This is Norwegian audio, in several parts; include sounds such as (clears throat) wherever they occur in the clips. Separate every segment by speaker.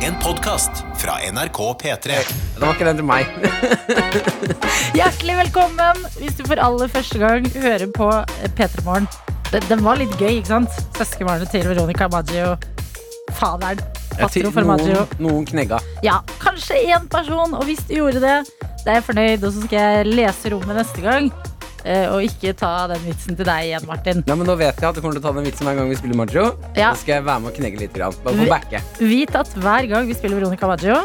Speaker 1: En podkast fra NRK P3.
Speaker 2: Eh,
Speaker 3: Det var ikke den til meg. (laughs)
Speaker 4: Hjertelig velkommen hvis du for aller første gang hører på eh, P3 Morgen. Den, den var litt gøy, ikke sant? Søskenbarnet til Veronica Maggio. Faderen. Patro for Maggio.
Speaker 3: noen, noen knegga.
Speaker 4: Ja, kanskje én person, og hvis du gjorde det, da er jeg fornøyd, og så skal jeg lese rommet neste gang. eh, Og ikke ta den vitsen til deg igjen, Martin.
Speaker 3: Nei, men Nå vet jeg at du kommer til å ta den vitsen hver gang vi spiller macho.
Speaker 4: Ja.
Speaker 3: Så skal jeg være med og knegge litt. Grann. Bare
Speaker 4: Vi-
Speaker 3: for å backe.
Speaker 4: Vit at hver gang vi spiller Veronica Maggio,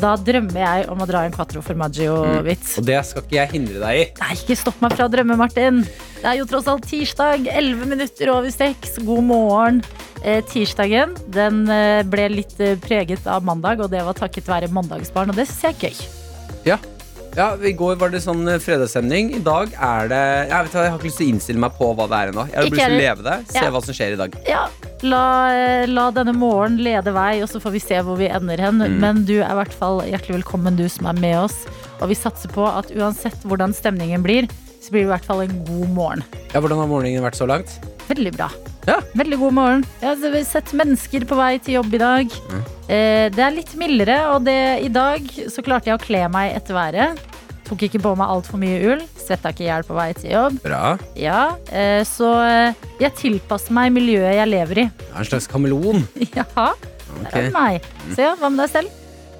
Speaker 4: da drømmer jeg om å dra en Quatro for Maggio-vits.
Speaker 3: Og det skal ikke jeg hindre deg i.
Speaker 4: Nei, ikke stopp meg fra å drømme, Martin. Det er jo tross alt tirsdag, 11 minutter over seks. God morgen. Eh, tirsdagen den eh, ble litt eh, preget av mandag, og det var takket være mandagsbarn, og det syns jeg er gøy.
Speaker 3: Ja. ja, I går var det sånn eh, fredagsstemning. I dag er det Jeg vet hva, jeg har ikke lyst til å innstille meg på hva det er ennå. Jeg har
Speaker 4: Ikke
Speaker 3: lyst til å
Speaker 4: heller.
Speaker 3: leve det. Se
Speaker 4: Ja.
Speaker 3: hva som skjer i dag.
Speaker 4: Ja, la, eh, la denne morgen lede vei, og så får vi se hvor vi ender hen. Men du er i hvert fall hjertelig velkommen, du som er med oss. Og vi satser på at uansett hvordan stemningen blir, så blir det i hvert fall en god morgen.
Speaker 3: Ja, Hvordan har morgenen vært så langt?
Speaker 4: Veldig bra.
Speaker 3: Ja.
Speaker 4: Veldig god morgen. Jeg har s- sett mennesker på vei til jobb i dag. Eh, Det er litt mildere, og det, i dag så klarte jeg å kle meg etter været. Tok ikke på meg altfor mye ull. Svetta ikke i hjel på vei til jobb.
Speaker 3: Bra.
Speaker 4: Ja, eh, Så eh, jeg tilpasser meg miljøet jeg lever i. (laughs)
Speaker 3: Jeg er en slags kameleon.
Speaker 4: Jaha.
Speaker 3: Ok.
Speaker 4: Nei. Så ja, hva med deg selv?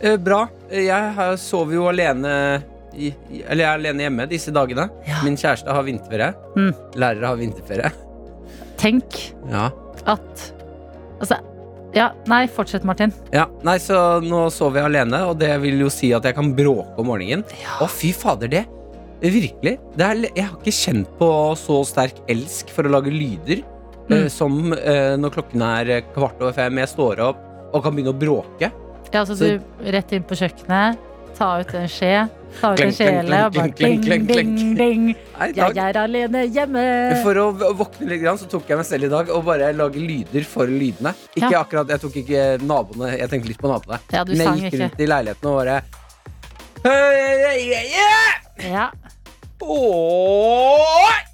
Speaker 3: Eh, bra. Eh, Jeg har- sover jo alene i, i- Eller jeg er alene hjemme disse dagene.
Speaker 4: Ja.
Speaker 3: Min kjæreste har vinterferie.
Speaker 4: Mm.
Speaker 3: Lærere har vinterferie.
Speaker 4: Tenk
Speaker 3: Ja.
Speaker 4: at Altså, ja, nei, fortsett, Martin.
Speaker 3: ja. Nei, så nå sover jeg alene, og det vil jo si at jeg kan bråke om morgenen. Å, fy fader, det. Virkelig. Det er, jeg har ikke kjent på så sterk elsk for å lage lyder eh, som eh, når klokken er kvart over fem, jeg står opp og kan begynne å bråke.
Speaker 4: Ja, altså du rett inn på kjøkkenet, ta ut en skje, ta ut en
Speaker 3: Klink, klink,
Speaker 4: kjele og bare
Speaker 3: klink,
Speaker 4: kling,
Speaker 3: klink, klink,
Speaker 4: ding,
Speaker 3: klink.
Speaker 4: ding.
Speaker 3: (laughs) Nei, i dag-
Speaker 4: Jeg er alene hjemme.
Speaker 3: For å v- våkne litt, grann, så tok jeg meg selv i dag og bare lage lyder for lydene. Ikke
Speaker 4: Ja.
Speaker 3: akkurat, Jeg tok ikke naboene, jeg tenkte litt på naboene.
Speaker 4: Ja, du
Speaker 3: Men
Speaker 4: sang
Speaker 3: jeg gikk
Speaker 4: ikke.
Speaker 3: rundt i leiligheten og bare «Øyeøyeøye!
Speaker 4: Ja.
Speaker 3: Åh!»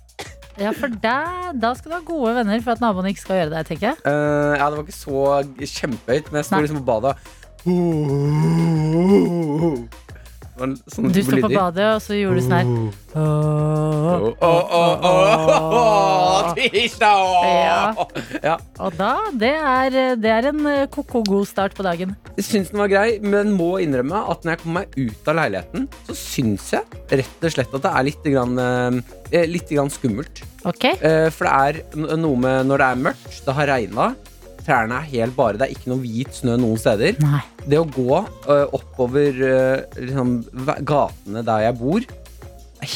Speaker 4: Ja, for der, da skal du ha gode venner for at naboene ikke skal gjøre det, tenker jeg.
Speaker 3: Eh, ja, det var ikke så kjempehøyt, men jeg sto
Speaker 4: Nei.
Speaker 3: liksom på badet og Det var sånn
Speaker 4: Du sto på
Speaker 3: lyder.
Speaker 4: badet, og så gjorde du sånn her. Åh.
Speaker 3: Åh, åh, åh, åh, åh, Tirsdag! åh! Ja.
Speaker 4: Og da, det er, det er en eh, ko-ko god start på dagen.
Speaker 3: Jeg syns den var grei, men må innrømme at når jeg kommer meg ut av leiligheten, så syns jeg rett og slett at det er litt, grann, eh, litt grann skummelt.
Speaker 4: Ok?
Speaker 3: Eh, for det er n- noe med når det er mørkt, det har regna, trærne er helt bare, det er ikke noe hvit snø noen steder.
Speaker 4: Nei.
Speaker 3: Det å gå eh, oppover eh, liksom, v- gatene der jeg bor,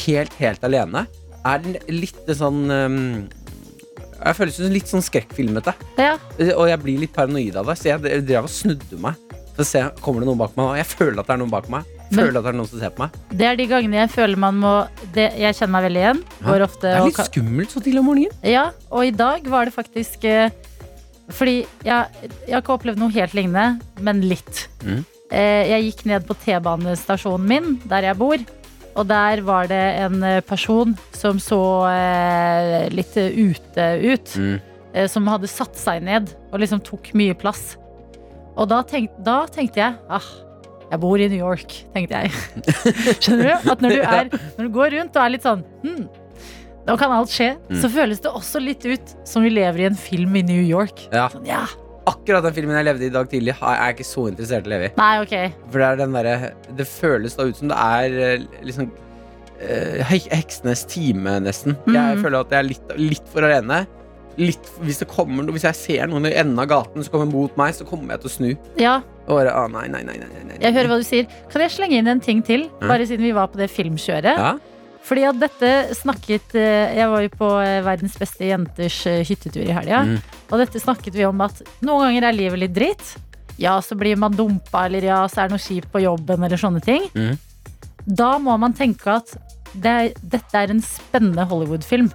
Speaker 3: helt, helt alene, er den litt sånn eh, Jeg føles som litt sånn skrekkfilmete. Øh,
Speaker 4: Ja,
Speaker 3: Og jeg blir litt paranoid av det, så jeg drev og snudde meg. For å se, kommer det noen bak meg? nå? Jeg føler at det er noen bak meg. Føler at det er noen som ser på meg.
Speaker 4: det er de gangene jeg føler man må det, Jeg kjenner meg veldig igjen. Går ofte
Speaker 3: Det er
Speaker 4: og
Speaker 3: litt
Speaker 4: ka-
Speaker 3: skummelt så tidlig om morgenen.
Speaker 4: Ja, og i dag var det faktisk eh, Fordi jeg, jeg har ikke opplevd noe helt lignende, men litt.
Speaker 3: Mhm.
Speaker 4: Eh, jeg gikk ned på T-banestasjonen min, der jeg bor. Og der var det en eh, person som så eh, litt eh, ute ut.
Speaker 3: Mhm.
Speaker 4: Eh, som hadde satt seg ned og liksom tok mye plass. Og da, tenk, da tenkte jeg ah, jeg bor i New York, tenkte jeg. Skjønner du? At når du, er, når du går rundt og er litt sånn hm, Nå kan alt skje. Så føles det også litt ut som vi lever i en film i New York.
Speaker 3: Ja.
Speaker 4: Sånn, ja,
Speaker 3: Akkurat den filmen jeg levde i i dag tidlig, har- er jeg ikke så interessert i å leve i.
Speaker 4: Nei, ok.
Speaker 3: For det er den derre Det føles da ut som det er eh, liksom eh, hek- Heksenes time, nesten. Jeg
Speaker 4: Mhm.
Speaker 3: føler at jeg er litt, litt for alene. Litt, hvis, det kommer, noe- hvis jeg ser noen i enden av gaten som kommer mot meg, så kommer jeg til å snu.
Speaker 4: Ja,
Speaker 3: Og bare, ah, nei, nei, nei, nei, nei, nei.
Speaker 4: jeg hører hva du sier. Kan jeg slenge inn en ting til?
Speaker 3: Ja.
Speaker 4: Bare siden vi var på det filmkjøret.
Speaker 3: ja?
Speaker 4: Fordi at dette snakket eh, Jeg var jo på eh, verdens beste jenters eh, hyttetur i helga.
Speaker 3: Mm.
Speaker 4: Og dette snakket vi om at noen ganger er livet litt dritt. Ja, så blir man dumpa, eller ja, så er det noe kjipt på jobben, eller sånne ting.
Speaker 3: Mm.
Speaker 4: Da må man tenke at det er, dette er en spennende Hollywood-film.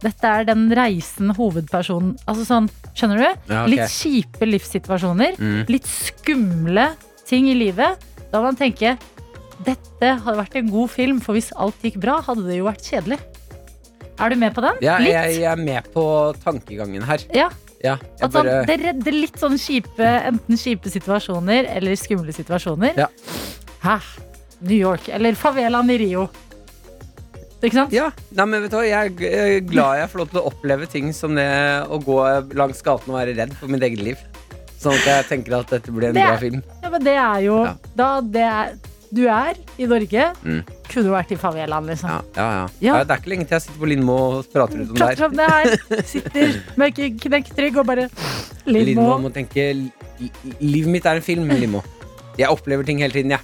Speaker 4: Dette er den reisen hovedpersonen Altså sånn, skjønner du?
Speaker 3: Ja, ok.
Speaker 4: Litt kjipe livssituasjoner.
Speaker 3: Mm.
Speaker 4: Litt skumle ting i livet. Da må man tenke dette hadde vært en god film, for hvis alt gikk bra, hadde det jo vært kjedelig. Er du med på den?
Speaker 3: Ja,
Speaker 4: Litt?
Speaker 3: jeg, jeg er med på tankegangen her.
Speaker 4: Ja.
Speaker 3: Ja, jeg
Speaker 4: At sånn,
Speaker 3: bare,
Speaker 4: det redder litt sånn kjipe, enten kjipe situasjoner eller skumle situasjoner.
Speaker 3: Ja.
Speaker 4: Hæ? New York. Eller favelaen i Rio. Ikke sant?
Speaker 3: ja, nei, men vet du hva, jeg er g- jeg er glad jeg får lov til å oppleve ting som det å gå langs gaten og være redd for mitt eget liv. Sånn at jeg tenker at dette blir en
Speaker 4: Det-
Speaker 3: bra film.
Speaker 4: Ja, men det er jo
Speaker 3: Ja.
Speaker 4: da det er, Du er i Norge.
Speaker 3: Mm.
Speaker 4: Kunne jo vært i favelaen, liksom.
Speaker 3: Ja, sånn ja, ja.
Speaker 4: Ja.
Speaker 3: Nei, Det er ikke lenge til jeg sitter på Lindmo og prater ut om det
Speaker 4: Prater
Speaker 3: her.
Speaker 4: om
Speaker 3: (laughs)
Speaker 4: det her. Sitter med k- knekt rygg og bare
Speaker 3: Lindmo
Speaker 4: Lindmo.
Speaker 3: må tenke li- Livet mitt er en film, Lindmo. Jeg opplever ting hele tiden, jeg.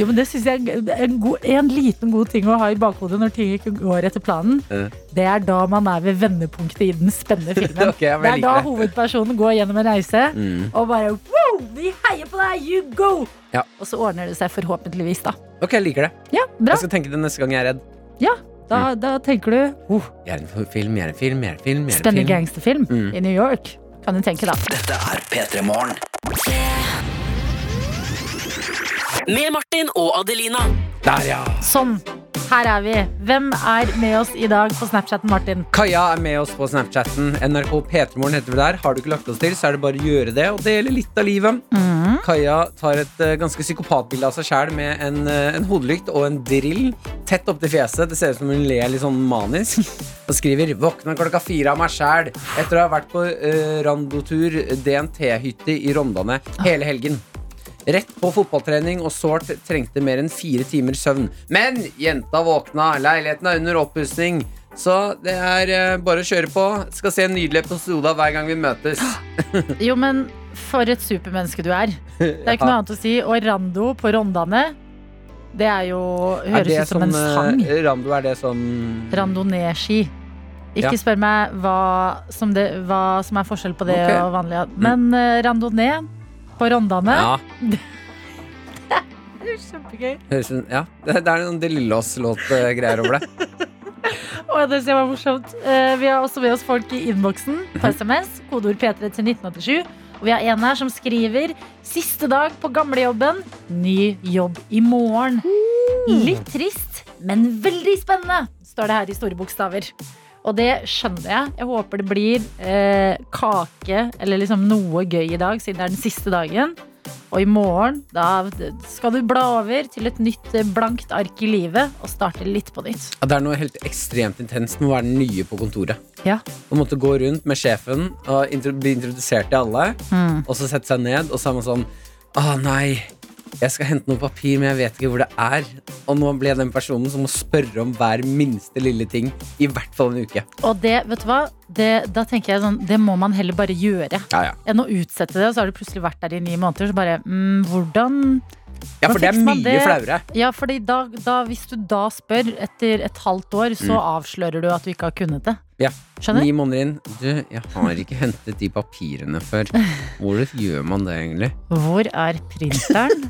Speaker 4: Jo, men det synes jeg er en- en, god, en liten god ting å ha i bakhodet når ting ikke går etter planen.
Speaker 3: Ja.
Speaker 4: Det er da man er ved vendepunktet i den
Speaker 3: (laughs)
Speaker 4: spennende filmen.
Speaker 3: Ok, ja, men
Speaker 4: det
Speaker 3: jeg
Speaker 4: er da
Speaker 3: liker det.
Speaker 4: hovedpersonen går gjennom en reise
Speaker 3: Mm.
Speaker 4: og bare wow, vi heier på deg, you go!
Speaker 3: Ja.
Speaker 4: Og så ordner det seg forhåpentligvis, da.
Speaker 3: Ok, jeg liker det.
Speaker 4: Ja, bra.
Speaker 3: Jeg skal tenke det neste gang jeg er redd.
Speaker 4: Da,
Speaker 3: Mm.
Speaker 4: da tenker du oh,
Speaker 3: Jeg er en film, jeg er en film, jeg er en film. Jeg er en
Speaker 4: spennende
Speaker 3: film.
Speaker 4: gangsterfilm
Speaker 3: Mm.
Speaker 4: i New York. Kan du tenke, da.
Speaker 5: Dette er P3 Morgen.
Speaker 6: Med Martin og Adelina.
Speaker 3: Der, ja!
Speaker 4: Sånn. Her er vi. Hvem er med oss i dag på Snapchaten, Martin?
Speaker 3: Kaja er med oss på Snapchatten. NRK P3morgen heter vi der. Har du ikke lagt oss til, så er det bare å gjøre det og dele litt av livet. Kaja tar et eh, ganske psykopatbilde av seg sjæl med en, eh, en hodelykt og en drill tett opptil fjeset. Det ser ut som hun ler litt sånn manisk. Og skriver 'Våkna klokka fire av meg sjæl' etter å ha vært på eh, randotur DNT-hytte i Rondane hele helgen. Rett på fotballtrening og sårt trengte mer enn fire timer søvn. Men jenta våkna, leiligheten er under oppussing. Så det er eh, bare å kjøre på. Skal se en nydelig episode av hver gang vi møtes.
Speaker 4: Jo, men for et supermenneske du
Speaker 3: (laughs)
Speaker 4: er. Det er
Speaker 3: Ja.
Speaker 4: ikke noe annet å si. Og Rando på Rondane, det er jo
Speaker 3: Er
Speaker 4: Høres
Speaker 3: det
Speaker 4: ut som en sang.
Speaker 3: eh, Rando, er det sånn
Speaker 4: Randonee-ski.
Speaker 3: Ja.
Speaker 4: Ikke spør meg hva som, det, hva som er forskjell på det
Speaker 3: Ok.
Speaker 4: og vanlig. Men eh, randonee på Rondane
Speaker 3: Ja.
Speaker 4: Det er kjempegøy.
Speaker 3: Høres, ut- ja. Det, det er noen De Lillos-låt-greier over
Speaker 4: (laughs)
Speaker 3: det.
Speaker 4: Å, det ser jeg var morsomt. Eh, vi har også med oss folk i innboksen på SMS. Kodeord P3 til 1987. Og vi har en her som skriver Siste dag på gamlejobben. Ny jobb i morgen. Litt trist, men veldig spennende, står det her i store bokstaver. Og det skjønner jeg. Jeg håper det blir eh, kake eller liksom noe gøy i dag, siden det er den siste dagen. Og i morgen da skal du bla over til et nytt eh, blankt ark i livet og starte litt på nytt.
Speaker 3: Ja, det er noe helt ekstremt intenst med å være den nye på kontoret.
Speaker 4: Ja.
Speaker 3: Å måtte gå rundt med sjefen og intro, bli introdusert til alle.
Speaker 4: Mm.
Speaker 3: Og så sette seg ned, og så er man sånn Å nei, jeg skal hente noe papir, men jeg vet ikke hvor det er. Og nå ble jeg den personen som må spørre om hver minste lille ting i hvert fall en uke.
Speaker 4: Og det, vet du hva? Det, da tenker jeg sånn, det må man heller bare gjøre.
Speaker 3: Ja, ja.
Speaker 4: Enn å utsette det, og så har du plutselig vært der i ni måneder. Så bare, mm, hvordan
Speaker 3: ja for
Speaker 4: Da
Speaker 3: det er
Speaker 4: fikser man
Speaker 3: mye
Speaker 4: det.
Speaker 3: flauere.
Speaker 4: Ja, fordi da, da, hvis du da spør etter et halvt år, så avslører du at du ikke har kunnet det.
Speaker 3: Ja.
Speaker 4: Skjønner?
Speaker 3: Ni måneder inn. Du, jeg har ikke hentet de papirene
Speaker 4: (laughs)
Speaker 3: før. Hvor gjør man det, egentlig?
Speaker 4: Hvor er printeren?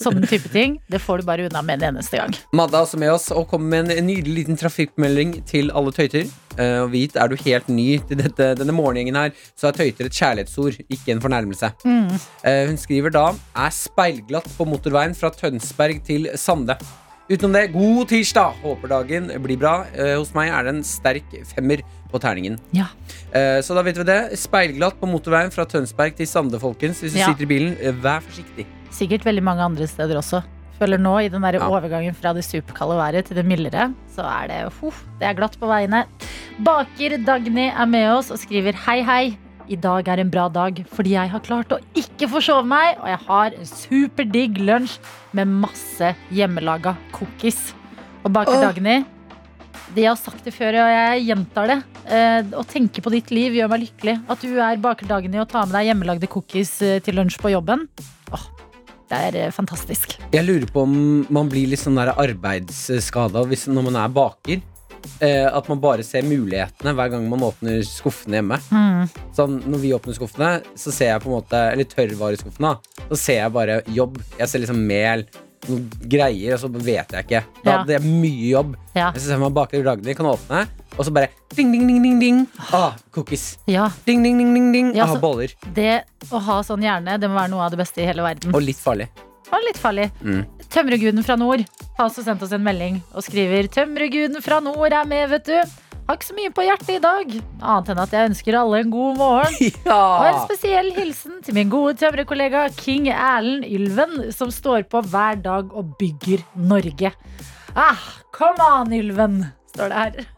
Speaker 4: Sånne type ting. Det får du bare unna med en eneste gang.
Speaker 3: Madda er også med oss og kommer med en nydelig liten trafikkmelding til alle tøyter. Eh, Og vit, er du helt ny til dette, denne morgengjengen her, så er tøyter et kjærlighetsord, ikke en fornærmelse. Eh, Hun skriver da er speilglatt på motorveien fra Tønsberg til Sande. Utenom det, god tirsdag! Håper dagen blir bra. Eh, Hos meg er det en sterk femmer på terningen.
Speaker 4: Ja.
Speaker 3: Eh, Så da vet vi det. Speilglatt på motorveien fra Tønsberg til Sande, folkens. Hvis du
Speaker 4: Ja.
Speaker 3: sitter i bilen, eh, vær forsiktig.
Speaker 4: Sikkert veldig mange andre steder også. Føler nå, i den der
Speaker 3: Ja.
Speaker 4: overgangen fra det superkalde været til det mildere, så er det huff, det er glatt på veiene. Baker Dagny er med oss og skriver hei, hei. I dag er en bra dag, fordi jeg har klart å ikke forsove meg, og jeg har en superdigg lunsj med masse hjemmelaga cookies. Og Baker Dagny, de har sagt det før, og jeg gjentar det. Eh, å tenke på ditt liv gjør meg lykkelig. At du er Baker Dagny og tar med deg hjemmelagde cookies eh, til lunsj på jobben. Åh, det er eh, fantastisk.
Speaker 3: Jeg lurer på om man blir litt sånn der arbeidsskada hvis, når man er baker. Eh, at man bare ser mulighetene hver gang man åpner skuffene hjemme.
Speaker 4: Mm,
Speaker 3: Sånn, Når vi åpner skuffene, så ser jeg på en måte Eller tørrvareskuffene, da. Så ser jeg bare jobb. Jeg ser liksom mel, noen greier, og så vet jeg ikke. Da
Speaker 4: Ja.
Speaker 3: hadde jeg mye jobb.
Speaker 4: Ja.
Speaker 3: Jeg ser for meg baker Dagny kan åpne, og så bare ding, ding, ding, ding, ding. Ah, cookies.
Speaker 4: ja,
Speaker 3: Ding, ding, ding, ding, ding.
Speaker 4: Ja,
Speaker 3: ah,
Speaker 4: så-
Speaker 3: boller.
Speaker 4: det å ha sånn hjerne, det må være noe av det beste i hele verden.
Speaker 3: Og litt farlig.
Speaker 4: Og litt farlig.
Speaker 3: Mm.
Speaker 4: Tømreguden fra nord har også sendt oss en melding og skriver Tømreguden fra nord er med, vet du. Har ikke så mye på hjertet i dag, annet enn at jeg ønsker alle en god morgen. Og
Speaker 3: (laughs)
Speaker 4: en
Speaker 3: Ja!
Speaker 4: spesiell hilsen til min gode tømrerkollega King Erlend Ylven, som står på hver dag og bygger Norge. Ah, come on, Ylven, står det her.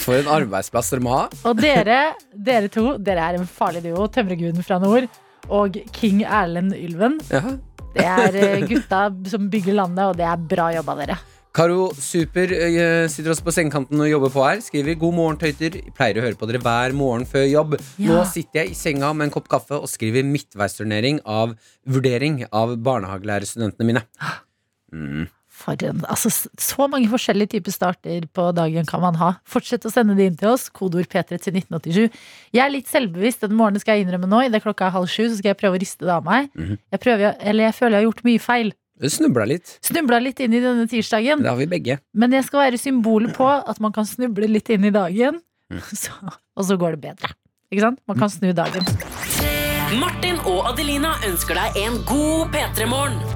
Speaker 3: For en arbeidsplass dere må ha.
Speaker 4: Og dere, dere to, dere er en farlig duo. Tømmerguden fra nord og King Erlend Ylven.
Speaker 3: Ja.
Speaker 4: Det er eh, gutta som bygger landet, og det er bra jobba, dere.
Speaker 3: Karo Super eh, sitter også på sengekanten og jobber på her. Skriver 'God morgen, tøyter'. Pleier å høre på dere hver morgen før jobb. Nå
Speaker 4: Ja.
Speaker 3: sitter jeg i senga med en kopp kaffe og skriver midtveisturnering av vurdering av barnehagelærerstudentene mine. Mm.
Speaker 4: For en, altså, s- så mange forskjellige typer starter på dagen kan man ha. Fortsett å sende de inn til oss. Kodeord P3 til 1987. Jeg er litt selvbevisst. Den morgenen skal jeg innrømme nå. Idet klokka er halv sju, så skal jeg prøve å riste det av meg.
Speaker 3: Mhm.
Speaker 4: jeg, prøver, eller jeg føler jeg har gjort mye feil.
Speaker 3: Det snubla litt.
Speaker 4: Snubla litt inn i denne tirsdagen.
Speaker 3: Det har vi begge.
Speaker 4: Men jeg skal være symbolet på at man kan snuble litt inn i dagen, (laughs) så, og så går det bedre. Ikke sant? Man kan snu dagen.
Speaker 6: Martin og Adelina ønsker deg en god P3-morgen.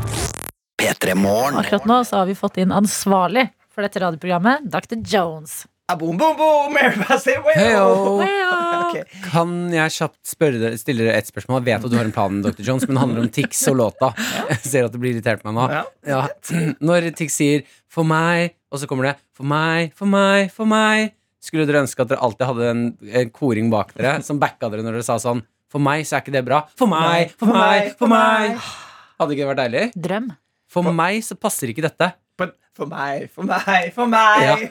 Speaker 4: Akkurat nå så har vi fått inn ansvarlig for dette radioprogrammet, Dr. Jones.
Speaker 5: Ah, Boom, boom, boom! Everybody say wow!
Speaker 3: Heyo! (laughs)
Speaker 5: Ok.
Speaker 3: Kan jeg kjapt spørre dere, stille dere et spørsmål? Jeg vet at du har en plan, Dr. Jones, men det handler om Tix og (laughs) låta. Jeg ser at du blir irritert på meg nå.
Speaker 5: Ja.
Speaker 3: Ja. (clears throat) Når Tix sier 'for meg', og så kommer det 'for meg, for meg, for meg', skulle dere ønske at dere alltid hadde en, en koring bak dere som backa dere når dere sa sånn 'for meg, så er ikke det bra'. For meg, for meg, for meg. Hadde ikke det vært deilig?
Speaker 4: Drøm.
Speaker 3: For meg så passer ikke dette.
Speaker 5: På, for meg, for meg, for meg!
Speaker 3: Ja.
Speaker 5: (laughs)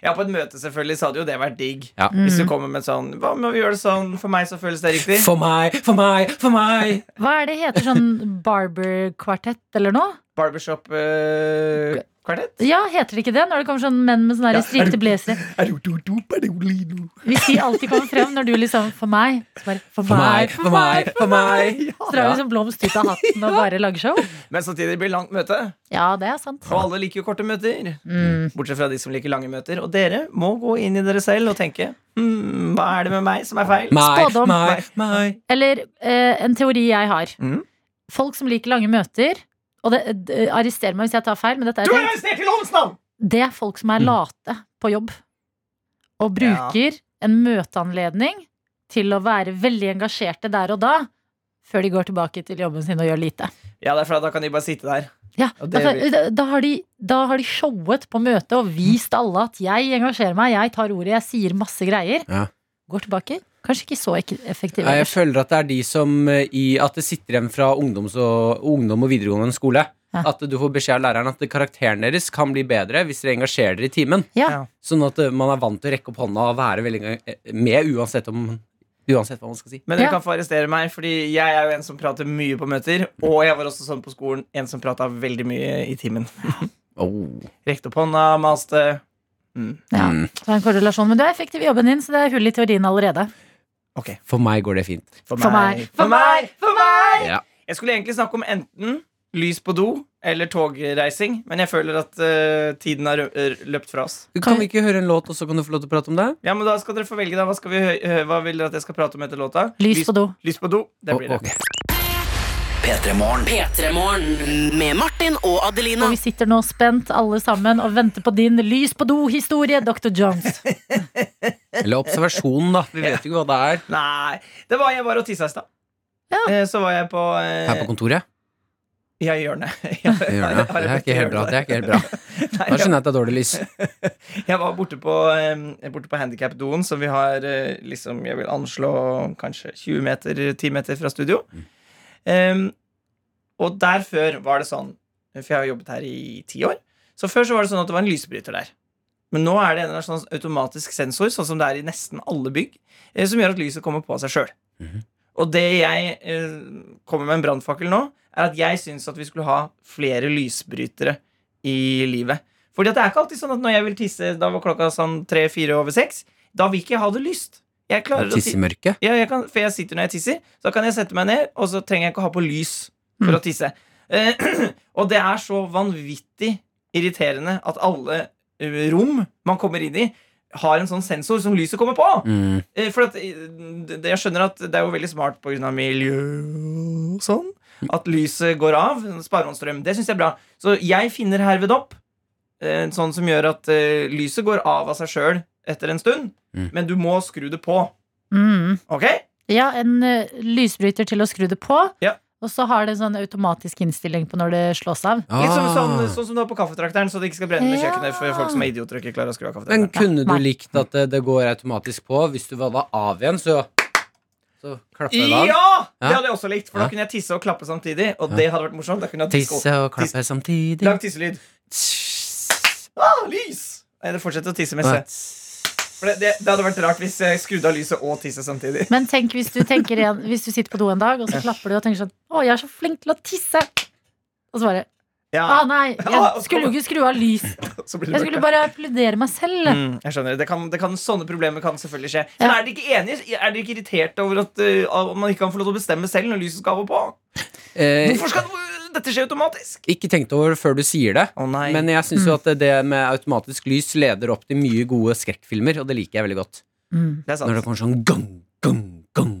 Speaker 5: Ja.
Speaker 3: Mm.
Speaker 5: på et møte selvfølgelig så hadde jo det vært digg.
Speaker 3: Ja.
Speaker 5: Hvis du kommer med sånn Hva om vi gjør det sånn? For meg så føles det riktig.
Speaker 3: For meg, for meg, for meg.
Speaker 4: Hva er det heter sånn barber-kvartett eller noe?
Speaker 5: eh, Barbershop-kvartett?
Speaker 4: Ja, heter det ikke det? Når det kommer sånn menn med sånne ja. strikte blazere. Hvis de alltid kommer frem når du liksom For meg. Så bare, for,
Speaker 3: For
Speaker 4: meg.
Speaker 3: meg, for meg, for meg.
Speaker 4: Så drar vi liksom blomst ut av hatten og bare lager show.
Speaker 5: Men samtidig blir det langt møte,
Speaker 4: Ja, det er sant.
Speaker 5: og alle liker jo korte møter.
Speaker 4: Mm.
Speaker 5: Bortsett fra de som liker lange møter. Og dere må gå inn i dere selv og tenke hmm, Hva er det med meg som er feil?
Speaker 3: Meg,
Speaker 4: Spådom.
Speaker 3: meg, meg.
Speaker 4: Eller eh, en teori jeg har.
Speaker 5: Mm.
Speaker 4: Folk som liker lange møter Og det, d- arrester meg hvis jeg tar feil, men dette er
Speaker 5: Du er
Speaker 4: det.
Speaker 5: arrestert i lovens navn!
Speaker 4: Det er folk som er
Speaker 3: Mm.
Speaker 4: late på jobb. Og bruker en møteanledning til å være veldig engasjerte der og da, før de går tilbake til jobben sin og gjør lite.
Speaker 5: Ja, det er for da kan de bare sitte der.
Speaker 4: Ja,
Speaker 5: Og det
Speaker 4: altså,
Speaker 5: blir-
Speaker 4: da, da, har de, da har de showet på møtet og vist alle at jeg engasjerer meg, jeg tar ordet, jeg sier masse greier.
Speaker 3: Ja.
Speaker 4: Går tilbake. Kanskje ikke så ek- effektive.
Speaker 3: Nei, jeg
Speaker 4: ellers.
Speaker 3: føler at det er de som eh, i, At det sitter igjen fra ungdoms og, ungdom og videregående skole.
Speaker 4: Ja.
Speaker 3: At du får beskjed av læreren at karakteren deres kan bli bedre hvis dere engasjerer dere i timen.
Speaker 4: Ja.
Speaker 5: Ja.
Speaker 3: Sånn at eh, man er vant til å rekke opp hånda og være veldig enga- eh, med uansett, om, uansett hva man skal si.
Speaker 5: Men dere
Speaker 4: Ja.
Speaker 5: kan få arrestere meg, fordi jeg er jo en som prater mye på møter. Og jeg var også sånn på skolen, en som prata veldig mye i timen. Rekte opp hånda, maste. Mm.
Speaker 4: Ja,
Speaker 3: Mm.
Speaker 4: så er det en korrelasjon. Men du er effektiv i jobben din, så det er hull i teorien allerede.
Speaker 5: Ok.
Speaker 3: For meg går det fint.
Speaker 5: For
Speaker 4: meg.
Speaker 5: For meg! For meg!
Speaker 3: Ja.
Speaker 5: Jeg skulle egentlig snakke om enten lys på do eller togreising, men jeg føler at eh, tiden har rø- r- løpt fra oss.
Speaker 3: Kan vi ikke høre en låt, og så kan du få lov til å prate om det?
Speaker 5: Ja, men da skal dere få velge, da. Hva, skal vi, hø- hø- hva vil dere at jeg skal prate om etter låta?
Speaker 4: Lys på do.
Speaker 5: Lys på do. Det blir
Speaker 3: Å,
Speaker 5: det.
Speaker 3: ok.
Speaker 6: P3-morgen med Martin og Adelina.
Speaker 4: Og vi sitter nå spent alle sammen og venter på din lys på do-historie, Dr.
Speaker 5: (laughs)
Speaker 4: Jones.
Speaker 3: Eller observasjonen, da. Vi vet jo ikke hva det er
Speaker 5: Nei. Det var jeg var og tissa i stad.
Speaker 4: Ja.
Speaker 5: Eh, Så var jeg på eh,
Speaker 3: her på kontoret.
Speaker 5: Ja, i hjørnet. (laughs)
Speaker 3: Det gjør det. Det er ikke helt bra. Det er ikke (laughs) helt bra.
Speaker 5: Nei,
Speaker 3: Da skjønner jeg at det er dårlig lys.
Speaker 5: Jeg var borte på, eh, borte på handicap-doen, som vi har eh, liksom, jeg vil anslå kanskje 20 meter, 10 meter fra studio. Em, Ehm, og der før var det sånn, for jeg har jobbet her i ti år, så før så var det sånn at det var en lysbryter der. Men nå er det en eller annen sånn automatisk sensor, sånn som det er i nesten alle bygg, eh, som gjør at lyset kommer på av seg sjøl.
Speaker 3: Mhm.
Speaker 5: Og det jeg eh, kommer med en brannfakkel nå, er at jeg syns at vi skulle ha flere lysbrytere i livet. Fordi at det er ikke alltid sånn at når jeg vil tisse Da var klokka sånn tre-fire over seks Da vil ikke jeg ha det lyst Jeg klarer å
Speaker 3: Tisse i
Speaker 5: tisse
Speaker 3: mørket.
Speaker 5: ja, jeg kan, For jeg sitter når jeg tisser Så kan jeg sette meg ned Og så trenger jeg ikke ha på lys For
Speaker 4: Mm.
Speaker 5: å tisse Eh, (clears throat) Og det er så vanvittig irriterende At alle eh, rom man kommer inn i Har en sånn sensor som lyset kommer på
Speaker 3: Mm.
Speaker 5: Eh, For at, eh, det, jeg skjønner at det er jo veldig smart på grunn av miljø og sånn. At lyset går av. Sparehåndstrøm. Det syns jeg er bra. Så jeg finner herved opp eh, en sånn som gjør at eh, lyset går av av seg sjøl etter en stund,
Speaker 7: Mm.
Speaker 5: men du må skru det på.
Speaker 4: Mm.
Speaker 5: Ok?
Speaker 4: Ja, en ø, lysbryter til å skru det på.
Speaker 5: Ja.
Speaker 4: Og så har det en sånn automatisk innstilling på når det slås av.
Speaker 5: Litt som, sånn,
Speaker 7: Ah.
Speaker 5: sånn som du har på kaffetrakteren, så det ikke skal brenne med
Speaker 4: Ja.
Speaker 5: kjøkkenet for folk som er idioter og ikke klarer å skru av
Speaker 3: Men
Speaker 5: kaffetrakteren.
Speaker 3: kunne du
Speaker 4: Nei.
Speaker 3: likt at det, det går automatisk på? Hvis du var da av igjen, så, så klapper du av?
Speaker 5: Ja! Det
Speaker 3: Ja.
Speaker 5: hadde jeg også likt, for da
Speaker 3: Ja.
Speaker 5: kunne jeg tisse og klappe samtidig. Og
Speaker 3: Ja.
Speaker 5: det hadde vært morsomt. Da kunne jeg
Speaker 3: Tisse og klappe samtidig.
Speaker 5: Lag tisselyd. Ah, lys! Nei, det fortsetter å tisse mens jeg For det, det, det hadde vært rart hvis jeg skrudde av lyset og tisse samtidig. (laughs)
Speaker 4: Men tenk hvis du, tenker igjen, hvis du sitter på do en dag, og så klapper du og tenker sånn Å, jeg er så flink til å tisse! Og så bare Å
Speaker 5: Ja,
Speaker 4: nei, jeg skulle jo ikke skru av lys.
Speaker 5: så blir
Speaker 4: Ah, Jeg
Speaker 5: det
Speaker 4: skulle
Speaker 5: borte.
Speaker 4: bare applaudere meg selv.
Speaker 5: Mm, jeg skjønner. Det kan, det kan, sånne problemer kan selvfølgelig skje. Men
Speaker 4: Ja.
Speaker 5: er dere ikke enige? Er dere ikke irritert over at eh, av- man ikke kan få lov til å bestemme selv når lyset skal av og på?
Speaker 3: Eh,
Speaker 5: Hvorfor skal det- dette skje automatisk?
Speaker 3: ikke tenkt over det før du sier det.
Speaker 5: Å nei.
Speaker 3: Men jeg
Speaker 4: Mm.
Speaker 3: syns jo at det med automatisk lys leder opp til mye gode skrekkfilmer, og det liker jeg veldig godt.
Speaker 4: Mm.
Speaker 5: det er sant.
Speaker 3: Når det kommer sånn gang, gang, gang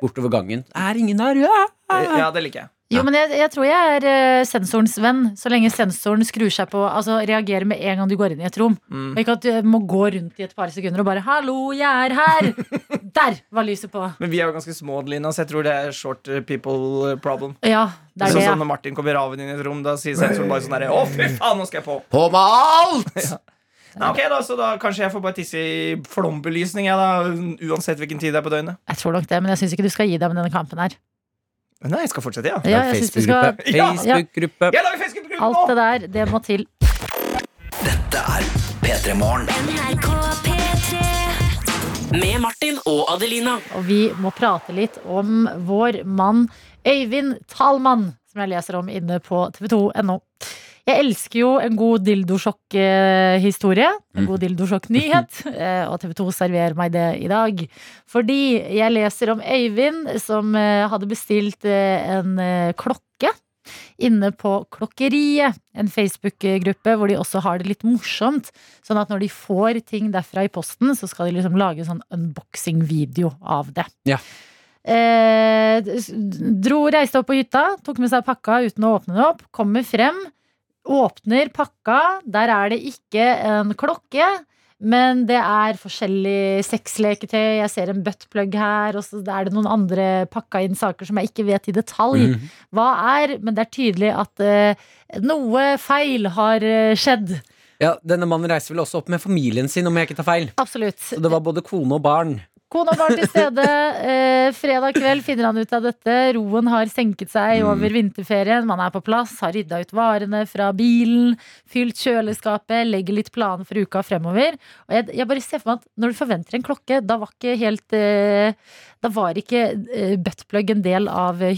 Speaker 3: bortover gangen. Er ingen der? Ja!
Speaker 5: Eh, Ja, det liker jeg.
Speaker 3: Ja.
Speaker 4: Jo, men jeg, jeg tror jeg er eh, sensorens venn, så lenge sensoren skrur seg på Altså reagerer med en gang du går inn i et rom.
Speaker 5: Mm.
Speaker 4: Og ikke at du eh, må gå rundt i et par sekunder og bare 'Hallo, jeg er her!' Der var lyset på.
Speaker 5: Men vi er jo ganske små, Adelina, så jeg tror det er short eh, people eh, problem.
Speaker 4: Ja, det er
Speaker 5: sånn
Speaker 4: det.
Speaker 5: som når Martin kommer raven inn i et rom, da sier sensoren bare sånn herre Å, fy faen, nå skal jeg på.
Speaker 7: På med alt!
Speaker 5: Nei, ok, da, så da kanskje jeg får bare tisse i flombelysning, jeg, da. Uansett hvilken tid det er på døgnet.
Speaker 4: Jeg tror nok det, men jeg syns ikke du skal gi deg med denne kampen her.
Speaker 5: Nei, jeg skal fortsette, ja.
Speaker 4: Ja, jeg synes du skal
Speaker 3: Facebook-gruppe. Facebook-gruppe.
Speaker 5: Jeg lager Facebook-gruppe
Speaker 4: Alt
Speaker 5: nå!
Speaker 4: det der, det må til.
Speaker 6: NRK P3 Med Martin og Adelina
Speaker 4: Og vi må prate litt om vår mann Øyvind Talmann, som jeg leser om inne på tv2.no. Jeg elsker jo en god dildosjokk-historie. En god dildosjokk-nyhet. eh, Og TV2 serverer meg det i dag. Fordi jeg leser om Øyvind som eh, hadde bestilt eh, en eh, klokke inne på Klokkeriet. En Facebook-gruppe hvor de også har det litt morsomt. Sånn at når de får ting derfra i posten, så skal de liksom lage en sånn unboxing-video av det.
Speaker 3: Ja.
Speaker 4: Eh, dro, reiste opp på hytta, tok med seg pakka uten å åpne den opp, kommer frem, åpner pakka, der er det ikke en klokke, men det er forskjellig sexleketøy, jeg ser en buttplug her, og så er det noen andre pakka inn saker som jeg ikke vet i detalj
Speaker 3: Mhm.
Speaker 4: hva er, men det er tydelig at eh, noe feil har eh, skjedd.
Speaker 3: Ja, denne mannen reiser vel også opp med familien sin, om jeg ikke tar feil.
Speaker 4: Absolutt.
Speaker 3: Så det var både kone og barn.
Speaker 4: Kona var til stede. Eh, fredag kveld finner han ut av dette. Roen har senket seg over vinterferien. Man er på plass, har rydda ut varene fra bilen, fylt kjøleskapet, legger litt planer for uka fremover. Og jeg, jeg bare ser for meg at når du forventer en klokke, da var ikke helt eh, Da var ikke eh, buttplug en del av eh,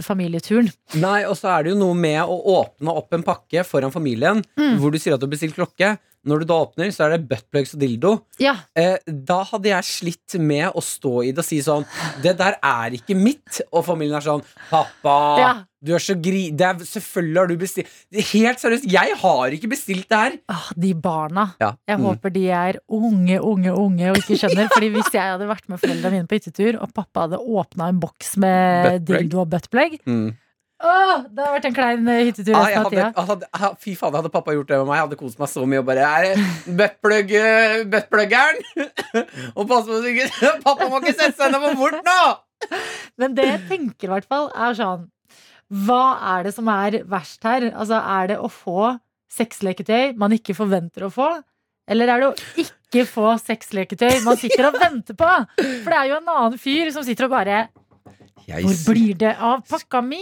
Speaker 4: hyttefamilieturen.
Speaker 3: Nei, og så er det jo noe med å åpne opp en pakke foran familien,
Speaker 4: Mm.
Speaker 3: hvor du sier at du har bestilt klokke. Når du da åpner, så er det buttplugs og dildo.
Speaker 4: Ja,
Speaker 3: Eh, da hadde jeg slitt med å stå i det og si sånn Det der er ikke mitt. Og familien er sånn Pappa,
Speaker 4: Ja.
Speaker 3: du er så gri... Det er, selvfølgelig har du bestilt Helt seriøst, jeg har ikke bestilt det her.
Speaker 4: Ah, de barna.
Speaker 3: Ja.
Speaker 4: Jeg håper de er unge, unge, unge og ikke skjønner. Fordi hvis jeg hadde vært med foreldrene mine på hyttetur, og pappa hadde åpna en boks med
Speaker 3: Buttplug.
Speaker 4: dildo og buttplug
Speaker 3: Mm.
Speaker 4: Åh, Det hadde vært en klein eh, hyttetur
Speaker 3: Ah, jeg
Speaker 4: resten av
Speaker 3: hadde,
Speaker 4: tida.
Speaker 3: hadde, ah, fy faen, hadde pappa gjort det med meg, jeg hadde kost meg så mye. Og bare er det buttplug, eh, buttpluggeren? (laughs) og pass på så ikke (laughs) Pappa må ikke sette seg ned for fort nå!
Speaker 4: Men det jeg tenker i hvert fall, er sånn Hva er det som er verst her? Altså, er det å få sexleketøy man ikke forventer å få? Eller er det å ikke få sexleketøy man sitter
Speaker 3: (laughs)
Speaker 4: og venter på? For det er jo en annen fyr som sitter og bare Hvor blir det av pakka mi?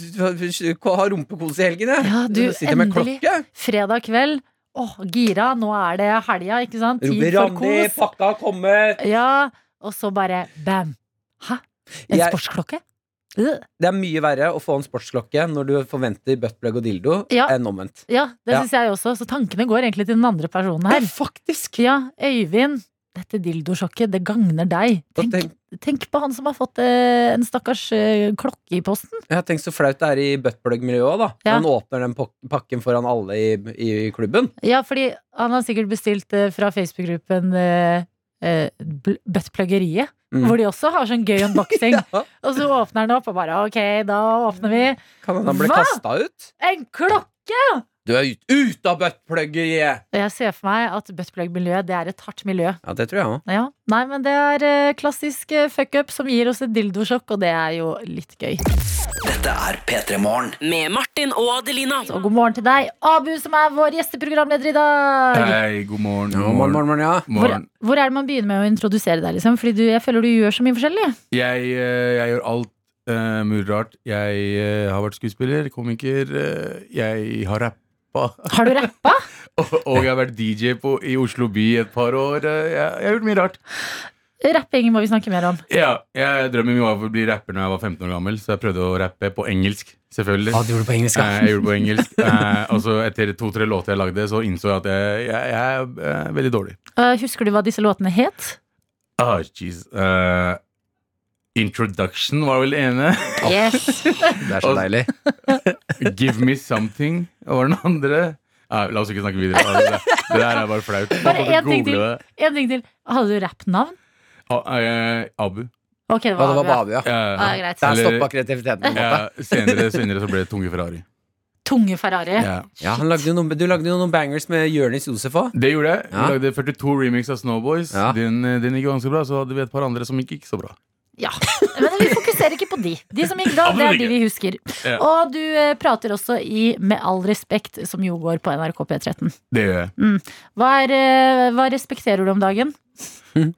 Speaker 3: Skudd ha rumpekos i helgen, jeg.
Speaker 4: Ja, du,
Speaker 3: Sitter med
Speaker 4: endelig.
Speaker 3: klokke.
Speaker 4: Fredag kveld. Åh, gira. Nå er det helga, ikke sant?
Speaker 3: Robi
Speaker 4: Tid for
Speaker 3: Randi,
Speaker 4: kos.
Speaker 3: pakka har kommet.
Speaker 4: Ja, og så bare bam. Hæ? En
Speaker 3: Jeg-
Speaker 4: sportsklokke? Øh.
Speaker 3: Det er mye verre å få en sportsklokke når du forventer buttplug og dildo,
Speaker 4: Ja.
Speaker 3: enn omvendt.
Speaker 4: Ja, det
Speaker 3: Ja.
Speaker 4: syns jeg også. Så tankene går egentlig til den andre personen her.
Speaker 3: faktisk!
Speaker 4: Ja, Øyvind. Dette dildosjokket, det gagner deg.
Speaker 3: Og
Speaker 4: Tenk,
Speaker 3: tenk,
Speaker 4: tenk på han som har fått eh, en stakkars eh, klokke i posten.
Speaker 3: ja, tenk så flaut det er i buttplug-miljøet òg, da. Når
Speaker 4: Ja.
Speaker 3: han åpner den pok- pakken foran alle i, i klubben.
Speaker 4: Ja, fordi han har sikkert bestilt eh, fra Facebook-gruppen eh, eh, bl- Buttpluggeriet,
Speaker 3: Mm.
Speaker 4: hvor de også har sånn gøy
Speaker 3: (laughs)
Speaker 4: unboxing.
Speaker 3: Ja.
Speaker 4: Og så åpner han opp og bare ok, da åpner vi.
Speaker 3: Kan han bli
Speaker 4: Hva?
Speaker 3: kasta ut?
Speaker 4: En klokke!
Speaker 3: Du er ut, ut av buttplugget!
Speaker 4: Og jeg ser for meg at buttplug-miljøet, det er et hardt miljø.
Speaker 3: Ja, det tror jeg òg.
Speaker 4: Ja. Nei, men det er eh, klassisk eh, fuck-up som gir oss et dildosjokk, og det er jo litt gøy.
Speaker 6: Med Martin og Adelina.
Speaker 4: Og god morgen til deg, Abu, som er vår gjesteprogramleder i dag.
Speaker 7: Hei, god morgen.
Speaker 3: Ja, morgen, morgen, morgen, ja.
Speaker 4: Hvor,
Speaker 7: Morgen.
Speaker 4: hvor er det man begynner med å introdusere deg? Liksom? Fordi du, jeg føler du gjør så mye forskjellig.
Speaker 7: Jeg, eh, jeg gjør alt eh, mulig rart. Jeg eh, har vært skuespiller, komiker, eh, jeg har rappa. (laughs)
Speaker 4: Har du rappa? (laughs)
Speaker 7: Og, og jeg har vært DJ på, i Oslo by i et par år. eh, Jeg, jeg har gjort mye rart.
Speaker 4: Rappingen må vi snakke mer om.
Speaker 7: Ja, jeg Drømmen min var å bli rapper når jeg var 15 år gammel, så jeg prøvde å rappe på engelsk. Selvfølgelig.
Speaker 3: du gjorde det på engelsk,
Speaker 7: Eh, Jeg gjorde det på
Speaker 3: (laughs)
Speaker 7: engelsk. Eh, Og så etter to-tre låter jeg lagde, så innså jeg at jeg, jeg, jeg er eh, veldig dårlig.
Speaker 4: Eh, husker du hva disse låtene het?
Speaker 7: Ah, jeez. Eh, introduction var vel det ene.
Speaker 4: Yes.
Speaker 3: Det er så
Speaker 7: Og-
Speaker 3: deilig.
Speaker 7: Give me something var den andre. Nei, la oss ikke snakke videre. Det der, det der er bare flaut.
Speaker 4: Bare
Speaker 7: Bare
Speaker 4: en ting til.
Speaker 7: google det.
Speaker 4: En ting til. Hadde du rappnavn?
Speaker 7: Ah, eh, Abu.
Speaker 4: Ok, det
Speaker 3: Ja,
Speaker 4: var,
Speaker 3: det var
Speaker 4: Abu, ja.
Speaker 3: Babu, ja.
Speaker 7: Eh,
Speaker 4: Ja, greit.
Speaker 3: Der
Speaker 7: eller-
Speaker 3: stoppa kreativiteten. på en måte.
Speaker 7: ja, senere, senere så ble det Tunge Ferrari.
Speaker 4: Tunge Ferrari.
Speaker 7: Ja.
Speaker 3: Ja, han lagde jo noen, Du lagde jo noen bangers med Jonis Josef òg.
Speaker 7: Det gjorde jeg. Vi
Speaker 3: Ja.
Speaker 7: lagde 42 remix av Snowboys.
Speaker 3: Ja.
Speaker 7: Den, eh, den gikk ganske bra. Så hadde vi et par andre som gikk ikke så bra.
Speaker 4: Ja. Men vi fokuserer ikke på de. De som gikk da, det er de vi husker.
Speaker 7: Ja.
Speaker 4: Og du eh, prater også i Med all respekt, som jo går på NRK P13.
Speaker 7: Det gjør jeg.
Speaker 4: Hva, er, eh, hva respekterer du om dagen?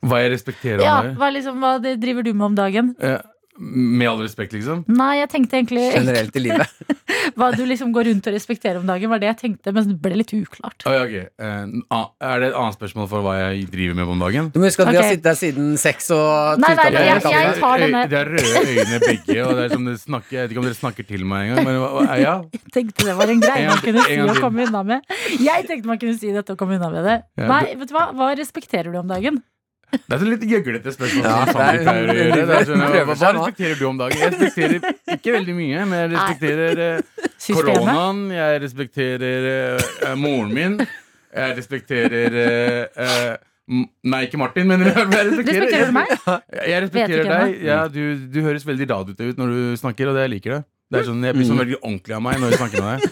Speaker 7: Hva jeg respekterer
Speaker 4: Mm. Ja,
Speaker 7: av deg.
Speaker 4: hva, liksom, hva det- driver du med om dagen?
Speaker 7: Eh, Med all respekt, liksom.
Speaker 4: Nei, jeg tenkte egentlig
Speaker 3: Generelt i livet.
Speaker 4: (laughs) hva du liksom går rundt og respekterer om dagen, var det jeg tenkte, men det ble litt uklart.
Speaker 7: Å, ja, ok. Eh, a- er det et annet spørsmål for hva jeg driver med om dagen?
Speaker 3: Du må huske at vi har
Speaker 4: Ok.
Speaker 3: sittet her siden seks og
Speaker 4: Nei, nei,
Speaker 3: tuta på
Speaker 4: jeg-
Speaker 3: hverandre.
Speaker 4: jeg- tar denne.
Speaker 7: Det er røde øyne begge, og det er som dere snakker Jeg vet ikke om dere snakker til meg engang, men hva- hva- ja.
Speaker 4: Jeg tenkte det var en greie
Speaker 7: En
Speaker 4: man
Speaker 7: gang
Speaker 4: kunne
Speaker 7: til,
Speaker 4: si
Speaker 7: en gang
Speaker 4: og
Speaker 7: til.
Speaker 4: komme unna med. Jeg tenkte man kunne si dette og komme unna med det.
Speaker 7: Ja,
Speaker 4: Nei, vet du hva? Hva respekterer du om dagen?
Speaker 7: Det er så litt gjøglete spørsmål.
Speaker 3: Ja,
Speaker 7: som Sandeep
Speaker 3: det er-
Speaker 7: pleier å gjøre. Det er sånn,
Speaker 3: Prøver
Speaker 7: hva, hva
Speaker 3: seg nå.
Speaker 7: respekterer du om dagen? Jeg respekterer ikke veldig mye, men jeg respekterer eh,
Speaker 4: Systemet?
Speaker 7: koronaen, jeg respekterer eh, eh, moren min, jeg respekterer eh, eh, m- Nei, ikke Martin, men (laughs) jeg respekterer
Speaker 4: Respekterer du meg?
Speaker 7: Jeg, jeg
Speaker 4: Vet
Speaker 7: respekterer
Speaker 4: ikke
Speaker 7: deg. Ja, du, du høres veldig radioete ut når du snakker, og det jeg liker det. Det er sånn, Jeg blir sånn veldig ordentlig av meg når jeg snakker med deg.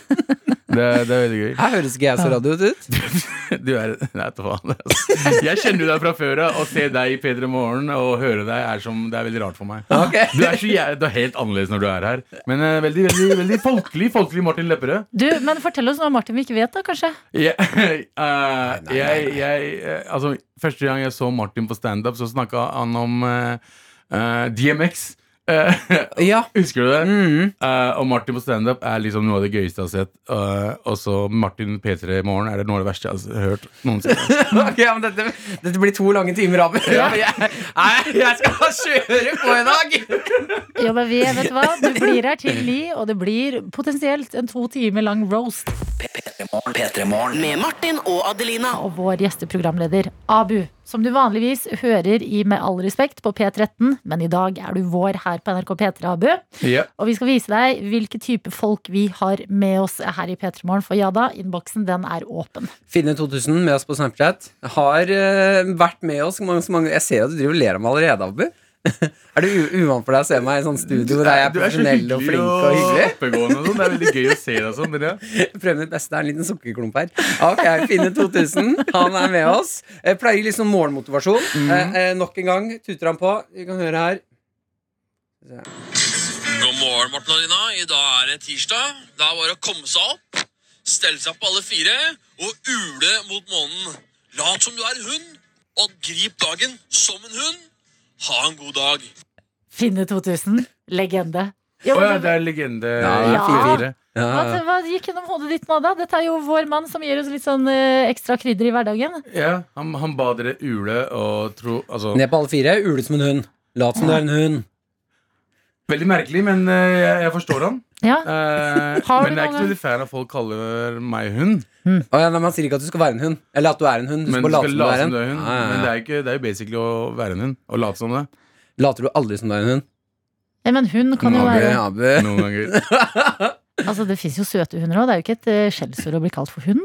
Speaker 7: Det, det er veldig gøy.
Speaker 3: Her høres ikke jeg så radiot ut.
Speaker 7: Du er Nei, ta faen. Altså. Jeg kjenner jo deg fra før av. Å se deg i P3 Morgen og høre deg er som Det er veldig rart for meg.
Speaker 3: Ok.
Speaker 7: Du er, så, jæ- du er helt annerledes når du er her. Men eh, veldig veldig, veldig folkelig. Folkelig Martin Lepperød.
Speaker 4: Du, men fortell oss noe Martin vi ikke vet, da, kanskje.
Speaker 7: Jeg, (laughs) eh, jeg, jeg, eh, altså, første gang jeg så Martin på standup, så snakka han om eh, eh, DMX. Eh, (laughs)
Speaker 3: Ja.
Speaker 7: husker du det?
Speaker 3: Mm.
Speaker 7: Eh, og Martin på standup er liksom noe av det gøyeste jeg har sett. Eh, og så Martin P3 Morgen er det noe av det verste jeg har hørt noensinne.
Speaker 3: (laughs) (laughs) Ok, ja, men dette, dette blir to lange timer, Abu. (laughs) Jeg, nei, jeg skal kjøre på i dag!
Speaker 4: Jo, men vi, vet du hva? Du blir her til ni, og det blir potensielt en to timer lang roast.
Speaker 6: Med Martin og Adelina.
Speaker 4: Og vår gjesteprogramleder Abu, som du vanligvis hører i Med all respekt på P13, men i dag er du vår her på NRK P3, Abu.
Speaker 7: Ja.
Speaker 4: Og vi skal vise deg hvilke type folk vi har med oss her i P3 Morgen. For ja da, innboksen den er åpen.
Speaker 3: Finne2000 med oss på Snapchat. Har eh, vært med oss mange, så mange Jeg ser at du driver og ler av meg allerede, Abu. (laughs) er det u- uvant for deg å se meg i sånn studio der jeg er
Speaker 7: Du så
Speaker 3: profesjonell og
Speaker 7: hyggelig
Speaker 3: flink og hyggelig?
Speaker 7: oppegående og sånn. Det er veldig gøy å se deg sånn. Dere.
Speaker 3: Prøv mitt beste. Det er en liten sukkerklump her. Ok, Finne2000, han er med oss. Jeg pleier litt sånn morgenmotivasjon. Eh, eh, nok en gang tuter han på. Vi kan høre her.
Speaker 8: God morgen, Morten og Lina. I dag er det tirsdag. Det er bare å komme seg opp, stelle seg på alle fire og ule mot månen. Lat som du er en hund, og grip dagen som en hund. Ha en god dag.
Speaker 4: Finne 2000, legende.
Speaker 7: Å
Speaker 4: Jo,
Speaker 7: ja,
Speaker 4: men,
Speaker 7: det er legende.
Speaker 3: Ja.
Speaker 7: fire.
Speaker 3: Ja,
Speaker 4: hva, hva gikk gjennom hodet ditt nå, da? Dette er jo vår mann som gir oss litt sånn eh, ekstra krydder i hverdagen.
Speaker 7: Ja, han, han ba dere ule og tro altså,
Speaker 3: Ned på alle fire. Ule som en hund. Lat som du er en hund.
Speaker 7: Veldig merkelig, men eh, jeg, jeg forstår han.
Speaker 4: Ja,
Speaker 7: Eh,
Speaker 4: Har du
Speaker 7: men jeg er ikke så
Speaker 4: noen-
Speaker 7: veldig fan av folk kaller meg hund.
Speaker 3: Å ja, nei, man sier ikke at du skal være en hund. Eller at du er en hund. Du
Speaker 7: Men
Speaker 3: skal
Speaker 7: du
Speaker 3: bare
Speaker 7: skal late som du
Speaker 3: late
Speaker 7: er hund.
Speaker 3: Ja, ja, ja.
Speaker 7: Men det er, jo ikke, det er jo basically å være en hund. Å late som det.
Speaker 3: Later du aldri som du er en hund?
Speaker 4: Nei, men hun kan jo
Speaker 7: Nå
Speaker 4: være
Speaker 3: Abu, Abu.
Speaker 7: Noen ganger.
Speaker 4: Altså, Det fins jo søte hunder òg. Det er jo ikke et eh, skjellsord å bli kalt for hund.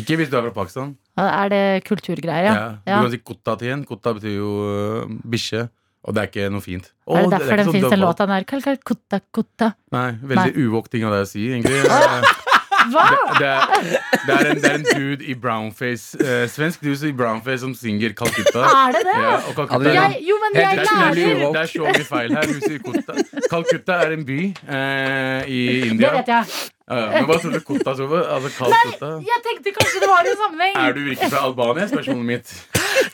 Speaker 7: Ikke hvis du er fra Pakistan.
Speaker 4: Ja, Er det kulturgreier, ja?
Speaker 7: Du kan si kotta til en. Kotta betyr jo uh, bikkje. Og det er ikke noe fint. Å,
Speaker 4: Er det
Speaker 7: det er
Speaker 4: derfor
Speaker 7: ikke
Speaker 4: den
Speaker 7: sånn
Speaker 4: fins, den
Speaker 7: døvvalg.
Speaker 4: låta der? Kalkal kutta kutta. (laughs)
Speaker 7: Nei, veldig uvåk ting av deg å si, egentlig. Eh,
Speaker 4: Hva?
Speaker 7: Det er, det, er en, det er en dude i brownface eh, Svensk dude i brownface som synger Calcutta.
Speaker 4: Er det det?
Speaker 7: Ja, og Calcutta
Speaker 3: Ja,
Speaker 4: Jeg, jo, men
Speaker 3: Helt
Speaker 7: det
Speaker 4: jeg
Speaker 7: er, det, er,
Speaker 4: lærer.
Speaker 7: det er så mye feil her. Hun sier Kotta. Calcutta er en by eh, i
Speaker 4: Det
Speaker 7: India.
Speaker 4: vet jeg.
Speaker 7: Ja, ja. men hva tror du Kotta står for? Altså Calcutta.
Speaker 4: Jeg tenkte kanskje det var i
Speaker 7: Er
Speaker 4: sammenheng.
Speaker 7: du virkelig fra Albania? Spørsmålet mitt.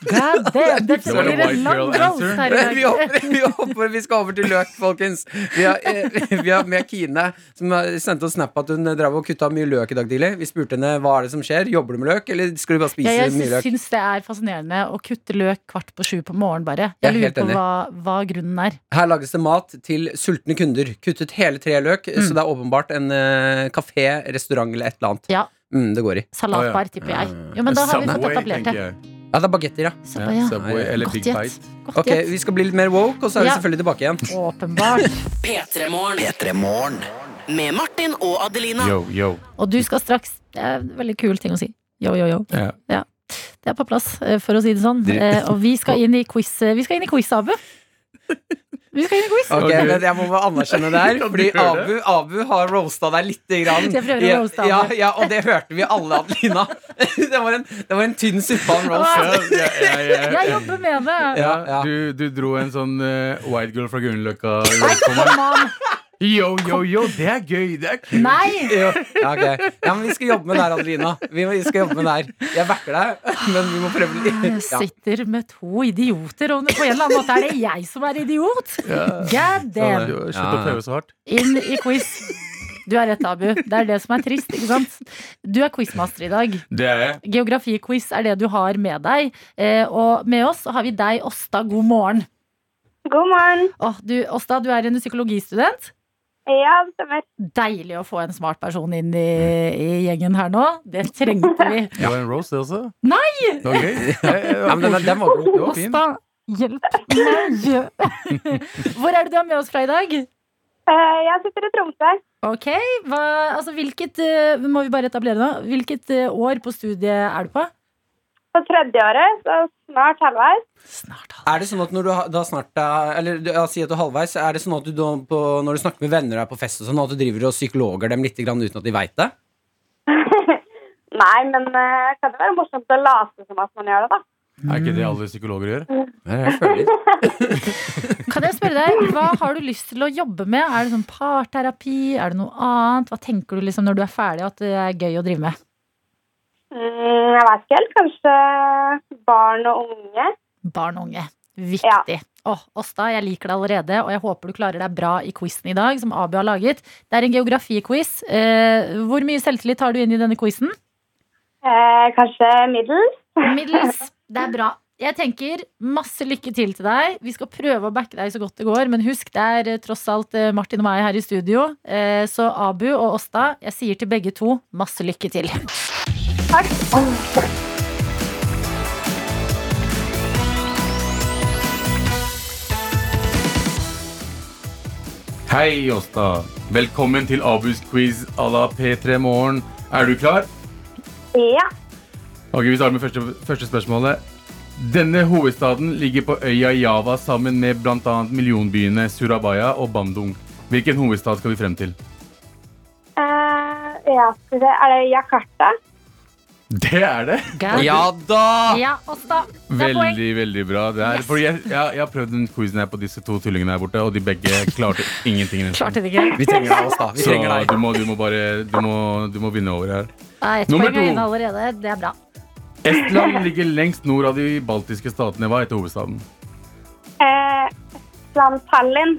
Speaker 4: God
Speaker 7: (laughs)
Speaker 4: damn, dette
Speaker 7: Det var en
Speaker 4: blir en
Speaker 7: white
Speaker 4: lang
Speaker 7: girl
Speaker 4: roast
Speaker 7: answer.
Speaker 4: her i
Speaker 3: (laughs) Vi
Speaker 4: dag.
Speaker 3: hopper, vi hopper, vi skal over til løk, folkens. Vi har, eh, vi har med Kine, som har sendt oss snap at hun drev og kutta mye løk i dag tidlig. Vi spurte henne hva er det som skjer. Jobber du med løk, eller skal du bare spise
Speaker 4: Ja,
Speaker 3: mye
Speaker 4: jeg
Speaker 3: løk?
Speaker 4: syns det er fascinerende å kutte løk kvart på sju på morgenen bare.
Speaker 3: Jeg er
Speaker 4: Jeg lurer
Speaker 3: helt
Speaker 4: på
Speaker 3: enig.
Speaker 4: hva, hva grunnen er.
Speaker 3: Her lages det mat til sultne kunder. Kuttet hele tre løk,
Speaker 4: Mm.
Speaker 3: så det er åpenbart en eh, kafé, restaurant eller et eller annet.
Speaker 4: Ja,
Speaker 3: Mm, det går i.
Speaker 4: salatbar, tipper jeg. Jo, men da har vi fått
Speaker 7: Mm. Subway,
Speaker 4: etablert
Speaker 7: tenker
Speaker 4: det.
Speaker 7: jeg.
Speaker 3: Ja, det er bagetter, ja.
Speaker 4: Så,
Speaker 7: Ja,
Speaker 4: ja.
Speaker 7: Subway eller
Speaker 4: Godt
Speaker 7: Big
Speaker 4: gjett.
Speaker 7: Bite.
Speaker 4: Godt
Speaker 3: Ok,
Speaker 4: gjett.
Speaker 3: vi skal bli litt mer woke, og så er vi
Speaker 4: Ja.
Speaker 3: selvfølgelig tilbake igjen.
Speaker 4: Åpenbart.
Speaker 6: P3morgen. Med Martin og Adelina.
Speaker 7: Yo, yo.
Speaker 4: Og du skal straks Det er en veldig kul ting å si. Yo, yo, yo.
Speaker 7: Ja.
Speaker 4: Det er på plass, eh, for å si det sånn. Eh, Og vi skal inn i quiz eh, Vi skal inn i quiz, Abu. Vi skal inn i quiz.
Speaker 3: Ok,
Speaker 7: Ok.
Speaker 3: men Jeg må bare anerkjenne det (laughs) her,
Speaker 7: Kan du
Speaker 3: fordi
Speaker 7: høre
Speaker 3: Abu, Abu har roasta deg lite grann.
Speaker 4: Jeg prøver å
Speaker 3: Ja,
Speaker 4: roaste Abu.
Speaker 3: ja, ja, Og det hørte vi alle, Adelina. (laughs) Det var en, det var en tynn suppe av en
Speaker 4: Ah!
Speaker 3: roast.
Speaker 7: Ja, ja, ja, ja.
Speaker 4: Jeg jobber med det!
Speaker 3: Ja, ja.
Speaker 7: Ja, du, du dro en sånn eh, white girl fra Grünerløkka.
Speaker 4: Come on.
Speaker 7: Yo, yo, yo, det er gøy! Det er kult.
Speaker 4: Nei!
Speaker 3: Jo, ja, ok. ja, men vi skal jobbe med det her, Adelina. Vi, må, vi skal jobbe med det her. Jeg backer deg, (laughs) men vi må prøve
Speaker 4: Jeg
Speaker 3: litt. Ja.
Speaker 4: sitter med to idioter, og på en eller annen måte er det jeg som er idiot! God damn!
Speaker 7: Du, Slutt å prøve så hardt.
Speaker 4: Inn i quiz. Du er rett, Abu. Det er det som er trist, ikke sant? Du er quizmaster i dag.
Speaker 7: Det er jeg.
Speaker 4: Geografiquiz er det du har med deg. Eh, og med oss har vi deg, Åsta. God morgen.
Speaker 9: God morgen.
Speaker 4: Åh, du, Åsta, du er en psykologistudent.
Speaker 9: Ja, det stemmer.
Speaker 4: Deilig å få en smart person inn i, i gjengen her nå. Det trengte vi.
Speaker 7: Det var en rose, det også.
Speaker 4: Nei!
Speaker 7: Det var gøy. Det,
Speaker 3: Ja, men den, den var god.
Speaker 7: det var fint.
Speaker 4: Åsta, hjelp meg! (laughs) Hvor er det du er med oss fra i dag?
Speaker 9: Eh, Jeg sitter i Tromsø.
Speaker 4: Ok, hva, altså hvilket eh, Må vi bare etablere nå? Hvilket eh, år på studiet er du på?
Speaker 9: På tredjeåret, så snart halvveis. (laughs)
Speaker 4: Snart
Speaker 3: Er det sånn at når du ha- da snart er- Eller du- ja, si at du er halvveis, er det sånn at du da på, når du snakker med venner og er på fest og sånn, at du driver og psykologer dem litt grann uten at de veit det?
Speaker 9: Nei, men eh, kan det være morsomt å late som at man gjør det, da?
Speaker 7: Er ikke det alle psykologer gjør?
Speaker 3: Det er det jeg føler.
Speaker 4: Kan jeg spørre deg, Hva har du lyst til å jobbe med? Er det sånn parterapi? Er det noe annet? Hva tenker du liksom når du er ferdig at det er gøy å drive med?
Speaker 9: Mm, jeg vet ikke helt. Kanskje barn og unge.
Speaker 4: Barn og unge. Viktig. Åh, Åsta, jeg liker deg allerede, og jeg håper du klarer deg bra i quizen i dag. som Abu har laget. Det er en geografiquiz. Eh, hvor mye selvtillit tar du inn i denne quizen?
Speaker 9: Eh, kanskje middels.
Speaker 4: Middels. Det er bra. Jeg tenker masse lykke til til deg. Vi skal prøve å backe deg så godt det går, men husk det er eh, tross alt eh, Martin og meg her i studio. Eh, Så Abu og Åsta, jeg sier til begge to masse lykke til.
Speaker 9: Takk.
Speaker 7: Hei, Åsta. Velkommen til Abus quiz à la P3 Morgen. Er du klar?
Speaker 9: Ja.
Speaker 7: Ok, Vi starter med første, første spørsmålet. Denne hovedstaden ligger på øya Java sammen med bl.a. millionbyene Surabaya og Bandung. Hvilken hovedstad skal vi frem til?
Speaker 9: Eh, ja, skal vi se. Er det Jakarta?
Speaker 7: Det er det!
Speaker 4: Gau.
Speaker 3: Ja da!
Speaker 4: Ja, Åsta. Det er poeng.
Speaker 7: Veldig, veldig bra. Det er, fordi jeg, jeg, jeg har prøvd den quizen her på disse to tullingene her borte, og de begge klarte ingenting. nesten.
Speaker 4: Klarte det ikke.
Speaker 3: Vi trenger deg, Åsta. Vi
Speaker 7: Så
Speaker 3: trenger deg.
Speaker 7: du må, du må bare du må, du må vinne over her.
Speaker 4: Det er ett
Speaker 7: Nummer
Speaker 4: poeng
Speaker 7: to.
Speaker 4: inne allerede. Det er bra.
Speaker 7: Estland ligger lengst nord av de baltiske statene. Hva heter hovedstaden?
Speaker 9: Eh, Estland, Tallinn.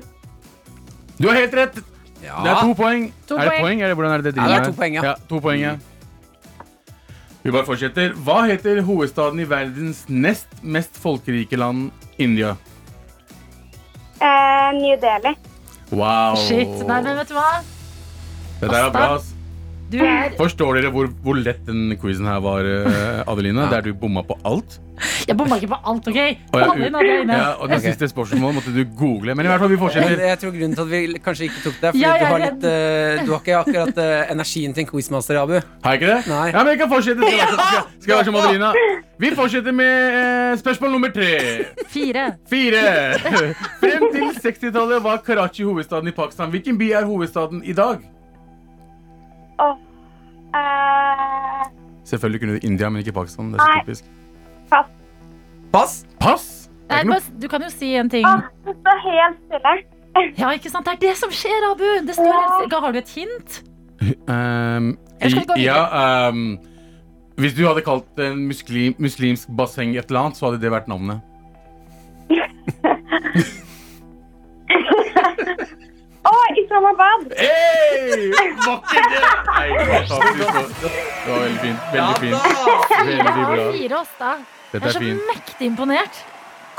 Speaker 7: Du har helt rett! Det er
Speaker 3: Ja.
Speaker 7: to poeng.
Speaker 4: To
Speaker 7: er det
Speaker 4: poeng.
Speaker 7: poeng, eller hvordan er det det driver
Speaker 3: Ja, det er
Speaker 7: med?
Speaker 3: to poeng, ja.
Speaker 7: ja. to poeng, ja. Vi bare fortsetter. Hva heter hovedstaden i verdens nest mest folkerike land, India?
Speaker 9: Eh, New Delhi.
Speaker 7: Wow.
Speaker 4: Shit. Nei, men vet du hva?
Speaker 7: Det der er bra, ass.
Speaker 4: Du er
Speaker 7: Forstår dere hvor, hvor lett den quizen her var, eh, Adelina? Der du bomma på alt.
Speaker 4: Jeg bomma ikke på alt, OK?
Speaker 7: Og, jeg-
Speaker 4: Alle inne, alle inne.
Speaker 7: ja, og det
Speaker 3: Ok.
Speaker 7: siste spørsmålet måtte du google. Men i hvert fall, vi
Speaker 3: Men
Speaker 7: fortsetter.
Speaker 3: jeg tror grunnen til at vi kanskje ikke tok det, er fordi
Speaker 4: Ja, jeg
Speaker 3: du, har
Speaker 4: er
Speaker 3: litt, eh, du har ikke akkurat eh, energien til en quizmaster, Abu.
Speaker 7: Har jeg ikke det?
Speaker 3: Nei.
Speaker 7: Ja, men jeg kan fortsette. Skal, jeg- skal, jeg- skal jeg være som
Speaker 4: (laughs)
Speaker 7: Adelina? Vi fortsetter med eh, spørsmål nummer tre.
Speaker 4: Fire.
Speaker 7: Fire! Frem til 60-tallet var Karachi hovedstaden i Pakistan. Hvilken by er hovedstaden i dag?
Speaker 9: Åh, Eh,
Speaker 7: Selvfølgelig kunne du India, men ikke Pakistan. Det er så
Speaker 9: Nei.
Speaker 7: typisk.
Speaker 3: Pass!
Speaker 7: Pass! Det
Speaker 4: Nei,
Speaker 7: er ikke noe
Speaker 4: bare- Du kan jo si en ting.
Speaker 9: ah, det står helt stille.
Speaker 4: Ja, ikke sant? Det er det som skjer, Abu! Det står helt stille. Har du et hint?
Speaker 7: Ehm,
Speaker 4: Eller skal vi gå videre?
Speaker 7: ja, ehm, Hvis du hadde kalt det en muslim, muslimsk basseng et eller annet, så hadde det vært navnet.
Speaker 9: Å, Islamabad!
Speaker 7: Hey! Var ikke det? Nei, fantastisk. Det var veldig fint.
Speaker 5: Ja
Speaker 7: Veldig fint.
Speaker 5: da!
Speaker 4: Ja,
Speaker 7: Veldig bra.
Speaker 4: fire oss, da.
Speaker 7: Dette
Speaker 4: Jeg er
Speaker 7: er
Speaker 4: så
Speaker 7: fint.
Speaker 4: mektig imponert.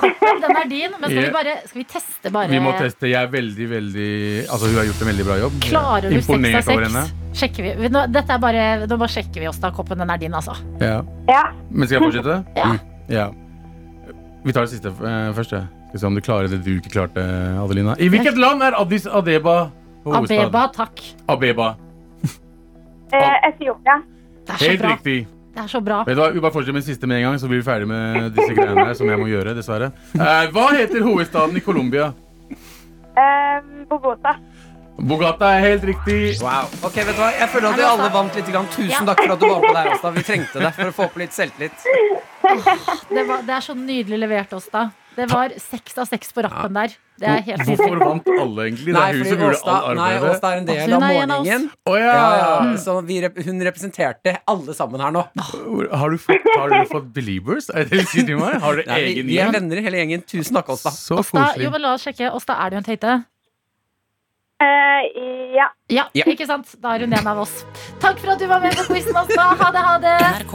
Speaker 4: Koppen, den er din, men skal vi
Speaker 7: Ja.
Speaker 4: bare Skal vi teste, bare?
Speaker 7: Vi må teste. Jeg er veldig, veldig Altså, hun har gjort en veldig bra jobb.
Speaker 4: Klarer du seks av
Speaker 7: Imponert over henne.
Speaker 4: seks? Sjekker vi. Nå, dette er bare, nå bare sjekker vi oss, da. Koppen, den er din, altså.
Speaker 7: Ja.
Speaker 9: Ja.
Speaker 4: (laughs)
Speaker 7: Men skal jeg fortsette? Mm.
Speaker 4: Ja.
Speaker 7: Ja. Vi tar det siste eh, først. jeg. Skal vi se om du klarer det du ikke klarte, Adelina. I hvilket land er Addis Adeba hovedstad?
Speaker 4: Abeba, takk.
Speaker 7: Abeba.
Speaker 9: Eh, Etiopia.
Speaker 4: Det er så
Speaker 7: Helt
Speaker 4: bra.
Speaker 7: riktig.
Speaker 4: Det er så bra.
Speaker 7: Vet du hva, Vi bare fortsetter med den siste med en gang, så blir vi ferdig med disse greiene her. Som jeg må gjøre, dessverre. Eh, hva heter hovedstaden i Colombia?
Speaker 9: Eh, Bogota.
Speaker 7: Bogata er helt riktig.
Speaker 3: Wow. Ok, vet du hva? Jeg føler at vi
Speaker 4: Er det
Speaker 3: alle
Speaker 4: også?
Speaker 3: vant litt. Grann. Tusen
Speaker 4: Ja.
Speaker 3: takk for at du var med deg, Åsta. Vi trengte det for å få opp litt selvtillit.
Speaker 4: Det, var, det er så nydelig levert oss, da. Det var seks av seks på rappen der. Det er helt nydelig.
Speaker 7: Hvorfor vant alle, egentlig? Det
Speaker 3: Nei,
Speaker 7: er hun som
Speaker 3: fordi
Speaker 7: gjorde
Speaker 3: Åsta,
Speaker 7: all
Speaker 3: nei,
Speaker 7: arbeidet.
Speaker 3: Åsta er en del
Speaker 4: Hun
Speaker 3: av
Speaker 4: er en av oss. Mm.
Speaker 3: morgenen.
Speaker 7: Å ja.
Speaker 3: Ja, ja. Så vi rep hun representerte alle sammen her nå.
Speaker 7: Har, du fått, har du fått believers? Er det det du sier til meg? Har du
Speaker 3: Nei, vi,
Speaker 7: egen
Speaker 3: vi er
Speaker 7: gjeng?
Speaker 3: venner hele gjengen. Tusen takk, Åsta.
Speaker 7: Så
Speaker 4: Åsta, jo,
Speaker 7: koselig.
Speaker 4: men la oss sjekke. Åsta, er du en tøyte?
Speaker 9: Eh, ja.
Speaker 4: Ja,
Speaker 3: Ja.
Speaker 4: ikke sant? Da er hun en av oss. Takk for at du var med på quizen, Åsta. Ha det, ha det.
Speaker 6: NRK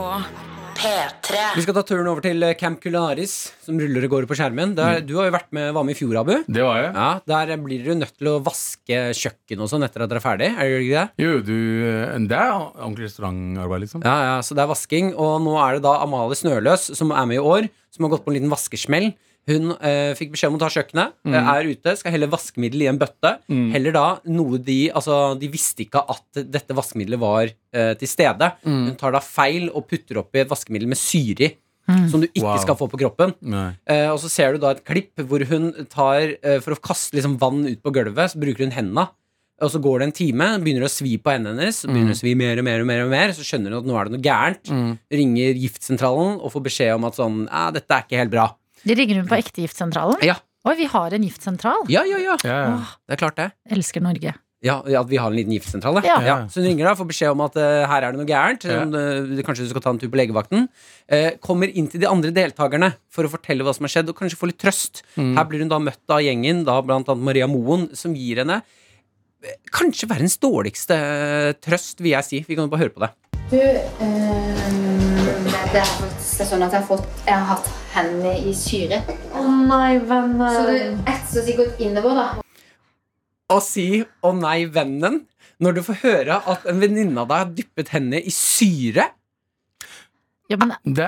Speaker 6: P3
Speaker 3: Vi skal ta turen over til eh, Camp Culinaris, som ruller og går på skjermen. Der, Du har jo vært med, var med i fjor, Abu.
Speaker 7: Det var jeg.
Speaker 3: Ja, Der blir dere jo nødt til å vaske kjøkken og sånn etter at dere er ferdig. Er dere ikke det?
Speaker 7: Jo, du eh, Det er ordentlig restaurantarbeid, liksom.
Speaker 3: Ja, ja, så det er vasking, og nå er det da Amalie Snøløs, som er med i år, som har gått på en liten vaskesmell. Hun eh, fikk beskjed om å ta kjøkkenet,
Speaker 7: Mm.
Speaker 3: eh, er ute, skal helle vaskemiddel i en bøtte. Heller da noe de Altså, de visste ikke at dette vaskemiddelet var eh, til stede.
Speaker 7: Mm.
Speaker 3: Hun tar da feil og putter oppi et vaskemiddel med syre i, som du ikke
Speaker 7: Mm. Wow.
Speaker 3: skal få på kroppen.
Speaker 7: Nei.
Speaker 3: Eh, og så ser du da et klipp hvor hun tar eh, For å kaste liksom vann ut på gulvet, så bruker hun henda. Og så går det en time, begynner det å svi på hendene hennes. så Begynner det å svi mer og mer og mer, og mer Så skjønner hun at nå er det noe gærent. Ringer giftsentralen og får beskjed om at sånn "Eh, dette er ikke helt bra.
Speaker 4: De ringer hun på ektegiftsentralen?
Speaker 3: Ja.
Speaker 4: Oi, vi har en giftsentral.
Speaker 3: Ja, ja, ja.
Speaker 7: Ja, ja.
Speaker 4: Åh,
Speaker 3: Det er klart, det.
Speaker 4: elsker Norge.
Speaker 3: Ja, At vi har en liten giftsentral,
Speaker 4: Ja.
Speaker 3: Så hun ringer da, får beskjed om at eh, her er det noe gærent.
Speaker 7: Ja.
Speaker 3: om, eh, kanskje du skal ta en tur på legevakten. Eh, kommer inn til de andre deltakerne for å fortelle hva som har skjedd, og kanskje få litt trøst.
Speaker 4: Mm.
Speaker 3: Her blir hun da møtt av gjengen, da blant annet Maria Moen, som gir henne eh, kanskje verdens dårligste eh, trøst, vil jeg si. Vi kan jo bare høre på det.
Speaker 10: Du, ehm, det er faktisk sånn at jeg har, fått, jeg har hatt hendene i syre.
Speaker 2: Å nei, venner.
Speaker 4: eh,
Speaker 10: Så du etser seg godt innover, da.
Speaker 3: Å si 'Å nei, vennen', når du får høre at en venninne av deg har dyppet henne i syre. (laughs)
Speaker 4: Ja, men
Speaker 7: Det,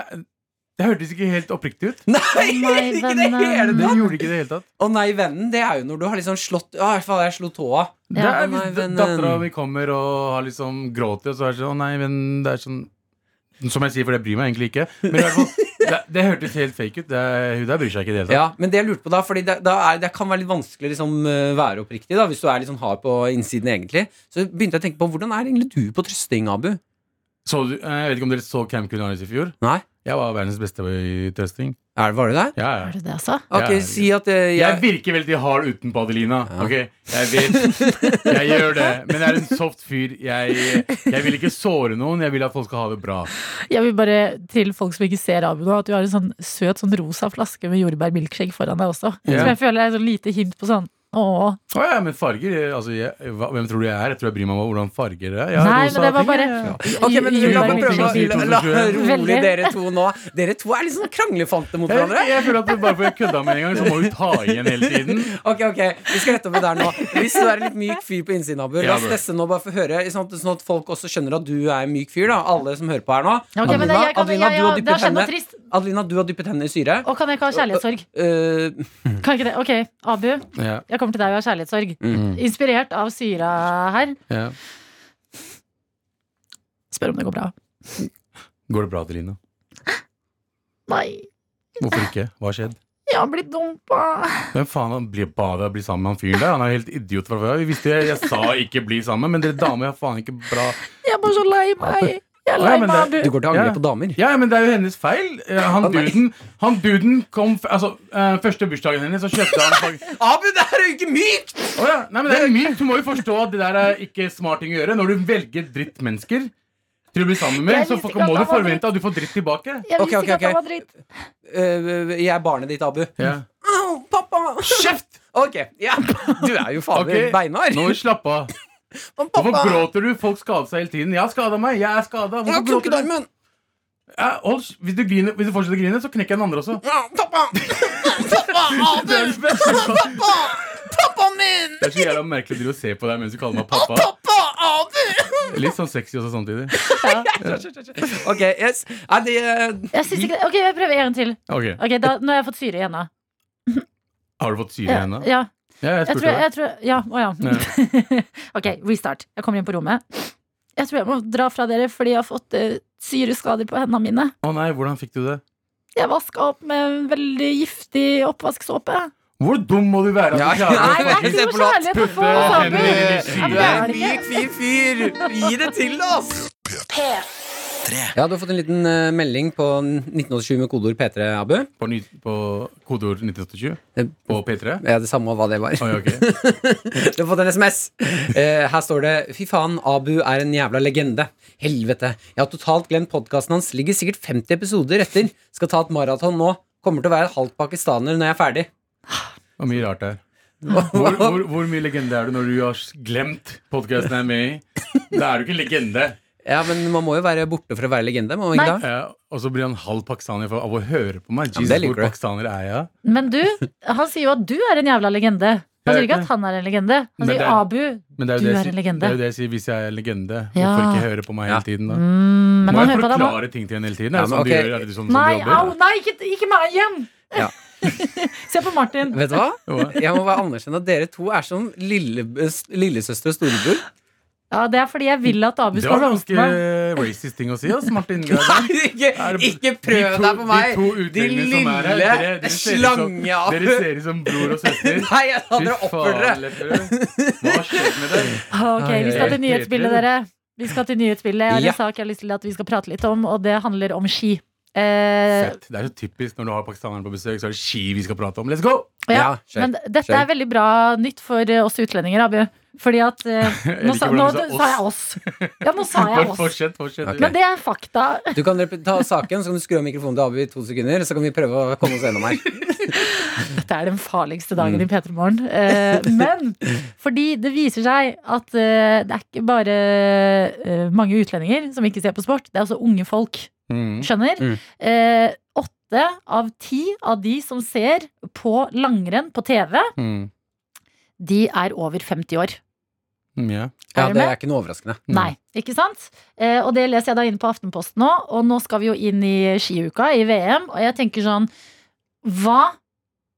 Speaker 7: det hørtes ikke helt oppriktig ut.
Speaker 3: Nei,
Speaker 4: nei,
Speaker 3: ikke i det
Speaker 4: vennen.
Speaker 3: hele
Speaker 7: Det
Speaker 3: tatt!
Speaker 7: gjorde ikke det i det hele tatt.
Speaker 3: Å nei, vennen, det er jo når du har liksom slått Å, faen, jeg slo tåa.
Speaker 7: Det
Speaker 4: Ja,
Speaker 7: er
Speaker 3: nei,
Speaker 7: hvis
Speaker 3: men-
Speaker 7: dattera mi kommer og har liksom gråter, og så er det sånn Å nei, men det er sånn Som jeg sier, for det bryr meg egentlig ikke. Men i
Speaker 3: (laughs)
Speaker 7: hvert fall, det, det hørtes helt fake ut. Det, er- hun der bryr seg ikke i det hele tatt.
Speaker 3: Ja, men det jeg lurte på da, fordi det, da er, det kan være litt vanskelig å liksom, eh, være oppriktig da, hvis du er litt sånn hard på innsiden egentlig. Så begynte jeg å tenke på, hvordan er egentlig du på trøsting, Abu?
Speaker 7: Så du, eh, jeg vet ikke om dere så Camp Culinaris i fjor?
Speaker 3: Nei,
Speaker 7: Jeg var verdens beste i trøsting.
Speaker 3: er, det- var du der?
Speaker 7: Ja,
Speaker 4: er
Speaker 7: ja.
Speaker 4: du det, altså?
Speaker 3: Ok,
Speaker 7: Ja,
Speaker 3: si at eh,
Speaker 7: Jeg
Speaker 3: jeg...
Speaker 7: virker veldig hard utenpå Adelina.
Speaker 3: Ja.
Speaker 7: Ok, jeg vet Jeg gjør det. Men jeg er en soft fyr. Jeg, jeg vil ikke såre noen. Jeg vil at folk skal ha det bra.
Speaker 4: Jeg vil bare til folk som ikke ser Abu nå, at du har en sånn søt sånn rosa flaske med jordbærmilkshake foran deg også.
Speaker 7: Ja.
Speaker 4: Som jeg føler er et sånn lite hint på sånn åh.
Speaker 7: Å ja, men farger eh, altså, jeg, hva, Hvem tror du jeg er? Jeg tror jeg bryr meg om hvordan farger er. Jeg har
Speaker 4: Nei,
Speaker 7: rosa
Speaker 4: men det var
Speaker 7: ting,
Speaker 4: bare
Speaker 7: jeg.
Speaker 3: Ok, men
Speaker 4: Ju-
Speaker 3: la meg prøve
Speaker 4: jordbærmilkshake.
Speaker 3: å la, la, rolig
Speaker 4: Veldig.
Speaker 3: dere to nå. Dere to er litt sånn kranglefante mot
Speaker 7: Jeg,
Speaker 3: hverandre.
Speaker 7: jeg føler at bare fordi jeg kødda med en gang, så må hun ta igjen hele tiden.
Speaker 3: Ok, ok, vi skal rette opp i det der nå. Hvis du er en litt myk fyr på innsiden, Abu, la
Speaker 7: Ja,
Speaker 3: oss
Speaker 7: bro.
Speaker 3: teste nå bare for å høre, sånn at, sånn at folk også skjønner at du er en myk fyr da, alle som hører på her nå.
Speaker 4: Ok, men
Speaker 3: Adelina,
Speaker 4: jeg kan,
Speaker 3: Adelina, du har
Speaker 4: ja, ja, det har
Speaker 3: dyppet
Speaker 4: skjedd noe
Speaker 3: henne.
Speaker 4: trist.
Speaker 3: Adelina, du har dyppet henne i syre.
Speaker 4: Og kan jeg ikke ha kjærlighetssorg?
Speaker 3: Eh,
Speaker 4: Kan jeg ikke det? Ok, Abu,
Speaker 7: Ja, Mm.
Speaker 4: jeg kommer til deg og har kjærlighetssorg. Inspirert av syra her.
Speaker 7: ja.
Speaker 4: Spør om det går bra.
Speaker 7: Går det bra, Adelina?
Speaker 4: Nei,
Speaker 7: Hvorfor ikke? Hva har skjedd?
Speaker 4: Jeg har blitt dumpa.
Speaker 7: Hvem faen han blir bare å bli sammen med han fyren der? Han er jo helt idiot fra før. Vi visste jo, jeg sa ikke bli sammen, men dere damer er faen ikke bra.
Speaker 4: Jeg er bare så lei meg. Jeg er
Speaker 7: Ja,
Speaker 4: lei
Speaker 7: men
Speaker 4: meg, Abu.
Speaker 7: det-
Speaker 3: Du går til angrep
Speaker 7: Ja.
Speaker 3: på damer?
Speaker 7: Ja, men det er jo hennes feil. Eh, Han duden, han duden kom f- Altså, eh, første bursdagen hennes, så kjøpte han fag-
Speaker 3: Abu, det her er jo ikke mykt!
Speaker 7: Å ja. Nei, men det er mykt. Du må jo forstå at det der er ikke smart ting å gjøre. Når du velger drittmennesker til å bli sammen med,
Speaker 4: Jeg
Speaker 7: så
Speaker 4: visste ikke
Speaker 7: må
Speaker 4: at
Speaker 7: du
Speaker 4: han var
Speaker 7: forvente at du får dritt tilbake.
Speaker 4: Jeg visste
Speaker 3: Ok, ok,
Speaker 4: ikke at
Speaker 3: ok.
Speaker 4: han var dritt.
Speaker 3: Eh, jeg er barnet ditt, Abu.
Speaker 7: Ja.
Speaker 3: Au, pappa!
Speaker 7: Kjeft!
Speaker 3: Ok, ja. Du er jo fader
Speaker 7: Ok,
Speaker 3: beinhard.
Speaker 7: Nå slapp av.
Speaker 3: Å,
Speaker 7: Hvorfor gråter du? Folk skader seg hele tiden. Jeg har skada meg. Jeg er skada.
Speaker 3: Jeg har
Speaker 7: Hvorfor
Speaker 3: knukket
Speaker 7: gråter du?
Speaker 3: armen!
Speaker 7: Ja, hold, kj- hvis, du griner, hvis du fortsetter å grine, så knekker jeg den andre også.
Speaker 3: Au, Pappa! Pappa,
Speaker 7: Det er
Speaker 3: Abu!
Speaker 7: det beste.
Speaker 3: Pappa! Pappa min!
Speaker 7: Det er så jævla merkelig å drive og se på deg mens du kaller meg pappa.
Speaker 3: Pappa, Abu!
Speaker 7: Litt sånn sexy også samtidig.
Speaker 3: Ok, yes. Nei, det
Speaker 4: Jeg synes ikke det. Ok, jeg prøver en til.
Speaker 7: Ok,
Speaker 4: Ok, da, Nå har jeg fått syre igjen, da.
Speaker 7: Har du fått syre i
Speaker 4: Ja,
Speaker 7: henda?
Speaker 4: ja.
Speaker 7: Ja, jeg
Speaker 4: Jeg tror,
Speaker 7: spurte deg.
Speaker 4: jeg tror, ja, å ja. (laughs) ok, restart. Jeg kommer inn på rommet. Jeg tror jeg må dra fra dere fordi jeg har fått eh, syreskader på hendene mine.
Speaker 7: Å nei, hvordan fikk du det?
Speaker 4: Jeg vaska opp med en veldig giftig oppvasksåpe.
Speaker 7: Hvor dum må du være? at du
Speaker 3: Ja.
Speaker 7: klarer å
Speaker 3: (laughs) Nei,
Speaker 4: Det er
Speaker 7: faktisk-
Speaker 3: se
Speaker 4: ikke
Speaker 3: på
Speaker 4: noe
Speaker 3: låt.
Speaker 4: kjærlighet å få,
Speaker 7: Putte
Speaker 4: Sabu.
Speaker 7: hendene dine i
Speaker 4: Ja,
Speaker 7: syre.
Speaker 4: men det er det ikke.
Speaker 3: myk, fyr. Gi det til oss! Ja, Du har fått en liten eh, melding på 1987 med kodeord P3, Abu.
Speaker 7: På, ny, på kodeord 1987? På P3?
Speaker 3: Ja, det samme hva det var. (laughs)
Speaker 7: Oi, ok.
Speaker 3: Du har fått en SMS. Eh, her står det Fy faen, Abu er en jævla legende. Helvete. Jeg har totalt glemt podkasten hans. Ligger sikkert 50 episoder etter. Skal ta et maraton nå. Kommer til å være halvt pakistaner når jeg er ferdig.
Speaker 7: Og mye rart der. Hvor, hvor, hvor mye legende er du når du har glemt podkasten jeg er med i? Da er du ikke legende.
Speaker 3: (laughs) Ja, men man må jo være borte for å være legende. Må man
Speaker 4: Nei.
Speaker 3: ikke da?
Speaker 7: Ja, og så blir han halv pakistaner for, av å høre på meg.
Speaker 3: Ja, men
Speaker 7: Jesus,
Speaker 3: det liker
Speaker 7: hvor
Speaker 3: du.
Speaker 7: pakistaner er jeg?
Speaker 4: Men du, han sier jo at du er en jævla legende. Han
Speaker 7: Jeg
Speaker 4: sier
Speaker 7: er
Speaker 4: ikke
Speaker 7: ikke
Speaker 4: at han er en legende. Han
Speaker 7: Men
Speaker 4: sier
Speaker 7: det er-
Speaker 4: Abu. Mm,
Speaker 7: Men det er
Speaker 4: Du
Speaker 7: jo det jeg
Speaker 4: er en
Speaker 7: sier-
Speaker 4: legende.
Speaker 7: Det er jo det jeg sier hvis jeg er en legende.
Speaker 4: Ja.
Speaker 7: Hvorfor ikke høre på meg
Speaker 3: Ja.
Speaker 7: hele tiden, da?
Speaker 4: Mm, men han
Speaker 7: Må jeg
Speaker 4: hører på deg nå.
Speaker 7: forklare ting til henne hele tiden?
Speaker 3: Ja,
Speaker 7: Er det
Speaker 3: men
Speaker 7: sånn
Speaker 3: ok.
Speaker 7: du gjør? Er det sånn som
Speaker 4: Nei,
Speaker 7: du
Speaker 4: au,
Speaker 7: jobber?
Speaker 4: nei, ikke, ikke meg igjen!
Speaker 3: Ja.
Speaker 4: (laughs) Se på Martin.
Speaker 3: Vet du hva?
Speaker 7: Hva?
Speaker 3: Jeg må bare anerkjenne at dere to er som lille, lillesøster og
Speaker 7: (laughs)
Speaker 3: storebror.
Speaker 4: Ja, Det er fordi jeg vil at Abu
Speaker 7: Det
Speaker 4: skal
Speaker 7: var
Speaker 4: roaste
Speaker 7: ganske
Speaker 4: meg.
Speaker 7: racist ting å si, ass,
Speaker 3: (laughs)
Speaker 7: Martin. Gerdin.
Speaker 3: ikke,
Speaker 7: Er det-
Speaker 3: ikke prøv
Speaker 7: de to-
Speaker 3: deg på meg!
Speaker 7: De to utlendingene som er her,
Speaker 3: lille
Speaker 7: dere- dere ser ut som-
Speaker 3: slange-Abu.
Speaker 7: Dere ser ut som bror og søster.
Speaker 3: (laughs) Nei, jeg sa dere
Speaker 7: Fy
Speaker 3: oppfører dere.
Speaker 7: faen, Lepperød. Hva har skjedd med
Speaker 3: (laughs)
Speaker 7: deg?
Speaker 4: Ah, Ok, Vi skal til
Speaker 7: Helt
Speaker 4: nyhetsbildet,
Speaker 7: riktig.
Speaker 4: dere. Vi skal til nyhetsbildet. Jeg har
Speaker 3: Ja.
Speaker 4: en sak jeg har lyst til at vi skal prate litt om, og det handler om ski. Eh,
Speaker 7: Fett. Det er så typisk når du har pakistaneren på besøk, så er det ski vi skal prate om. Let's go!
Speaker 4: ja,
Speaker 3: skjønt,
Speaker 4: men dette
Speaker 3: skjønt.
Speaker 4: er veldig bra nytt for eh, oss utlendinger, Abu. Fordi at
Speaker 7: (laughs)
Speaker 4: eh,
Speaker 7: Jeg
Speaker 4: Nå
Speaker 7: liker
Speaker 4: sa, nå
Speaker 7: hvordan du
Speaker 4: sa jeg oss. Ja, nå sa
Speaker 7: Bare
Speaker 4: jeg oss.
Speaker 7: Fortsett, fortsett.
Speaker 3: Ok.
Speaker 4: Men det er fakta.
Speaker 3: Du kan rep- ta saken, så kan du skru av mikrofonen til Abu i to sekunder. Så kan vi prøve å komme oss gjennom her.
Speaker 4: Dette er den farligste dagen
Speaker 7: Mm.
Speaker 4: i P3 Morgen. Eh, men fordi det viser seg at eh, det er ikke bare eh, mange utlendinger som ikke ser på sport, det er også unge folk.
Speaker 7: Mm.
Speaker 4: Skjønner?
Speaker 3: Mm.
Speaker 4: Eh, åtte av ti av de som ser på langrenn på TV,
Speaker 7: Mm.
Speaker 4: de er over 50 år.
Speaker 7: Mm, ja.
Speaker 3: Ja,
Speaker 4: Er du
Speaker 3: det
Speaker 4: med?
Speaker 3: er ikke noe overraskende.
Speaker 7: Mm.
Speaker 4: Nei, ikke sant? Eh, og det leser jeg da inn på Aftenposten nå, og nå skal vi jo inn i skiuka, i VM, og jeg tenker sånn Hva,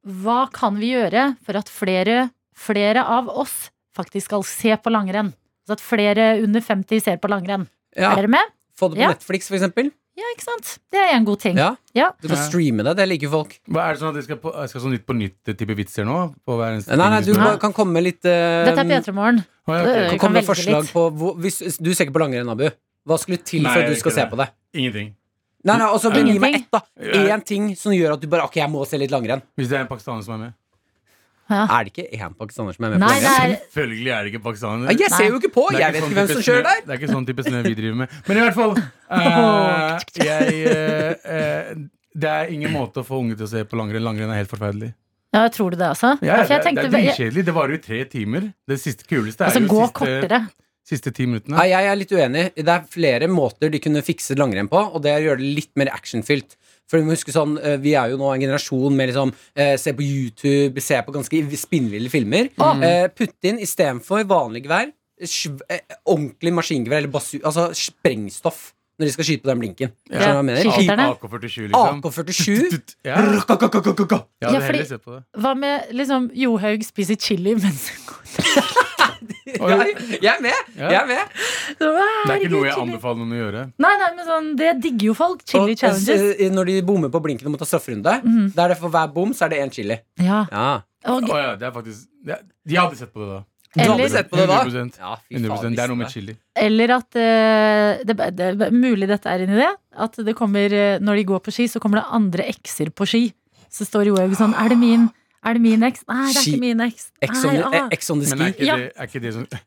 Speaker 4: hva kan vi gjøre for at flere, flere av oss faktisk skal se på langrenn? Så at flere under 50 ser på langrenn.
Speaker 3: Ja,
Speaker 4: Er dere med?
Speaker 3: Få det på
Speaker 4: Ja.
Speaker 3: Netflix, for eksempel.
Speaker 4: Ja, ikke sant? Det er en god ting.
Speaker 3: Ja.
Speaker 4: Ja.
Speaker 3: Du kan
Speaker 7: Ja.
Speaker 3: streame det. Det liker folk.
Speaker 7: Hva er det sånn at jeg skal, på, jeg skal sånn nytt på nytt eh, type vitser nå? På hver eneste
Speaker 3: Nei, nei,
Speaker 7: ting
Speaker 3: du
Speaker 7: spør?
Speaker 3: bare kan komme med litt eh,
Speaker 4: Dette
Speaker 7: Um,
Speaker 4: er P3 Morgen.
Speaker 7: Å, ja, ok.
Speaker 4: Øh,
Speaker 3: kan
Speaker 4: kan
Speaker 3: komme med
Speaker 4: velge
Speaker 3: forslag
Speaker 4: litt.
Speaker 3: på hvor, hvis, Du ser ikke på langrenn, Abu. Hva skulle til
Speaker 7: Nei,
Speaker 3: for at
Speaker 7: jeg
Speaker 3: du skal
Speaker 7: gjør
Speaker 3: se
Speaker 7: ikke
Speaker 3: på det?
Speaker 7: Ingenting.
Speaker 3: Nei, nei, altså, men Gi meg ett, da.
Speaker 7: Ingenting.
Speaker 3: Én ting som gjør at du bare Ok, jeg må se litt langrenn.
Speaker 7: Hvis det er en pakistaner som er med.
Speaker 3: Er det ikke én pakistaner som er med på
Speaker 4: Nei, det
Speaker 3: langrenn?
Speaker 4: er
Speaker 7: Selvfølgelig er det ikke pakistaner.
Speaker 3: Ja, Jeg ser jo ikke på!
Speaker 7: Det
Speaker 3: Jeg
Speaker 7: er ikke
Speaker 3: vet
Speaker 7: sånn
Speaker 3: ikke hvem
Speaker 7: type
Speaker 3: som
Speaker 7: snø-
Speaker 3: kjører der.
Speaker 7: Det er ikke sånn type snø vi driver med. Men i hvert
Speaker 3: (laughs)
Speaker 7: fall eh, jeg, eh, eh, Det er ingen måte å få unge til å se på langrenn. Langrenn er helt forferdelig.
Speaker 4: Ja, tror du det, altså?
Speaker 7: Ja,
Speaker 4: Ja, for
Speaker 7: det,
Speaker 4: jeg
Speaker 7: det
Speaker 4: tenkte
Speaker 7: er dritkjedelig. Det varer jo i tre timer. Det siste kuleste er
Speaker 4: Altså,
Speaker 7: jo
Speaker 4: gå
Speaker 7: siste,
Speaker 4: kortere.
Speaker 7: siste ti minuttene.
Speaker 3: Nei, jeg er litt uenig. Det er flere måter de kunne fikset langrenn på, og det er å gjøre det litt mer actionfylt. For du må huske sånn, eh, Vi er jo nå en generasjon med liksom, eh, se på YouTube, se på ganske spinnville filmer. Eh, putt inn istedenfor vanlig gevær, sv- eh, ordentlig maskingevær eller basu, altså sprengstoff når de skal skyte på den blinken.
Speaker 7: Ja.
Speaker 3: Skjønner du hva jeg mener?
Speaker 4: Skyter. Skyterne.
Speaker 7: AK-47, liksom. (laughs)
Speaker 3: AK-47.
Speaker 7: Ja, jeg
Speaker 3: Ka-ka-ka-ka-ka-ka.
Speaker 7: hadde
Speaker 4: Ja, fordi-
Speaker 7: heller sett på det.
Speaker 4: Hva med liksom Johaug spiser chili mens hun går
Speaker 3: Jeg, jeg er med!
Speaker 7: Ja.
Speaker 3: Jeg er med.
Speaker 4: Så,
Speaker 7: Det er ikke
Speaker 4: herregud,
Speaker 7: noe jeg
Speaker 4: chili.
Speaker 7: anbefaler noen å gjøre.
Speaker 4: Nei, nei, men sånn, det digger jo folk. Chili
Speaker 3: Og,
Speaker 4: challenges.
Speaker 3: eh, når de bommer på blinken og må ta strafferunde,
Speaker 4: Mhm.
Speaker 3: da er det for hver bom så er det én chili.
Speaker 4: Ja.
Speaker 3: Ja.
Speaker 4: Og,
Speaker 7: Å ja, det er faktisk det, De hadde sett på det da.
Speaker 3: Du
Speaker 4: Eller-
Speaker 3: hadde sett på det da?
Speaker 7: 100%.
Speaker 3: Ja, fy faen,
Speaker 7: 100%. Det er noe med
Speaker 3: visste
Speaker 7: chili.
Speaker 4: eller at eh, det, det, det Mulig dette er inni det. At det kommer, eh, når de går på ski, så kommer det andre ekser på ski. Så står Johaug sånn Er det min? Er det min eks? Nei, det er
Speaker 3: Ski-
Speaker 4: ikke min eks.
Speaker 3: det. Ex on,
Speaker 4: Nei,
Speaker 3: eh,
Speaker 4: ah.
Speaker 3: Ex on the
Speaker 7: Men er
Speaker 3: ski.
Speaker 7: ikke,
Speaker 4: Ja.
Speaker 7: det, er ikke det sånn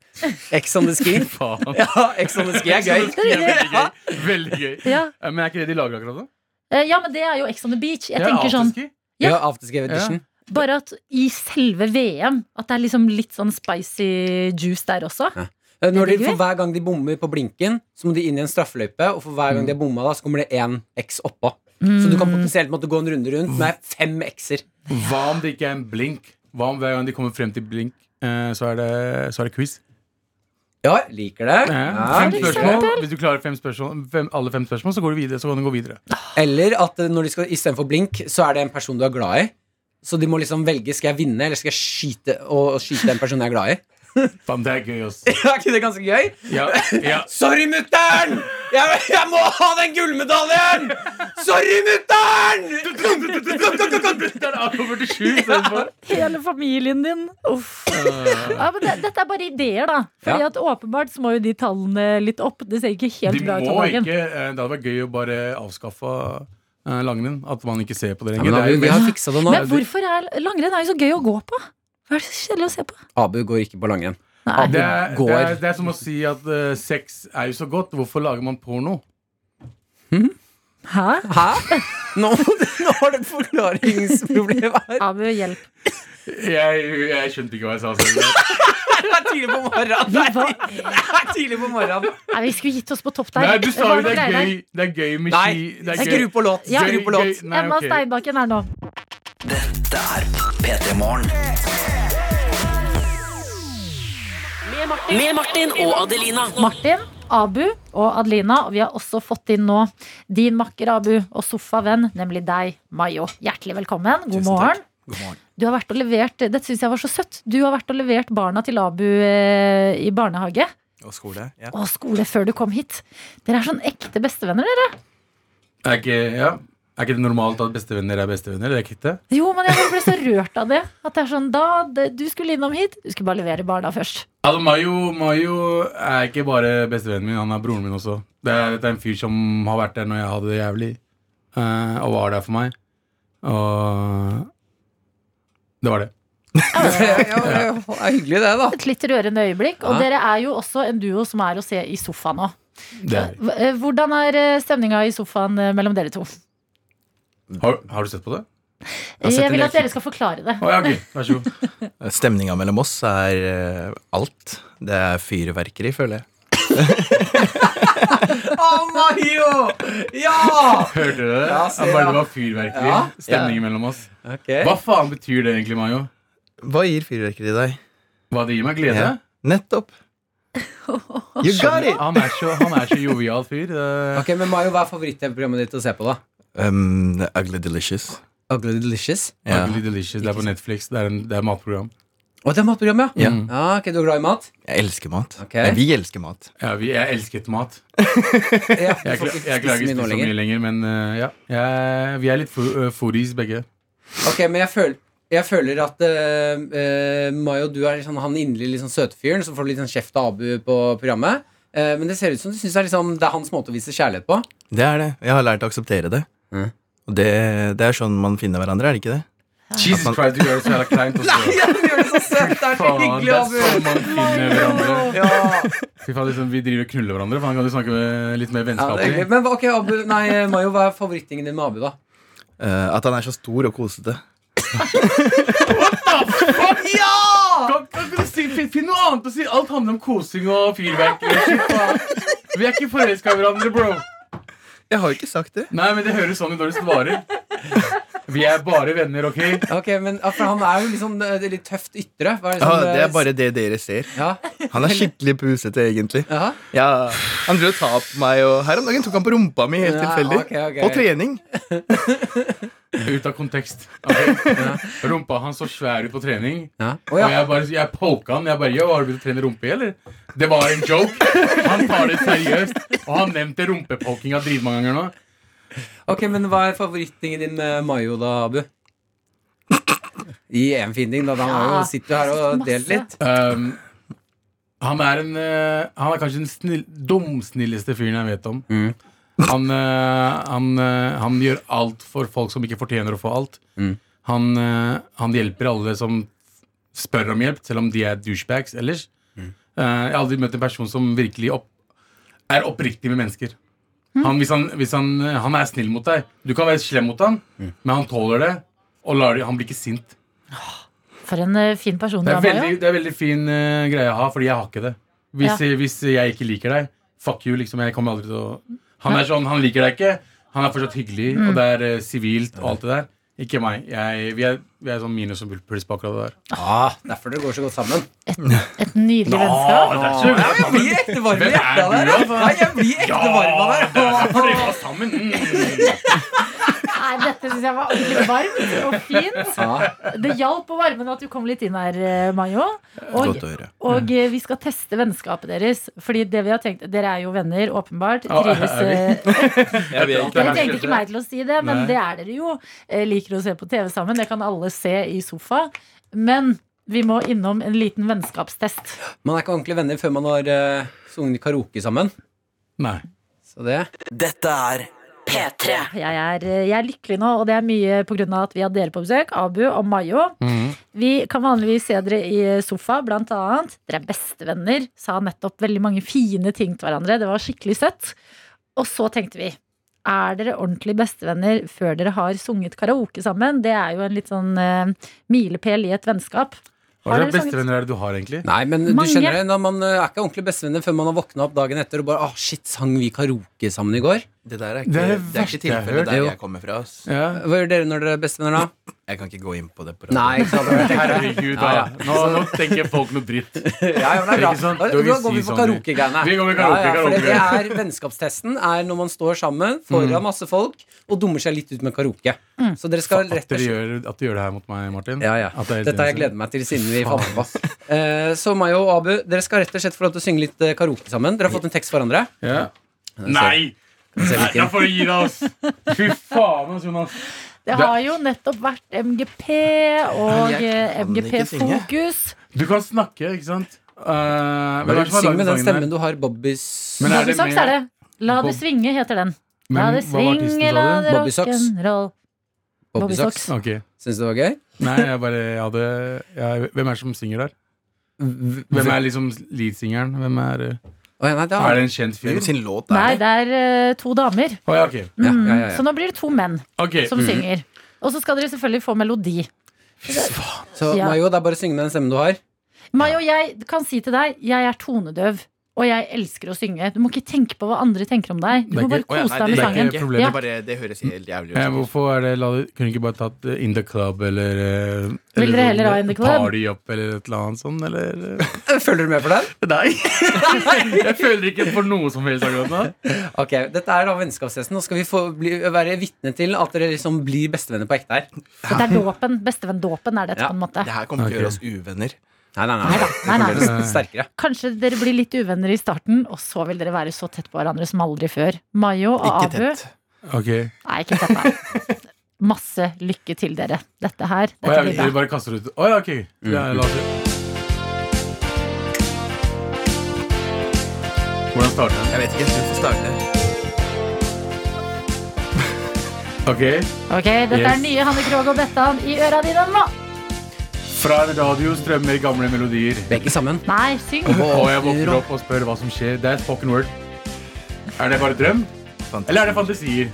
Speaker 3: Ex on the ski.
Speaker 7: (laughs) Faen.
Speaker 3: Ja, Ex on the ski er gøy.
Speaker 7: Det er veldig gøy. Veldig gøy.
Speaker 4: Ja.
Speaker 7: Eh, Men er ikke det de lager akkurat nå?
Speaker 4: Eh, ja, men det er jo Ex on the beach. Jeg
Speaker 7: Ja,
Speaker 4: tenker sånn,
Speaker 7: afterski.
Speaker 3: Ja,
Speaker 4: Ja.
Speaker 3: afterski edition.
Speaker 4: Bare at i selve VM, at det er liksom litt sånn spicy juice der også.
Speaker 3: Eh, Når de,
Speaker 4: Det digger
Speaker 3: for hver gang de bommer på blinken, så må de inn i en straffeløype, og for hver gang de har bomma, da, så kommer det én X oppå. Så du kan potensielt måtte gå en runde rundt med fem X-er.
Speaker 7: Hva om det ikke er en blink? Hva om hver gang de kommer frem til blink, eh, så er det, så er det quiz?
Speaker 3: Ja, liker det.
Speaker 7: Eh,
Speaker 3: Ja, liker
Speaker 4: for
Speaker 7: fem
Speaker 3: det.
Speaker 7: spørsmål. Hvis du klarer fem spørsmål, fem, alle fem spørsmål, så, går du videre, så kan du gå videre.
Speaker 3: Eller at eh, når de skal istedenfor blink, så er det en person du er glad i. Så de må liksom velge skal jeg vinne eller skal jeg skyte og og skyte den personen jeg er glad i. (laughs)
Speaker 7: Faen, det er gøy, ass.
Speaker 3: Er ikke det ganske gøy?
Speaker 7: (laughs) Ja, ja.
Speaker 3: Sorry, mutter'n! Jeg, jeg må ha den gullmedaljen! Sorry, mutter'n!
Speaker 7: Det er AK-47 istedenfor.
Speaker 4: Hele familien din. Uff.
Speaker 7: Eh,
Speaker 4: Ja, men det, dette er bare ideer, da. Fordi
Speaker 3: Ja.
Speaker 4: at åpenbart så må jo de tallene litt opp. Det ser ikke helt
Speaker 7: De
Speaker 4: bra ut om
Speaker 7: må ikke,
Speaker 4: dagen.
Speaker 7: eh, Det hadde vært gøy å bare avskaffe eh, langrenn. At man ikke ser på det
Speaker 3: Ja,
Speaker 7: lenger.
Speaker 3: men da,
Speaker 7: det
Speaker 3: vi,
Speaker 7: er,
Speaker 3: vi har
Speaker 7: jo-
Speaker 3: fiksa det nå.
Speaker 4: Men hvorfor er langrenn er jo så gøy å gå på? Hva er det så kjedelig å se på?
Speaker 3: Abu går ikke på langrenn.
Speaker 4: Nei.
Speaker 7: det, er, det, er,
Speaker 3: Går.
Speaker 7: det er som å si at eh, sex er jo så godt. Hvorfor lager man porno?
Speaker 4: Hæ?
Speaker 3: Hæ? Nå, nå har du et forklaringsproblem her.
Speaker 4: Abu, hjelp.
Speaker 7: Jeg, jeg skjønte ikke hva jeg sa
Speaker 4: (laughs)
Speaker 7: selv.
Speaker 3: Det er tidlig på morgenen. Det er, det er tidlig på morgenen.
Speaker 4: Nei, vi skulle gitt oss på topp der.
Speaker 7: Nei, du sa
Speaker 4: Hva
Speaker 7: jo det er
Speaker 4: greier
Speaker 7: gøy. Det er gøy med
Speaker 3: Nei,
Speaker 7: ski. Det er
Speaker 3: skru
Speaker 7: gøy.
Speaker 3: på låt.
Speaker 4: Ja.
Speaker 3: Skru på
Speaker 7: Gøy,
Speaker 3: låt.
Speaker 4: der?
Speaker 7: nei,
Speaker 4: Emma
Speaker 7: ok.
Speaker 4: Steinbakken er nå.
Speaker 6: Med Martin og Adelina.
Speaker 4: Martin, Abu og Adelina. Og vi har også fått inn nå din makker Abu og sofavenn, nemlig deg, Mayo. Hjertelig velkommen. God morgen. Du har vært og levert, Dette syns jeg var så søtt. Du har vært og levert barna til Abu eh, i barnehage
Speaker 2: Og skole. Ja.
Speaker 4: og skole før du kom hit. Dere er sånn ekte bestevenner, dere.
Speaker 7: Er ikke, ja. er ikke det normalt at bestevenner er bestevenner? Det er ikke det?
Speaker 4: Jo, men jeg bare ble så rørt av det. At det er sånn, da det, Du skulle innom hit, du skulle bare levere barna først.
Speaker 7: Altså, Mayo, Mayo er ikke bare bestevennen min, han er broren min også. Det er, det er en fyr som har vært der når jeg hadde det jævlig, eh, og var der for meg. Og det var det.
Speaker 3: Ja, det er hyggelig, det, da.
Speaker 4: Et litt rørende øyeblikk. Og
Speaker 3: Ja.
Speaker 4: dere er jo også en duo som er å se i sofaen nå.
Speaker 7: det er.
Speaker 4: Hv- eh, Hvordan er eh, stemninga i sofaen eh, mellom dere to?
Speaker 7: Har, har du sett på det?
Speaker 3: har sett
Speaker 4: Jeg
Speaker 3: en
Speaker 4: vil
Speaker 3: del
Speaker 4: at dere skal forklare det.
Speaker 7: Å ja, ok. Vær (laughs) så god.
Speaker 2: Stemninga mellom oss er eh, alt. Det er fyrverkeri, føler jeg.
Speaker 3: Oh, Mario! Ja!
Speaker 7: Hørte du det?
Speaker 3: Ja, se,
Speaker 7: Han bare
Speaker 3: ja.
Speaker 7: det var fyrverkeri.
Speaker 3: Ja.
Speaker 7: Stemningen mellom oss.
Speaker 3: Eh?
Speaker 7: Hva faen betyr det egentlig, Mayo?
Speaker 2: Hva gir fyrverkeri deg?
Speaker 7: Hva det gir meg glede?
Speaker 2: Ja. Nettopp! You got it!
Speaker 7: Han er så, han er så jovial fyr. Det-
Speaker 3: Ok, men Mario, Hva er favoritt-TV-programmet ditt å se på, da?
Speaker 2: Um, the ugly delicious.
Speaker 3: Ugly Delicious.
Speaker 2: Ja.
Speaker 7: Ugly Delicious. Det er på Netflix. Det er, en, det er matprogram.
Speaker 3: Å, det er matprogram, ja.
Speaker 2: Ja.
Speaker 3: ja ok, Du er glad i mat?
Speaker 2: Jeg elsker mat.
Speaker 3: Ok.
Speaker 2: Nei, vi elsker mat.
Speaker 7: Ja, vi, jeg elsket mat.
Speaker 3: Ja, du
Speaker 7: Jeg,
Speaker 3: får
Speaker 7: kla-
Speaker 3: ikke
Speaker 7: jeg klager
Speaker 3: spise
Speaker 7: ikke
Speaker 3: mye nå
Speaker 7: så
Speaker 3: lenger.
Speaker 7: mye lenger, men eh, ja. Jeg, vi er litt fo- eh, foodies, begge.
Speaker 3: Ok, men jeg føler jeg føler at eh, eh, Mayo, du er liksom han inderlig liksom søte fyren, så får du litt sånn kjeft av Abu på programmet. Eh, men det ser ut som du syns det, er liksom, det er hans måte å vise kjærlighet på.
Speaker 2: Det er det. Jeg har lært å akseptere det.
Speaker 3: Mhm.
Speaker 2: Og det, det er sånn man finner hverandre, er det ikke det?
Speaker 7: Jesus Christ, du gjør det så jævla kleint (laughs) også.
Speaker 3: (laughs) Du gjør det så søtt! Det er
Speaker 7: Faen, det er sånn man finner hverandre. Fy faen, liksom, vi driver og knuller hverandre, for han kan jo snakke med, litt mer
Speaker 3: Ja, det er hyggelig.
Speaker 7: vennskapelig.
Speaker 3: men ok, Abu, nei, eh, Mayo, hva er favorittingen din med Abu, da?
Speaker 2: Eh, at han er så stor og kosete.
Speaker 7: Kan, kan ikke du si, finn, finn noe annet å si! Alt handler om kosing og fyrverkeri. og shit, faen. Vi er ikke forelska i hverandre, bro.
Speaker 2: Jeg har jo ikke sagt det.
Speaker 7: Nei, men det høres sånn ut når du svarer. Vi er bare venner, OK?
Speaker 3: Ok, men ja, for Han er jo liksom eh, det er litt tøft ytre. Hva er det,
Speaker 2: Ja,
Speaker 3: som,
Speaker 2: det
Speaker 3: eh,
Speaker 2: er bare det dere ser.
Speaker 3: ja.
Speaker 2: Han er skikkelig pusete, egentlig.
Speaker 3: Jaha.
Speaker 2: Ja, Han drev og ta på meg, og her om dagen tok han på rumpa mi helt
Speaker 3: Ja,
Speaker 2: tilfeldig.
Speaker 3: ok, ok.
Speaker 2: På trening.
Speaker 7: Ut av kontekst. Ok? Rumpa hans så svær ut på trening.
Speaker 3: Å, ja.
Speaker 7: Og jeg bare jeg poka han. Jeg bare, «Yo, Har du begynt å trene rumpe, i, eller? Det var en joke. Han tar det seriøst. Og han nevnte rumpepokinga dritmange ganger nå.
Speaker 3: Ok, men hva er favorittingen din med mayo da, Abu? Gi en fin ting, da. Han har jo
Speaker 4: Ja,
Speaker 3: sittet her og delt litt.
Speaker 7: Ehm, han er en eh, Han er kanskje den snill, dumsnilleste fyren jeg vet om. Han, eh, han, eh, han gjør alt for folk som ikke fortjener å få alt.
Speaker 3: Mm.
Speaker 7: Han, eh, han hjelper alle som spør om hjelp, selv om de er douchebags ellers. Eh, jeg har aldri møtt en person som virkelig opp, er oppriktig med mennesker. Han, hvis han, hvis han, eh, han er snill mot deg. Du kan være slem mot han, men han tåler det. Og lar, det- han blir ikke sint.
Speaker 4: For en eh, fin person du
Speaker 7: Det
Speaker 4: er,
Speaker 7: er
Speaker 4: Mayo.
Speaker 7: veldig, det er veldig fin eh, greie å ha, fordi jeg har ikke det. Hvis, eh, hvis jeg ikke liker deg, fuck you, liksom. Jeg kommer aldri til å Han er sånn, han liker deg ikke. Han er fortsatt hyggelig,
Speaker 4: Mm.
Speaker 7: og det er eh, sivilt og alt det der. Ikke meg. Jeg, vi, er, vi er sånn minus og pluss på akkurat det der.
Speaker 3: Ah, derfor dere går så godt sammen.
Speaker 4: Et nydelig
Speaker 7: Nå,
Speaker 4: vennskap.
Speaker 7: det er så bra.
Speaker 3: Ja, jeg blir ekte varm i
Speaker 7: Hvem er
Speaker 3: hjertet av det
Speaker 7: du,
Speaker 3: her.
Speaker 7: altså?
Speaker 3: Nei, jeg blir ekte varm av det
Speaker 7: det
Speaker 3: her.
Speaker 7: er derfor dere var sammen. Mm.
Speaker 4: Nei, dette syns jeg var ordentlig varmt og fint.
Speaker 3: Ja.
Speaker 4: Det hjalp å varme nå at du kom litt inn her, eh, Mayo. Og,
Speaker 2: Godt å høre. Mm.
Speaker 4: og eh, vi skal teste vennskapet deres. Fordi det vi har tenkt Dere er jo venner, åpenbart.
Speaker 7: Ja, er
Speaker 4: Trives
Speaker 7: vi?
Speaker 4: eh,
Speaker 7: (laughs)
Speaker 5: Jeg vet ikke.
Speaker 4: Dere tenkte ikke meg til å si det, men
Speaker 7: Nei.
Speaker 4: det er dere jo. Eh, Liker å se på TV sammen. Det kan alle se i sofa. Men vi må innom en liten vennskapstest.
Speaker 3: Man er ikke ordentlig venner før man har eh, sunget karaoke sammen.
Speaker 7: Nei.
Speaker 3: Så det
Speaker 6: Dette er P3.
Speaker 4: Jeg er, eh, jeg er lykkelig nå, og det er mye pga. at vi har dere på besøk. Abu og Mayo. Vi kan vanligvis se dere i eh, sofa, blant annet. Dere er bestevenner. Sa nettopp veldig mange fine ting til hverandre. Det var skikkelig søtt. Og så tenkte vi er dere ordentlig bestevenner før dere har sunget karaoke sammen? Det er jo en litt sånn eh, milepæl i et vennskap.
Speaker 7: Hva
Speaker 4: Har
Speaker 7: slags
Speaker 4: dere sanget-
Speaker 7: bestevenner er det du har, egentlig?
Speaker 3: Nei, men du
Speaker 4: Mange.
Speaker 3: skjønner det, når man eh, er ikke ordentlig bestevenner før man har våkna opp dagen etter og bare ah, shit, sang vi karaoke sammen i går?
Speaker 2: Det der er ikke, det
Speaker 7: Det er det
Speaker 2: er ikke
Speaker 7: verste jeg har hørt.
Speaker 2: tilfellet
Speaker 3: (laughs)
Speaker 2: der
Speaker 3: Jo.
Speaker 2: jeg kommer fra. Ass.
Speaker 7: Ja.
Speaker 3: Hva gjør dere når dere er bestevenner, da?
Speaker 2: Jeg kan ikke gå inn på det. på
Speaker 3: Nei,
Speaker 2: radioen.
Speaker 3: ikke sant? det var det jeg tenkte.
Speaker 7: Herregud, da.
Speaker 3: Ja, ja.
Speaker 7: Nå, nå tenker folk noe
Speaker 3: Ja,
Speaker 7: dritt.
Speaker 3: ja, men det er bra.
Speaker 7: Ikke sant?
Speaker 3: Da,
Speaker 7: Du vil
Speaker 3: da går
Speaker 7: si
Speaker 3: vi for
Speaker 7: sånn,
Speaker 3: karaokegreiene.
Speaker 7: vi går for
Speaker 3: for
Speaker 7: karaoke,
Speaker 3: det-
Speaker 7: karaoke. Mm.
Speaker 3: det er Vennskapstesten er når man står sammen foran masse folk og dummer seg litt ut med karaoke.
Speaker 4: Mm.
Speaker 3: Så dere skal
Speaker 7: At
Speaker 3: rett og
Speaker 7: dere
Speaker 3: slett
Speaker 7: gjør, at du gjør det her mot meg, Martin.
Speaker 3: ja, ja.
Speaker 7: At det er liksom- helt
Speaker 3: Dette har jeg
Speaker 7: enig.
Speaker 3: gledet meg til siden vi fant på. Eh, Så Mayo og Abu, dere skal rett og slett få lov til å synge litt eh, karaoke sammen. Dere har fått en tekst for hverandre.
Speaker 7: Ja. Nei! Nei, da får du gi deg, ass! Fy faen, ass, Jonas.
Speaker 4: Det
Speaker 7: Det-
Speaker 4: har jo nettopp vært MGP og
Speaker 2: Men jeg
Speaker 4: eh,
Speaker 2: kan ikke
Speaker 4: MGP
Speaker 2: synge.
Speaker 4: Fokus.
Speaker 7: Du kan snakke, ikke sant? Eh, hvem er
Speaker 3: Bare
Speaker 7: det som har
Speaker 3: syng med
Speaker 7: laget
Speaker 3: den
Speaker 7: sangen her?
Speaker 3: stemmen du har, Bobbys
Speaker 7: Men er det
Speaker 4: Bobbysocks
Speaker 7: med-
Speaker 4: er det. La det
Speaker 7: Bob-
Speaker 4: svinge, heter den. La
Speaker 7: Men
Speaker 4: det
Speaker 7: hva var artisten,
Speaker 4: svinge,
Speaker 7: sa
Speaker 4: la
Speaker 7: du?
Speaker 4: det
Speaker 3: Bobbysocks.
Speaker 4: rock'n'roll.
Speaker 3: Bobbysocks.
Speaker 4: Bobbysocks.
Speaker 7: Ok.
Speaker 3: Syns du det var gøy?
Speaker 7: Nei, jeg bare jeg hadde jeg, Hvem er det som synger der? Hvem er liksom leadsingeren? Hvem er eh,
Speaker 3: Å, ja, nei, det
Speaker 7: Er
Speaker 3: har
Speaker 7: det en kjent fyr?
Speaker 2: Hvem sin låt er
Speaker 4: Nei,
Speaker 2: det?
Speaker 4: det er eh, to damer.
Speaker 7: Å, ja, ok.
Speaker 3: ja, ja, ja,
Speaker 4: Mm, Så
Speaker 3: ja.
Speaker 4: nå blir det to menn
Speaker 7: Ok, mhm.
Speaker 4: som synger. Og så skal dere selvfølgelig få melodi.
Speaker 3: Så
Speaker 4: Ja.
Speaker 3: Mayo, det er bare å synge med den stemmen du har. (laughs)
Speaker 4: Mai og jeg kan si til deg, jeg er tonedøv. Og jeg elsker å synge. Du må ikke tenke på hva andre tenker om deg. Du
Speaker 7: Det er
Speaker 4: må bare
Speaker 7: ikke-
Speaker 2: Å ja,
Speaker 4: kose
Speaker 2: nei, det
Speaker 4: deg med
Speaker 2: er ikke
Speaker 4: sangen.
Speaker 7: det
Speaker 2: det.
Speaker 7: problemet.
Speaker 2: Det, er bare, det høres helt jævlig
Speaker 7: Eh,
Speaker 2: ut.
Speaker 7: hvorfor er det la, det- Kunne du ikke bare tatt eh, In The Club eller eh,
Speaker 4: Vil
Speaker 7: eller
Speaker 4: dere heller ha In The Club?
Speaker 7: Party Up eller et eller annet sånt? Eller? eh?
Speaker 3: Følger du med for den?
Speaker 7: Nei! (laughs) jeg føler ikke for noe som helst akkurat nå.
Speaker 3: Ok, Dette er da vennskapstesten. Nå skal vi få bli, være vitne til at dere liksom blir bestevenner på ekte her.
Speaker 4: Det er dåpen. Bestevenndåpen er dette,
Speaker 3: Ja.
Speaker 4: på en måte.
Speaker 2: Det her kommer til å
Speaker 7: Ok.
Speaker 2: gjøre oss uvenner.
Speaker 3: Nei, nei,
Speaker 4: Nei
Speaker 3: nei.
Speaker 4: da. Nei, nei.
Speaker 3: Det er sterkere.
Speaker 4: Kanskje dere blir litt uvenner i starten, og så vil dere være så tett på hverandre som aldri før. Mayo og
Speaker 2: Ikke
Speaker 4: Abu
Speaker 2: tett.
Speaker 7: Ok
Speaker 4: Nei, ikke tett, nei. Masse lykke til dere. Dette her.
Speaker 7: Å,
Speaker 4: Dette
Speaker 7: jeg,
Speaker 4: blir bra.
Speaker 7: jeg bare kaster ut Å ja, ok. Ja,
Speaker 2: Mm.
Speaker 7: la oss se. Hvordan starter den?
Speaker 2: Jeg vet ikke. Du får starte.
Speaker 7: Ok.
Speaker 4: Ok, Dette er
Speaker 7: Yes.
Speaker 4: nye Hanne Krogh og Bettan i øra dine nå.
Speaker 7: Fra en radio strømmer gamle melodier.
Speaker 3: Vi er ikke sammen.
Speaker 4: Nei, syng.
Speaker 7: Og jeg våkner opp og spør hva som skjer. Det er spoken word. Er det bare drøm,
Speaker 2: Fantasi.
Speaker 7: eller er det fantasier?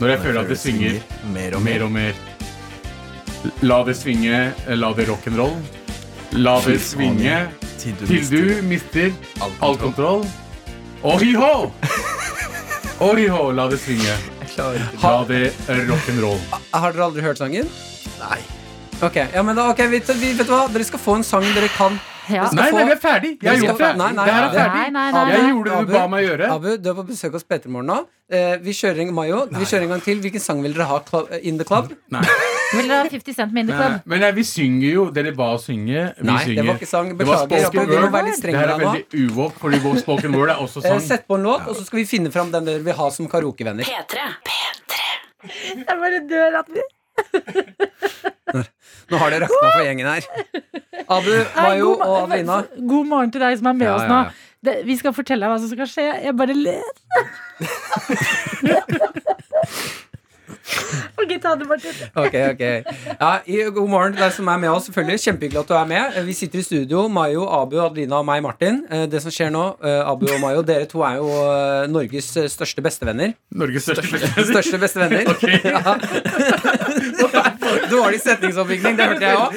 Speaker 7: Når jeg føler at det svinger
Speaker 2: mer
Speaker 7: og
Speaker 2: og mer.
Speaker 7: mer og mer. La det svinge, la det rock'n'roll. La det svinge
Speaker 2: Til du
Speaker 7: til
Speaker 2: mister
Speaker 7: du mister
Speaker 2: all
Speaker 7: all
Speaker 2: kontroll.
Speaker 7: kontroll. (laughs) Ohiho! Ohiho, la det svinge.
Speaker 2: Jeg klarer ikke.
Speaker 7: La det rock'n'roll.
Speaker 3: Har dere aldri hørt sangen?
Speaker 2: Nei.
Speaker 3: Ok, ja, men da, ok, vi, vi, vet du hva? Dere skal få en sang dere kan
Speaker 4: Ja.
Speaker 7: Nei, nei, vi er ferdig. Jeg har gjort det.
Speaker 3: Nei, nei,
Speaker 7: Det her er
Speaker 3: Abu.
Speaker 7: ferdig.
Speaker 4: Nei, nei, nei,
Speaker 7: Jeg
Speaker 4: nei.
Speaker 7: gjorde det
Speaker 3: Abu,
Speaker 7: du ba meg gjøre.
Speaker 3: Abu, du er på besøk hos Petter Morgen nå. Eh, vi kjører en Mayo. Vi kjører en gang til. Hvilken sang vil dere ha? Club, in the
Speaker 2: Sånn.
Speaker 3: club?
Speaker 4: Vil dere ha 50 Cent med
Speaker 7: Nei,
Speaker 4: Indiclub?
Speaker 7: Men nei, vi synger jo Dere ba oss synge. Vi
Speaker 3: Nei,
Speaker 7: synger.
Speaker 3: det var ikke sang.
Speaker 7: Det var
Speaker 3: Beklager.
Speaker 7: spoken
Speaker 3: Abu, vi må være
Speaker 7: word.
Speaker 3: litt
Speaker 7: Det
Speaker 3: strenge
Speaker 7: her er
Speaker 3: med deg nå.
Speaker 7: veldig uvåk, fordi vår spoken word er også
Speaker 3: Eh,
Speaker 7: sang.
Speaker 3: Sett på en låt, og så skal vi finne fram den dere vil ha som karaokevenner.
Speaker 6: P3.
Speaker 4: Jeg bare dør at vi
Speaker 3: Nå har det rakna for gjengen her. Abu,
Speaker 4: Nei,
Speaker 3: Mayo
Speaker 4: god
Speaker 3: og
Speaker 4: ma-
Speaker 3: Adelina.
Speaker 4: God morgen til deg som er med
Speaker 3: Ja,
Speaker 4: oss nå.
Speaker 3: ja, ja.
Speaker 4: Det, vi skal fortelle deg hva som skal skje. Jeg bare
Speaker 7: (laughs)
Speaker 4: ler. ok, ta det, Martin.
Speaker 3: Ok, ok ja, i, God morgen til deg som er med oss. selvfølgelig Kjempehyggelig at du er med. Eh, Vi sitter i studio, Mayo, Abu, Adelina og meg, Martin. Eh, Det som skjer nå, eh, Abu og Mayo, dere to er jo eh, Norges eh, største bestevenner.
Speaker 7: Norges største (laughs)
Speaker 3: Største bestevenner. (laughs) Ja. Dårlig setningsoppbygging, det hørte jeg òg.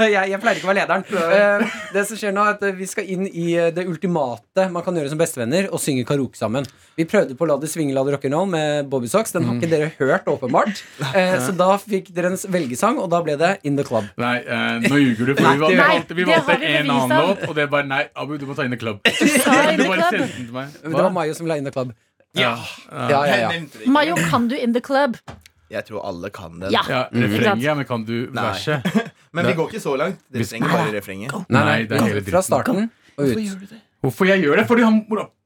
Speaker 3: (laughs) Jeg, jeg pleier ikke å være lederen. Eh, Det som skjer nå, er at eh, vi skal inn i eh, det ultimate man kan gjøre som bestevenner, og synge karaoke sammen. Vi prøvde på La det swinge, la det rock'n'roll med Bobby Socks. Den har ikke dere hørt, åpenbart. Eh, Så da fikk dere en s- velgesang, og da ble det In the Club.
Speaker 7: Nei, eh, nå ljuger du. For vi valgte, vi
Speaker 4: Nei,
Speaker 7: valgte, vi
Speaker 4: det har
Speaker 7: valgte
Speaker 4: vi bevis
Speaker 7: en annen
Speaker 4: av.
Speaker 7: låt, og det er bare Nei, Abu, du må ta inn i club. (laughs)
Speaker 4: Ta In
Speaker 7: Du
Speaker 4: The
Speaker 7: bare
Speaker 4: Club.
Speaker 7: sendte den til meg.
Speaker 3: Det var Mayo som la In the Club.
Speaker 7: Ja.
Speaker 3: Ja, ja, ja.
Speaker 4: Mayo, kan du in the club?
Speaker 2: Jeg tror alle kan den.
Speaker 4: Ja.
Speaker 7: ja
Speaker 3: Mhm.
Speaker 7: refrenget, ja, men kan du
Speaker 2: Nei.
Speaker 7: verset?
Speaker 2: Men vi går ikke så langt. Dere trenger bare refrenget.
Speaker 3: Nei, nei,
Speaker 7: Nei, det er hele
Speaker 3: Fra
Speaker 7: dritten.
Speaker 3: starten og ut.
Speaker 7: Hvorfor jeg gjør det? Fordi han,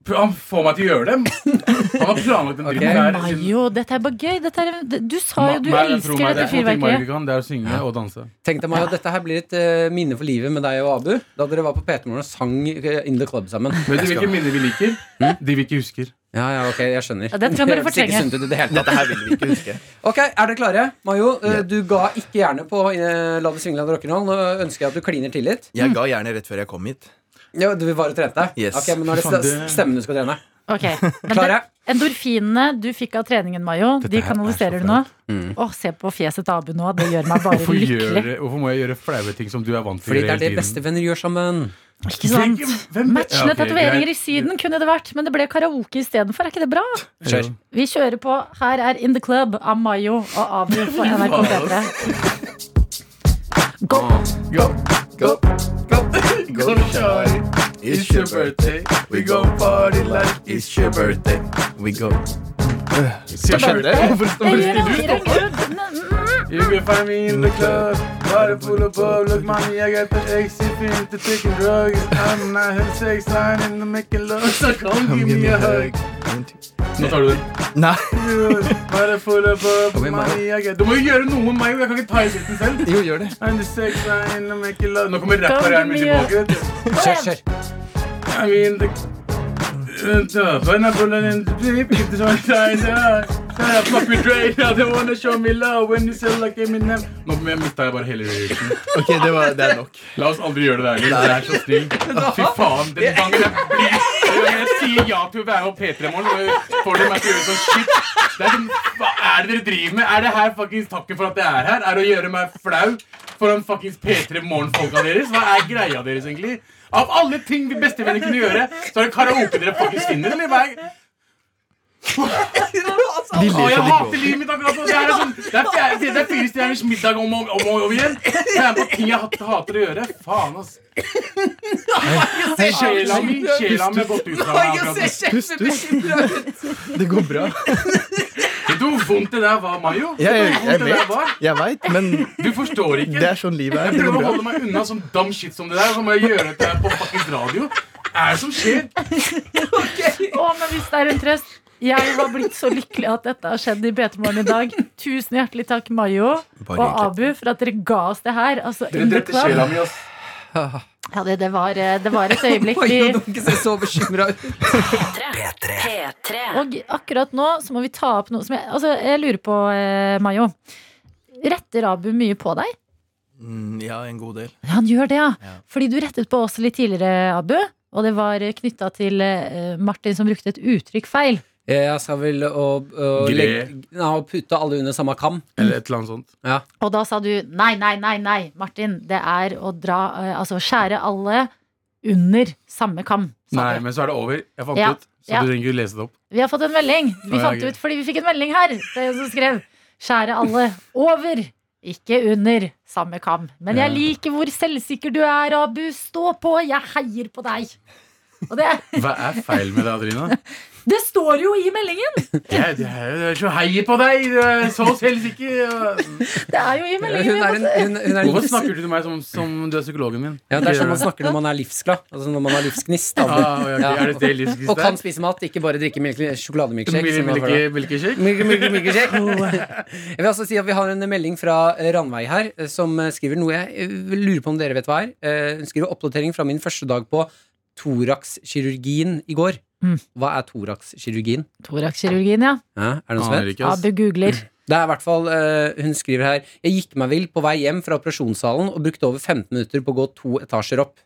Speaker 7: han får meg til å gjøre det. Han har planlagt den
Speaker 3: Ok.
Speaker 7: dritten her. siden-
Speaker 4: Mayo, dette er bare gøy. Dette er, du sa jo du
Speaker 7: Nei, men tro
Speaker 4: elsker dette
Speaker 7: meg, Det er to ting Mario
Speaker 4: fyrverkeriet.
Speaker 7: ikke kan, det er å synge og danse.
Speaker 3: Tenk deg, Mayo, dette her blir et eh, minne for livet med deg og Abu. Da dere var på PT-morgen og sang eh, In the Club sammen.
Speaker 7: Vet du hvilke minner vi liker? De vi ikke husker.
Speaker 3: Ja, ja, ok, jeg skjønner.
Speaker 4: Ja, den kan dere
Speaker 3: Det høres ikke
Speaker 4: fortrenge.
Speaker 3: sunt ut i det hele tatt.
Speaker 2: Dette her vil vi ikke huske.
Speaker 3: Ok, Er dere klare? Mayo, eh, du ga ikke gjerne på eh, La det svingle av rock'n'roll. Nå ønsker jeg at du kliner til litt.
Speaker 2: (laughs) Jeg ga gjerne rett før jeg kom hit.
Speaker 3: Ja, du var og trente?
Speaker 2: Yes.
Speaker 3: Ok, Men nå er det
Speaker 7: Fy faen,
Speaker 3: st-
Speaker 7: det-
Speaker 3: stemmen du skal trene.
Speaker 4: Ok,
Speaker 7: (laughs)
Speaker 4: men
Speaker 3: Klare?
Speaker 4: det- Endorfinene du fikk av treningen, Mayo, de
Speaker 7: her er
Speaker 4: kanaliserer
Speaker 7: så Mm.
Speaker 4: du nå. Åh, se på fjeset til Abu nå. Det gjør meg bare
Speaker 7: (laughs) Hvorfor,
Speaker 4: lykkelig.
Speaker 7: gjøre, hvorfor må jeg gjøre flaue ting som du er vant til å
Speaker 3: Fordi det
Speaker 7: gjøre
Speaker 3: er det
Speaker 7: hele tiden?
Speaker 3: bestevenner gjør sammen.
Speaker 4: Ikke sant?
Speaker 7: Tenk, hvem- Ja,
Speaker 4: Matchende
Speaker 7: ok,
Speaker 4: tatoveringer i
Speaker 7: greit.
Speaker 4: Syden kunne det vært, men det ble karaoke istedenfor. Er ikke det bra?
Speaker 3: Kjør.
Speaker 4: Vi kjører på. Her er In The Club av Mayo og Abu på NRK P3. Go.
Speaker 7: Go, go, go, go, shawty. It's your birthday. We go party like it's your birthday.
Speaker 2: We go.
Speaker 7: Hva skjedde? Hvorfor
Speaker 4: Jeg
Speaker 7: stemmer
Speaker 4: gjør
Speaker 7: du?
Speaker 4: aldri en grunn.
Speaker 7: You can find me in the club. Body full of bub. Look, mommy, I got the exit fin to take a drug. I'm not having sex. I'm in the making love. So (laughs) come give me a hug. Nå tar du den.
Speaker 2: Nei.
Speaker 7: Body full of bub. Mommy, I got Du må jo gjøre noe med meg. Jeg kan ikke ta i dritten selv.
Speaker 2: Jo, gjør det.
Speaker 7: I'm the sex, I'm in the making love. Nå kommer rapperen min tilbake. vet du.
Speaker 3: Kjør, kjør.
Speaker 7: I mean, the... Uh, When I pull it in the deep, if this one time, uh, uh, fuck me straight, now they wanna show me love when you sell like Eminem. Nå jeg mista jeg bare hele lyrikken.
Speaker 2: Ok, det, var, det er nok.
Speaker 7: La oss aldri gjøre det der. Liv. Det er så snill. Å, Fy faen. Den gangen jeg blir Når jeg sier ja til å være på P3 i morgen, så får de meg til å gjøre sånn shit. Det er sånn, hva er det dere driver med? Er det her fuckings takken for at jeg er her? Er å gjøre meg flau foran fuckings P3 Morgen-folka deres? Hva er greia deres, egentlig? Av alle ting vi bestevenner kunne gjøre, så er det karaoke dere fuckings finner, eller? Hva er
Speaker 2: De
Speaker 7: Å,
Speaker 2: ler
Speaker 7: jeg
Speaker 2: så de
Speaker 7: hater livet mitt akkurat nå! Det er, sånn, det er, fjerde- det er fire stjerners middag om og om, og over igjen. Det er på ting jeg hat- hater å gjøre. Faen, ass. Sjela mi sjela mi har gått ut fra meg akkurat nå.
Speaker 2: Det går bra.
Speaker 7: Vet du hvor vondt (laughs) det der var, Mayo? Vet du
Speaker 2: Jeg,
Speaker 7: hvor
Speaker 2: jeg,
Speaker 7: vondt det der
Speaker 2: vet,
Speaker 7: var?
Speaker 2: jeg vet, men
Speaker 7: Du forstår ikke.
Speaker 2: det er sånn livet er.
Speaker 7: Jeg
Speaker 2: Det går
Speaker 7: prøver å
Speaker 2: bra.
Speaker 7: holde meg unna sånn dum shit som det der. Så må jeg gjøre det på fuckings radio. Hva er det som skjer?
Speaker 4: Å, men hvis det er en trøst. Jeg var blitt så lykkelig at dette har skjedd i P3morgen i dag. Tusen hjertelig takk, Mayo og
Speaker 2: hyggelig.
Speaker 4: Abu, for at dere ga oss det her. Altså,
Speaker 7: Dere
Speaker 4: in the
Speaker 7: drepte sjela
Speaker 4: club.
Speaker 7: mi, ass.
Speaker 4: Ja, det, det, var, eh, det var et
Speaker 7: (laughs)
Speaker 4: øyeblikk.
Speaker 2: (laughs)
Speaker 3: Oi,
Speaker 4: Vi,
Speaker 3: du må ikke se så bekymra ut.
Speaker 6: P3.
Speaker 4: Og akkurat nå så må vi ta opp noe som jeg, altså, jeg lurer på, eh, Mayo. Retter Abu mye på deg?
Speaker 2: Mm, Ja, en god del.
Speaker 4: Ja, han gjør det, ja.
Speaker 2: Ja.
Speaker 4: Fordi du rettet på oss litt tidligere, Abu. Og det var knytta til eh, Martin som brukte et uttrykk feil.
Speaker 3: Jeg skal vel å, å
Speaker 7: Gre.
Speaker 3: legge, ja, å putte alle under samme kam.
Speaker 7: Eller et eller annet sånt.
Speaker 4: Og da sa du nei, nei, nei, nei, Martin. Det er å dra eh, Altså skjære alle under samme kam. sa
Speaker 7: Nei,
Speaker 4: du.
Speaker 7: men så er det over. Jeg fant
Speaker 4: Ja,
Speaker 7: det ut. Så
Speaker 4: ja.
Speaker 7: du trenger ikke lese det opp.
Speaker 4: Vi har fått en melding. Vi
Speaker 7: Å, ja,
Speaker 4: fant
Speaker 7: gøy.
Speaker 4: ut fordi vi fikk en melding her. Det er en som skrev 'Skjære alle over i Ikke under samme kam. Men jeg
Speaker 7: Ja.
Speaker 4: liker hvor selvsikker du er, Abu. Stå på, jeg heier på deg. Og det,
Speaker 7: Hva er feil med deg, Adelina?
Speaker 4: det står jo i meldingen!
Speaker 7: Jeg, jeg, er så heier på deg! Du er så selvsikker! og-
Speaker 4: Det er jo i meldingen.
Speaker 3: Hun er en, hun, hun er
Speaker 7: Hvorfor
Speaker 3: livs...
Speaker 7: snakker du til meg som, som du er psykologen min?
Speaker 3: Ja, Det er sånn man snakker når man er livsglad. Altså når man har livsgnist. da.
Speaker 7: Ah, ja, ok, er det det livsgnist
Speaker 3: Og
Speaker 7: er?
Speaker 3: kan spise mat, ikke bare drikke milk- sjokolademilkshake. som man får da.
Speaker 7: Hvilke- hvilke kjekk?
Speaker 3: Milk- milk- milkshake. (laughs) Jeg vil altså si at Vi har en melding fra eh, Ranveig her, eh, som eh, skriver noe jeg eh, lurer på om dere vet hva er. Eh, Hun skriver oppdatering fra min første dag på thoraxkirurgien i går.
Speaker 4: Mm.
Speaker 3: Hva er thoraxkirurgien?
Speaker 4: Thorakkirurgien, ja.
Speaker 3: Ja, er det noen som vet?
Speaker 7: Aner ikke, ass.
Speaker 4: Abu googler.
Speaker 3: Det er i hvert fall, eh, Hun skriver her Jeg gikk meg vill på vei hjem fra operasjonssalen og brukte over 15 minutter på å gå to etasjer opp.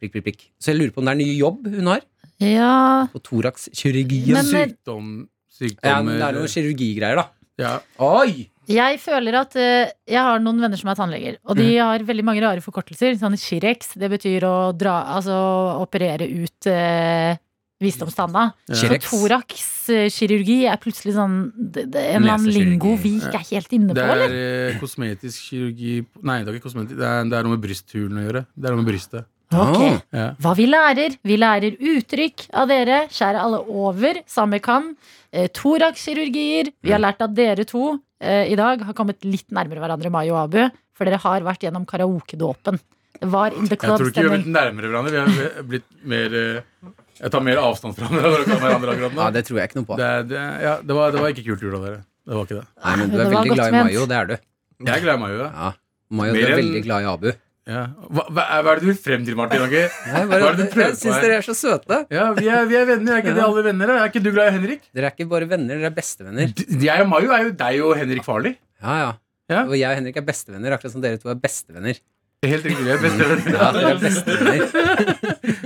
Speaker 3: Prikk, prikk, prikk. Så jeg lurer på om det er ny jobb hun har
Speaker 4: Ja
Speaker 3: på thoraxkirurgien.
Speaker 4: Men-
Speaker 7: Sykdom, eh,
Speaker 3: Ja, men det er
Speaker 7: sykdommer
Speaker 3: noen kirurgigreier, da.
Speaker 7: ja.
Speaker 3: Oi!
Speaker 4: Jeg føler at eh, jeg har noen venner som er tannleger, og de
Speaker 7: Mm.
Speaker 4: har veldig mange rare forkortelser. Sånn Shirex, det betyr å dra, altså, operere ut eh, visdomstanna. Så
Speaker 3: Shirex.
Speaker 4: thorax, eh, kirurgi er plutselig sånn det, det, er En eller annen
Speaker 3: Nesekirurgi.
Speaker 4: lingo vi ikke er helt inne på,
Speaker 7: Det
Speaker 4: eller?
Speaker 7: er eh, kosmetisk kirurgi Nei, det er ikke kosmetisk Det er, det er noe med brysthulen å gjøre. Det er noe med brystet.
Speaker 4: Ok.
Speaker 7: Ja.
Speaker 4: Hva vi lærer? Vi lærer uttrykk av dere, skjære alle over, samme kam. Eh, Thorax-kirurgier. Vi
Speaker 7: Mm.
Speaker 4: har lært at dere to eh, i dag har kommet litt nærmere hverandre, Mai og Abu, for dere har vært gjennom karaokedåpen. Det var in the
Speaker 7: Jeg tror ikke vi har
Speaker 4: club-stemning.
Speaker 7: blitt nærmere hverandre. Vi har vi- blitt mer eh, Jeg tar mer avstand fra hverandre akkurat nå.
Speaker 3: Ja, det tror jeg ikke noe på.
Speaker 7: Det, er- det, er- ja, det, var, det var ikke kult gjort av dere. Det var ikke det.
Speaker 3: Nei, men du
Speaker 4: Det
Speaker 3: er
Speaker 4: var
Speaker 3: veldig
Speaker 4: godt
Speaker 3: glad i
Speaker 4: ment.
Speaker 3: Mayo, det er du.
Speaker 7: Jeg gleder meg jo. Ja.
Speaker 3: Ja. Mayo, du
Speaker 7: Mer
Speaker 3: er
Speaker 7: enn-
Speaker 3: veldig glad i Abu.
Speaker 7: Ja. Hva, hva, er, hva er det du vil frem til, Martin? Ok?
Speaker 3: Nei,
Speaker 7: Hva er det du
Speaker 3: jeg
Speaker 7: prøver på
Speaker 3: syns
Speaker 7: her?
Speaker 3: dere er så søte.
Speaker 7: Ja, vi er, vi er venner. Er ikke det alle venner? da? Er ikke du glad i Henrik?
Speaker 3: Dere er ikke bare venner, dere er bestevenner.
Speaker 7: D- Jeg og Mayo er jo deg og Henrik Farley.
Speaker 3: Ja, ja.
Speaker 7: Ja.
Speaker 3: Og jeg og Henrik er bestevenner, akkurat som dere to er bestevenner.
Speaker 7: Helt riktig. Vi er bestevenner.
Speaker 3: Ja, dere er
Speaker 7: (laughs)
Speaker 3: bestevenner.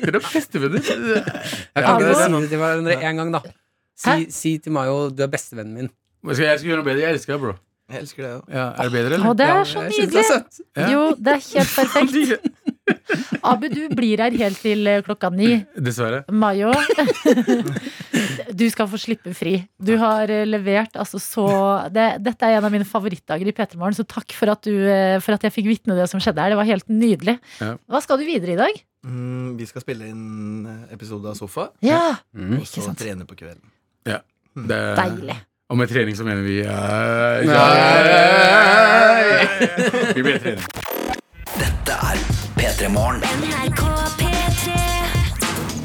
Speaker 7: Dere er bestevenner.
Speaker 3: Jeg kan
Speaker 4: Ja,
Speaker 3: ikke
Speaker 4: det er
Speaker 3: si det til hverandre en gang, da. Si,
Speaker 4: Hæ?
Speaker 3: si til Mayo 'du er bestevennen min'.
Speaker 7: Skal jeg, jeg skal gjøre noe bedre? Jeg elsker deg, bro.
Speaker 2: Jeg elsker det òg.
Speaker 7: Ja, er det bedre,
Speaker 4: Å,
Speaker 7: eller?
Speaker 4: det
Speaker 3: Ja,
Speaker 4: er så
Speaker 3: jeg synes det
Speaker 4: nydelig!
Speaker 3: er søtt.
Speaker 7: Ja.
Speaker 4: Jo, det er
Speaker 7: (laughs)
Speaker 4: helt perfekt. Abu, du blir her helt til eh, klokka ni.
Speaker 7: Dessverre.
Speaker 4: Mayo, (laughs) du skal få slippe fri. Du har eh, levert altså så det, Dette er en av mine favorittdager i P3 Morgen, så takk for at, du, eh, for at jeg fikk vitne det som skjedde her. Det var helt nydelig.
Speaker 7: Ja.
Speaker 4: Hva skal du videre i dag?
Speaker 2: Mm, vi skal spille inn eh, episode av Sofa,
Speaker 4: Ja,
Speaker 3: Mm.
Speaker 2: og så
Speaker 4: sant.
Speaker 2: trene på kvelden.
Speaker 7: Det,
Speaker 4: Deilig.
Speaker 7: og med trening så mener vi eh, Vi blir trening.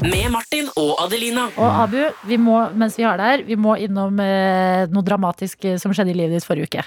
Speaker 6: Med Martin og Adelina.
Speaker 4: Og Abu, vi må, mens vi har deg her, vi må innom eh, noe dramatisk eh, som skjedde i livet ditt forrige uke.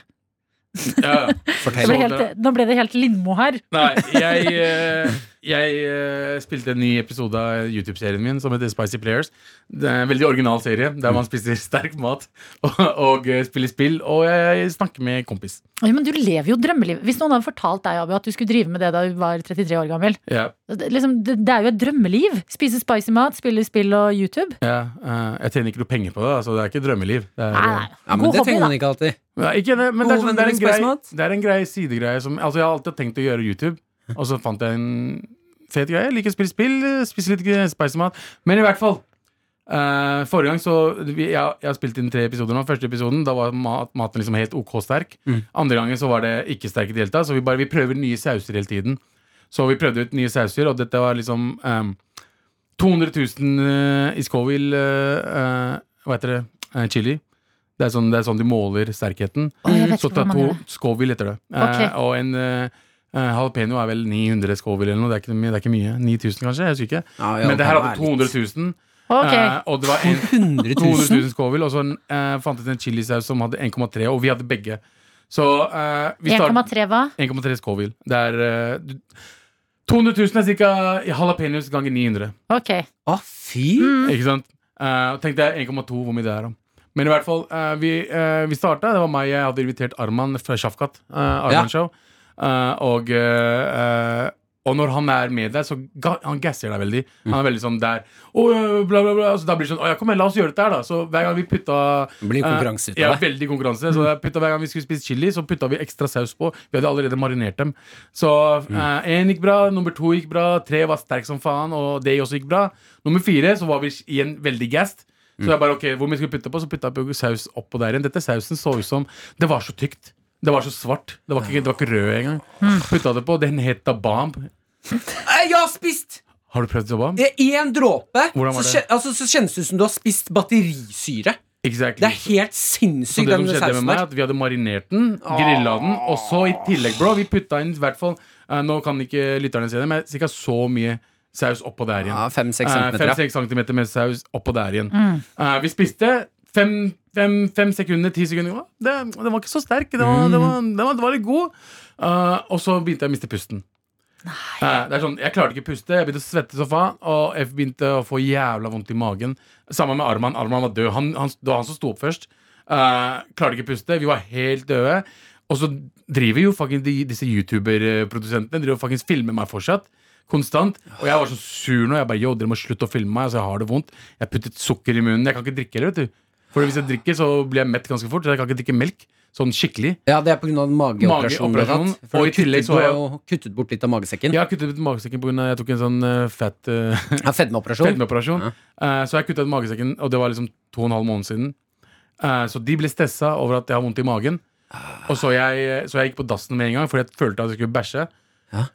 Speaker 7: Ja.
Speaker 4: Det ble helt, nå ble det helt Lindmo her.
Speaker 7: Nei, jeg, eh, jeg eh, spilte en ny episode av YouTube-serien min som heter Spicy Players. Det er en veldig original serie der man spiser sterk mat og, og eh, spiller spill. Og jeg snakker med kompis.
Speaker 4: Oi, Men du lever jo drømmelivet. Hvis noen hadde fortalt deg Abu, at du skulle drive med det da du var 33 år gammel
Speaker 7: Ja,
Speaker 4: det, liksom, det, det er jo et drømmeliv. Spise spicy mat, spille spill og YouTube.
Speaker 7: ja, eh, jeg tjener ikke noe penger på det, altså det er ikke drømmeliv. Det er,
Speaker 4: Nei, nei.
Speaker 3: Ja, men
Speaker 4: God
Speaker 3: det
Speaker 4: hobby,
Speaker 3: trenger
Speaker 4: da.
Speaker 3: man ikke alltid.
Speaker 7: Nei, ikke det, men det er,
Speaker 3: Gode
Speaker 7: sånn, det, er en
Speaker 3: venner med
Speaker 7: grei,
Speaker 3: Spice Mat?
Speaker 7: det er en grei sidegreie som Altså, jeg har alltid tenkt å gjøre YouTube, og så fant jeg en fet greie. Jeg liker å spille spill, spise litt spicemat. Men i hvert fall eh, Forrige gang så vi, jeg, jeg har spilt inn tre episoder nå. Første episoden, da var mat, maten liksom helt OK sterk. Andre gangen så var det ikke sterk i det hele tatt, så vi, bare, vi prøver nye sauser hele tiden. Så vi prøvde ut nye sauser, og dette var liksom ehm, 200 000 eh, i Scoville eh, eh, Hva heter det? Eh, chili. Det er, sånn, det er sånn de måler sterkheten.
Speaker 4: Å, jeg vet
Speaker 7: Så
Speaker 4: ikke
Speaker 7: ta
Speaker 4: hvordan man
Speaker 7: to
Speaker 4: gjør det.
Speaker 7: Scoville heter det.
Speaker 4: Ok.
Speaker 7: Eh, og en eh, eh, jalapeno er vel 900 Scoville eller noe. Det er ikke, mye- det er ikke mye. 9000 kanskje? Jeg husker ikke.
Speaker 3: Ja, ja,
Speaker 7: Men det her hadde
Speaker 3: kan være litt.
Speaker 7: 200 000.
Speaker 4: Ok.
Speaker 7: eh, og det var en
Speaker 3: 100
Speaker 7: 200
Speaker 3: 000?
Speaker 7: 000 Scoville, og så en, eh, fant jeg en chilisaus som hadde 1,3, og vi hadde begge. Så eh, vi startet-
Speaker 4: 1,3 hva?
Speaker 7: 1,3 Scoville. Det er eh, du- 200 000 er ca. jalapeños ganger 900.
Speaker 4: Ok.
Speaker 3: Å, fy!
Speaker 7: Ikke sant? Eh, tenk deg 1,2 hvor mye det er. da. Men i hvert fall, eh, vi, uh, vi starta. Det var meg jeg hadde invitert Arman fra Shafkat. eh, Arman
Speaker 3: Ja.
Speaker 7: Show. Eh, og, eh, eh, og når han er med der, så ga, han gasser deg veldig.
Speaker 3: Mm.
Speaker 7: Han er veldig sånn der «Å, ja, bla, bla, bla. Så da blir det sånn Å ja, kom igjen, la oss gjøre dette her, da. Så hver gang vi putta
Speaker 3: Det blir konkurranse ut av
Speaker 7: ja,
Speaker 3: det.
Speaker 7: veldig konkurranse. Så jeg putta, hver gang vi skulle spise chili, så putta vi ekstra saus på. Vi hadde allerede marinert dem. Så én gikk bra, nummer to gikk bra, tre var sterk som faen, og det også gikk bra. Nummer fire så var vi igjen veldig gassed. Så jeg bare, ok, hvor mye skal vi putte på? Så putta jeg på saus oppå der igjen. Dette sausen så ut som Det var så tykt. Det var så svart. Det var ikke, det var ikke rød engang. Putta det på. Den het Dabamb.
Speaker 3: Eh, Jeg har spist
Speaker 7: Har du prøvd Dabamb?
Speaker 3: det i en dråpe.
Speaker 7: Hvordan
Speaker 3: Så,
Speaker 7: var
Speaker 3: kjen,
Speaker 7: det?
Speaker 3: altså, så kjennes det ut som du har spist batterisyre.
Speaker 7: Exactly.
Speaker 3: Det er helt
Speaker 7: Så
Speaker 3: sinnssykt,
Speaker 7: det som
Speaker 3: den
Speaker 7: skjedde med
Speaker 3: sausen
Speaker 7: meg,
Speaker 3: der.
Speaker 7: at vi hadde marinert den, grilla den, og så i tillegg, bro, vi putta inn i hvert fall eh, Nå kan ikke lytterne se det, men cirka så mye saus oppå der igjen. Eh,
Speaker 3: Ja, Fem-seks centimeter. ja.
Speaker 7: 5-6 cm med saus oppå der igjen. Eh, vi spiste 5 sekunder, 10 sekunder. Å, Det, det var ikke så sterk. Det
Speaker 3: Mm.
Speaker 7: var, det var, det var, det var litt god. Eh, og så begynte jeg å miste pusten. Eh, det er sånn, Jeg klarte ikke å puste. Jeg begynte å svette i sofaen, og jeg begynte å få jævla vondt i magen. Sammen med Arman. Arman var død. Han, han, det var han som sto opp først. Eh, klarte ikke å puste. Vi var helt døde. Og så driver jo fucking de, disse YouTuber-produsentene Driver og fucking filmer meg fortsatt. Konstant. Og jeg var så sur nå. Jeg bare, yo, Dere må slutte å filme meg. Altså, jeg har det vondt. Jeg puttet sukker i munnen. Jeg kan ikke drikke heller, vet du. For hvis jeg drikker, så blir jeg mett ganske fort. Så jeg kan ikke drikke melk. Sånn skikkelig.
Speaker 3: Ja, det er pga. mageoperasjonen du har
Speaker 7: Mageoperasjonen,
Speaker 3: hatt. For
Speaker 7: og i
Speaker 3: du
Speaker 7: tillegg
Speaker 3: kuttet,
Speaker 7: så har jeg-
Speaker 3: bo- kuttet bort litt av magesekken.
Speaker 7: Jeg
Speaker 3: Ja.
Speaker 7: har kuttet ut magesekken pga. jeg tok en sånn eh, fat eh,
Speaker 3: Fedmeoperasjon.
Speaker 7: fedmeoperasjon. Eh, så jeg kutta ut magesekken, og det var liksom to og en halv måned siden. Eh, så de ble stressa over at jeg har vondt i magen. Og så jeg, så jeg gikk på dassen med en gang, fordi jeg følte at jeg skulle bæsje.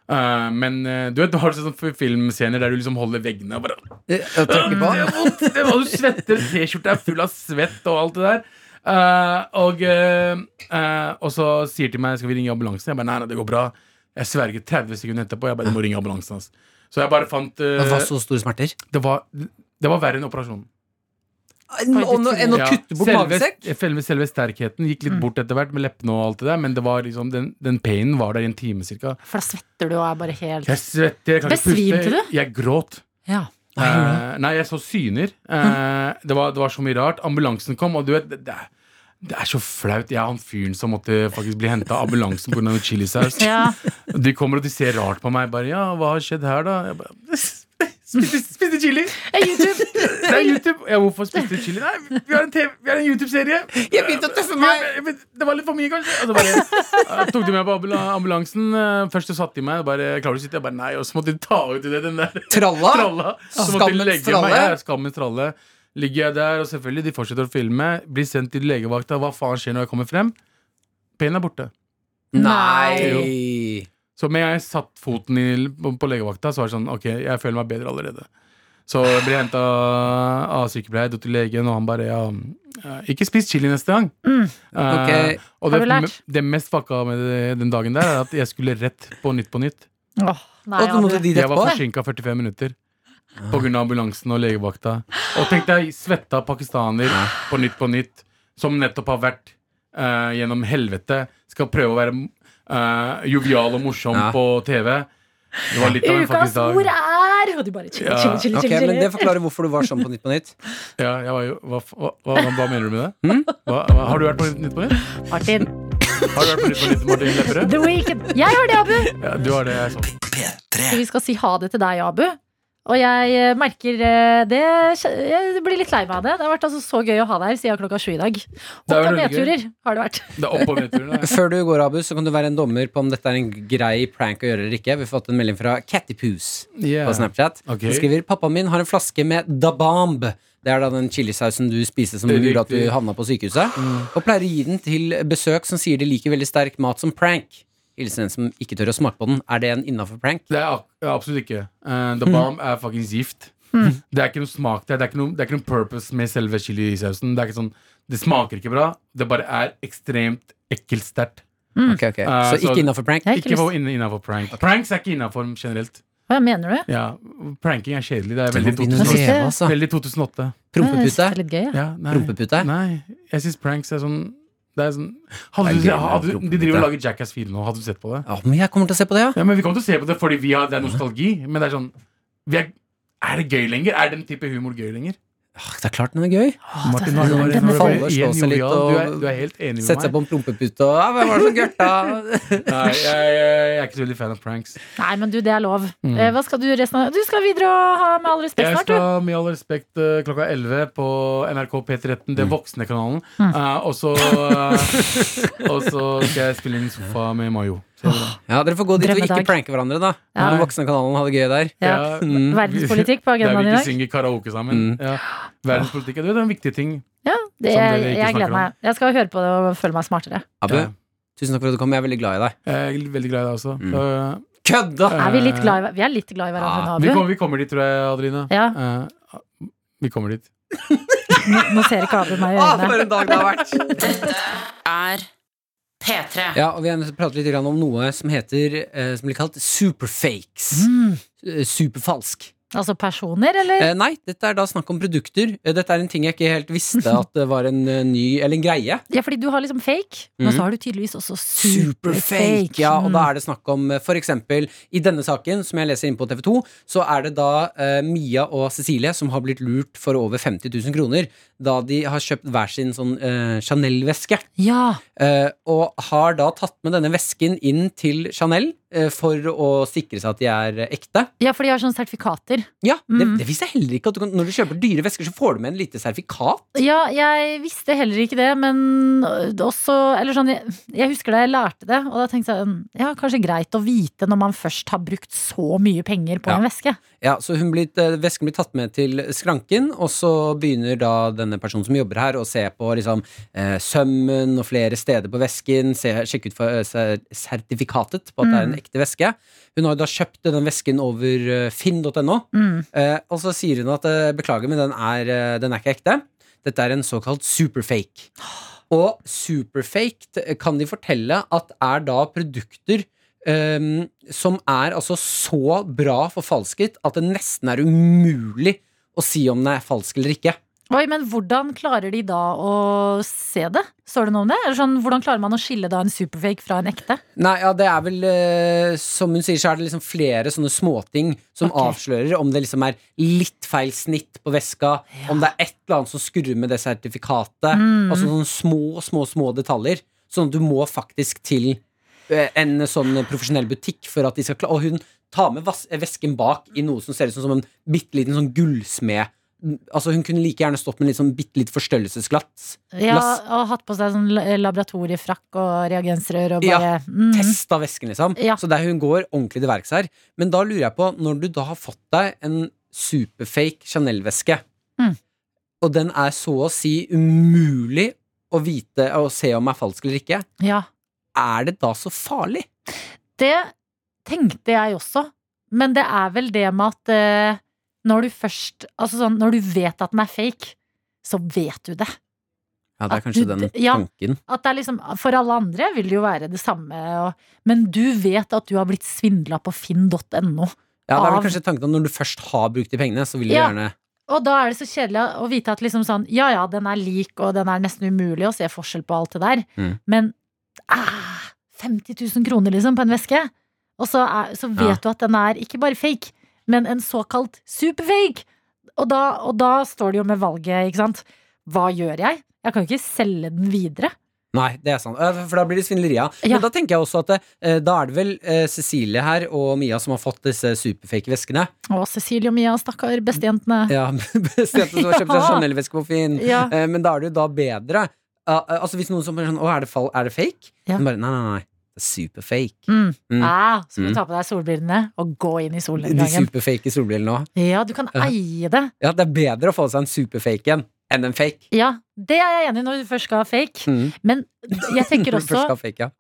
Speaker 7: Eh, men eh, du vet, du har sånne f- filmscener der du liksom holder veggene og bare
Speaker 3: Eh, og trykker
Speaker 7: det
Speaker 3: på.
Speaker 7: er vondt! Det var, du svetter, T-skjorta er full av svett og alt det der. Eh, og, eh, eh, og så sier til meg Skal vi ringe ambulansen. Jeg bare nei, nei, det går bra. Jeg sverger 30 sekunder etterpå. Jeg bare, du må ringe ambulansen ass." Så jeg bare fant eh,
Speaker 3: Det var så store smerter.
Speaker 7: det, var, det var verre enn operasjonen.
Speaker 3: Og nå- Enn å
Speaker 7: Ja,
Speaker 3: kutte bort
Speaker 7: selve-
Speaker 3: magesekk?
Speaker 7: Selve, selve sterkheten gikk litt bort etter hvert med leppene og alt det der, men det var liksom, den, den painen var der i en time cirka.
Speaker 4: For da svetter du og er bare helt
Speaker 7: Jeg svetter, jeg kan ikke
Speaker 4: Besvimte
Speaker 7: puste.
Speaker 4: du?
Speaker 7: Jeg gråt.
Speaker 4: Ja.
Speaker 7: Eh, nei, jeg så syner. Eh, det, var, det var så mye rart. Ambulansen kom, og du vet det, det, er- det er så flaut. Jeg er han fyren som måtte faktisk bli henta av ambulansen pga. chilisaus.
Speaker 4: ja.
Speaker 7: De kommer og de ser rart på meg. Bare, ja, hva har skjedd her, da? Jeg bare, (laughs) spiste, spiste chili!
Speaker 4: YouTube!
Speaker 7: Det er YouTube! Ja, hvorfor spiste du chili? Nei, vi har en, TV vi har en YouTube-serie!
Speaker 3: Jeg begynte å tøffe meg!
Speaker 7: Jeg vet- Det var litt for mye, kanskje. Og så bare, eh, tok de meg på ambula- ambulansen. eh, Først så satte de meg. Bare, klarer du å sitte? Jeg bare nei. Og så måtte de ta ut i det, den der
Speaker 3: Tralla!
Speaker 7: tralla. Så
Speaker 3: Ah,
Speaker 7: måtte de
Speaker 3: Skammens
Speaker 7: legge
Speaker 3: tralle.
Speaker 7: meg. Ja, skammens tralle. Ligger jeg der, og selvfølgelig, de fortsetter å filme. Blir sendt til legevakta. Hva faen skjer når jeg kommer frem? Peinen er borte.
Speaker 3: Nei!
Speaker 7: Så med jeg satt foten i, på legevakta, så var det sånn Ok, jeg føler meg bedre allerede. Så jeg ble henta av sykepleier, dro til legen, og han bare ja, eh, Ikke spis chili neste gang. Eh,
Speaker 3: Ok.
Speaker 7: og
Speaker 4: Mm. Har
Speaker 7: det,
Speaker 4: du lært?
Speaker 7: det mest fucka med det- den dagen der, er at jeg skulle rett på Nytt på Nytt.
Speaker 4: (laughs) Åh, nei,
Speaker 3: Og du måtte
Speaker 4: Adrian.
Speaker 3: dit
Speaker 7: Jeg var
Speaker 3: etterpå?
Speaker 7: forsinka 45 minutter. På grunn av ambulansen og legevakta. Og tenk deg svetta pakistaner på Nytt på Nytt, som nettopp har vært eh, gjennom helvete, skal prøve å være eh, jovial og morsom
Speaker 3: Ja.
Speaker 7: på TV. Det var litt av en
Speaker 4: Ukas
Speaker 7: faktisk
Speaker 4: ord
Speaker 7: dag.
Speaker 4: er Og de bare chili,
Speaker 7: Ja.
Speaker 4: chili, chili.
Speaker 3: Ok,
Speaker 4: chili,
Speaker 3: men
Speaker 4: chili.
Speaker 3: Det forklarer hvorfor du var sånn på Nytt på Nytt.
Speaker 7: Ja, jeg var jo, hva, hva, hva, hva mener du med det? Hva, hva, har du vært på Nytt på Nytt?
Speaker 4: Martin,
Speaker 7: Har du vært på Nytt på Nytt, Martin Lepperød?
Speaker 4: The Weekend. Jeg har det, Abu!
Speaker 7: (laughs) Ja, du har det, jeg så.
Speaker 4: Så vi skal si ha det til deg, Abu. Og jeg eh, merker eh, det Jeg blir litt lei meg av det. Det har vært altså så gøy å ha deg her siden klokka sju i dag.
Speaker 7: har
Speaker 4: Opp- og
Speaker 7: vært veldig gøy.
Speaker 4: nedturer har det vært.
Speaker 7: Det er opp på nedturene.
Speaker 3: Før du går, Abu, så kan du være en dommer på om dette er en grei prank å gjøre eller ikke. Vi har fått en melding fra Cattypoose. på
Speaker 7: Yeah.
Speaker 3: Snapchat.
Speaker 7: Ok.
Speaker 3: Hun skriver pappaen min har en flaske med dabamb. Det er da den chilisausen du spiste som
Speaker 7: Det er
Speaker 3: gjorde at du
Speaker 7: riktig. Mm.
Speaker 3: havna på sykehuset. Og pleier å gi den til besøk som sier de liker veldig sterk mat som prank. Hilsen en som ikke tør å smake på den. Er det en innafor prank?
Speaker 7: Det er ak- ja, absolutt ikke. Eh, the bomb er fuckings gift. Det er ikke noe smak der. Det er ikke noe, det er ikke noe purpose med selve chilisausen. Det, er ikke sånn, det smaker ikke bra. Det bare er ekstremt ekkelt sterkt.
Speaker 4: Mm.
Speaker 3: Ok, ok.
Speaker 7: Eh,
Speaker 3: Så
Speaker 7: så-
Speaker 3: ikke innafor prank?
Speaker 4: Jeg har ikke
Speaker 7: Ikke
Speaker 4: lyst.
Speaker 7: på- inne- innenfor prank. Pranks er ikke innafor generelt.
Speaker 4: Hva mener du?
Speaker 7: Ja, Pranking er kjedelig. Det er
Speaker 3: Du må
Speaker 7: veldig
Speaker 3: begynne å
Speaker 7: 2008.
Speaker 3: leve, altså.
Speaker 7: Veldig
Speaker 4: Jeg
Speaker 7: 2008.
Speaker 4: synes det
Speaker 3: Prompepute.
Speaker 4: er litt gøy, ja.
Speaker 7: Ja, nei.
Speaker 3: Rumpepute?
Speaker 7: Nei, jeg syns pranks er sånn det er sånn, hadde
Speaker 2: Det
Speaker 7: du,
Speaker 2: er gøy med
Speaker 7: hadde, du- de
Speaker 2: rumpepute.
Speaker 7: driver og lager Jackass 4 nå. Hadde du sett på det?
Speaker 3: Ja, men jeg kommer til å se på det, ja.
Speaker 7: Ja, men Vi kommer til å se på det fordi vi har, det er nostalgi. Men det er sånn vi er, er det gøy lenger? Er den type humor gøy lenger?
Speaker 3: Ah, Det er klart den er gøy.
Speaker 4: Åh, det
Speaker 7: Martin, nå
Speaker 4: er-
Speaker 7: er
Speaker 3: den
Speaker 7: det bare- nå er det bare
Speaker 3: faller, slå
Speaker 7: igjen
Speaker 3: seg litt
Speaker 7: jovial.
Speaker 3: og-
Speaker 7: Du er- Du er helt enig med
Speaker 3: Sette seg
Speaker 7: meg.
Speaker 3: på en prompepute og ah, Hvem var det som
Speaker 7: (laughs)
Speaker 3: gørta?
Speaker 7: Nei, jeg, jeg, jeg er ikke så veldig fan av pranks.
Speaker 4: Nei, men du, det er lov.
Speaker 7: Mm.
Speaker 4: Eh, Hva skal du resten av Du skal videre og ha Med all respekt
Speaker 7: Jeg
Speaker 4: snart, du.
Speaker 7: skal med all respekt eh, klokka 11 på NRK P13, det voksne kanalen. Eh, og så eh, Og så skal jeg spille inn sofa med Mayo. Så,
Speaker 3: Ja, dere får gå dit og ikke
Speaker 4: Drømmedag.
Speaker 3: pranke hverandre, da.
Speaker 4: Ja.
Speaker 3: Den voksne kanalen har det gøy der.
Speaker 4: Ja.
Speaker 3: Mm.
Speaker 4: Verdenspolitikk på
Speaker 7: Der vi
Speaker 4: agendaen i
Speaker 7: ikke
Speaker 4: dag.
Speaker 7: synger karaoke sammen.
Speaker 3: Mm.
Speaker 7: Ja. Verdenspolitikk du vet, det er en viktig ting.
Speaker 4: Ja, det,
Speaker 7: Som dere
Speaker 4: jeg, jeg
Speaker 7: ikke snakker
Speaker 4: gleder
Speaker 7: om.
Speaker 4: meg. Jeg skal høre på det og føle meg smartere.
Speaker 3: Abu,
Speaker 7: Ja.
Speaker 3: Tusen takk for at du kom, jeg er veldig glad i deg.
Speaker 7: Jeg er veldig glad i deg også.
Speaker 3: Mm.
Speaker 7: Så,
Speaker 3: Kødda!
Speaker 7: eh,
Speaker 4: Er vi, litt glad i, hver- vi er litt glad i hverandre nå,
Speaker 7: vi
Speaker 4: Abu.
Speaker 7: kommer, vi kommer dit, tror jeg, Adelina. Eh, vi kommer dit.
Speaker 4: Nå, nå ser ikke Abu
Speaker 7: (laughs)
Speaker 4: meg i
Speaker 3: Ah,
Speaker 4: øynene.
Speaker 3: for en dag det har vært!
Speaker 6: Er P3.
Speaker 3: Ja, og vi er nødt til å prate litt grann om noe som heter eh, Som blir kalt superfakes.
Speaker 4: Mm.
Speaker 3: Eh, Superfalsk.
Speaker 4: Altså personer, eller?
Speaker 3: Eh, nei, dette er da snakk om produkter. Eh, dette er en ting jeg ikke helt visste at det var en eh, ny Eller en greie.
Speaker 4: Ja, fordi du har liksom fake, men
Speaker 3: Mhm.
Speaker 7: Mm.
Speaker 4: så har du tydeligvis også superfake.
Speaker 3: Superfake! Ja, og da
Speaker 4: Mm.
Speaker 3: er det snakk om eh, for eksempel I denne saken, som jeg leser inn på TV2, så er det da eh, Mia og Cecilie som har blitt lurt for over 50 000 kroner da de har kjøpt hver sin sånn eh, Chanel-veske.
Speaker 4: Mm. Ja,
Speaker 3: Eh, og har da tatt med denne vesken inn til Chanel eh, for å sikre seg at de er eh, ekte.
Speaker 4: ja, for de har sånne sertifikater.
Speaker 3: Ja,
Speaker 4: Mm.
Speaker 3: det, det visste jeg heller ikke. At du kan, når du kjøper dyre vesker, så får du med en lite sertifikat.
Speaker 4: Ja, jeg visste heller ikke det, men også Eller sånn, jeg, jeg husker da jeg lærte det, og da tenkte jeg mm, ja, kanskje greit å vite når man først har brukt så mye penger på
Speaker 3: Ja.
Speaker 4: en veske.
Speaker 3: Ja, så hun blir, eh, Vesken blir tatt med til skranken, og så begynner da denne personen som jobber her, å se på liksom, eh, sømmen og flere steder på vesken, se, sjekke ut for, eh, ser- sertifikatet på at det er en ekte veske. Hun har jo da kjøpt den vesken over eh, finn.no,
Speaker 4: Mm.
Speaker 3: eh, og så sier hun at eh, beklager, men den er, eh, den er ikke ekte. Dette er en såkalt superfake. Og superfaked eh, kan de fortelle at er da produkter ehm, som er altså så bra forfalsket at det nesten er umulig å si om den er falsk eller ikke.
Speaker 4: Oi, men hvordan klarer de da å se det? Står det noe om det? Eller sånn, hvordan klarer man å skille da en superfake fra en ekte?
Speaker 3: Nei, ja, det er vel eh, Som hun sier, så er det liksom flere sånne småting som
Speaker 4: Ok.
Speaker 3: avslører om det liksom er litt feil snitt på veska, om det er et eller annet som skurrer med det sertifikatet.
Speaker 4: Mm.
Speaker 3: Altså sånne små, små, små detaljer. Sånn at du må faktisk til eh, en sånn profesjonell butikk for at de skal klare Og hun tar med vas vesken bak i noe som ser ut som en bitte liten sånn gullsmed. Altså Hun kunne like gjerne stått med litt sånn bitte litt forstørrelsesglatt.
Speaker 4: Ja,
Speaker 3: Lass-
Speaker 4: og hatt på seg sånn la- laboratoriefrakk og reagensrør og
Speaker 3: Ja,
Speaker 4: bare mm.
Speaker 3: test av væsken, liksom.
Speaker 4: Ja.
Speaker 3: Så der hun går ordentlig til verks her. Men da lurer jeg på, når du da har fått deg en superfake Chanel-veske,
Speaker 4: Mm.
Speaker 3: og den er så å si umulig å vite og se om er falsk eller ikke,
Speaker 4: Ja.
Speaker 3: er det da så farlig?
Speaker 4: Det tenkte jeg også, men det er vel det med at eh, når du først Altså sånn, når du vet at den er fake, så vet du det.
Speaker 3: Ja,
Speaker 4: det er At kanskje du- den ja.
Speaker 3: tanken.
Speaker 4: At det er liksom, For alle andre vil det jo være det samme, og, men du vet at du har blitt svindla på finn.no.
Speaker 3: Ja, det er vel
Speaker 4: Av-
Speaker 3: kanskje tanken at når du først har brukt de pengene, så vil du
Speaker 4: Ja.
Speaker 3: gjerne
Speaker 4: Og da er det så kjedelig å vite at liksom sånn, ja ja, den er lik, og den er nesten umulig å se forskjell på alt det der.
Speaker 3: Mm.
Speaker 4: Men ah, 50 000 kroner liksom på en veske! Og så, er, så vet
Speaker 3: Ja.
Speaker 4: du at den er ikke bare fake, men en såkalt superfake! Og da, og da står det jo med valget, ikke sant. Hva gjør jeg? Jeg kan jo ikke selge den videre.
Speaker 3: Nei, det er sant. Eh, For da blir det svindleria.
Speaker 4: Ja.
Speaker 3: Men da tenker jeg også at eh, da er det vel eh, Cecilie her og Mia som har fått disse superfake veskene.
Speaker 4: Å, Cecilie og Mia, stakkar, bestejentene.
Speaker 3: Ja, (laughs) bestemt som har kjøpt
Speaker 4: (laughs)
Speaker 3: seg
Speaker 4: Ja.
Speaker 3: Chanel-veske på Finn.
Speaker 4: Ja.
Speaker 3: Eh, Men da er det jo da bedre. Ah, eh, altså Hvis noen som bare sånn Å, er det, fall, er det fake?
Speaker 4: Ja.
Speaker 3: Men bare, nei, nei, nei. Det er superfake.
Speaker 4: Mm.
Speaker 3: Mm.
Speaker 4: Ah, så kan
Speaker 3: Mm.
Speaker 4: du ta på deg solbrillene og gå inn i
Speaker 3: De
Speaker 4: solnedgangen.
Speaker 3: superfake solbrillene òg.
Speaker 4: Ja, du kan
Speaker 3: Ja.
Speaker 4: eie det.
Speaker 3: Ja, det er bedre å få seg en superfake en enn en fake.
Speaker 4: Ja, det er jeg enig i når du først skal ha fake.
Speaker 3: Mm.
Speaker 4: Men jeg tenker
Speaker 3: Når (laughs) du først
Speaker 4: også
Speaker 3: skal ha fake, ja.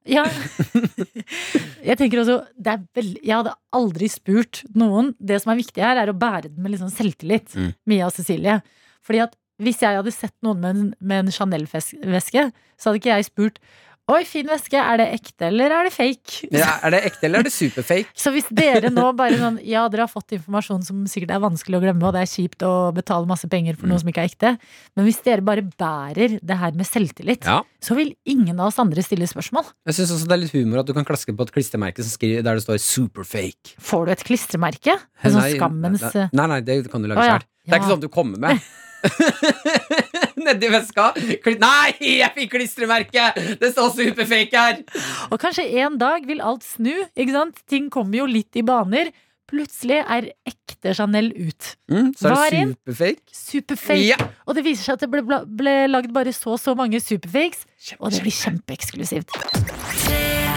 Speaker 4: ja, Jeg tenker også det er vel, Jeg hadde aldri spurt noen. Det som er viktig her, er å bære den med litt sånn selvtillit.
Speaker 3: Mm.
Speaker 4: Mia og Cecilie. Fordi at hvis jeg hadde sett noen med en, med en Chanel-veske, så hadde ikke jeg spurt Oi, fin veske. Er det ekte, eller er det fake?
Speaker 3: ja. Er det ekte, eller er det
Speaker 4: (laughs)
Speaker 3: superfake?
Speaker 4: Så hvis dere nå bare sånn Ja, dere har fått informasjon som sikkert er vanskelig å glemme, og det er kjipt å betale masse penger for
Speaker 3: Mm.
Speaker 4: noe som ikke er ekte, men hvis dere bare bærer det her med selvtillit,
Speaker 3: Ja.
Speaker 4: så vil ingen av oss andre stille spørsmål.
Speaker 3: Jeg syns også det er litt humor at du kan klaske på et klistremerke som skriver, der det står 'superfake'.
Speaker 4: Får du et klistremerke? En sånn skammens
Speaker 3: nei, nei, nei, det kan du lage
Speaker 4: Å, ja.
Speaker 3: sjøl. Det er ikke
Speaker 4: Ja.
Speaker 3: sånn du kommer med. (laughs) Nedi veska. Kli- Nei, jeg fikk klistremerke! Det står superfake her!
Speaker 4: Og kanskje en dag vil alt snu, ikke sant? Ting kommer jo litt i baner. Plutselig er ekte Chanel ut.
Speaker 3: Mm, så er det
Speaker 4: Varin.
Speaker 3: superfake.
Speaker 4: Superfake.
Speaker 3: Ja.
Speaker 4: Og det viser seg at det ble, bla- ble lagd bare så og så mange superfakes, og det blir kjempeeksklusivt.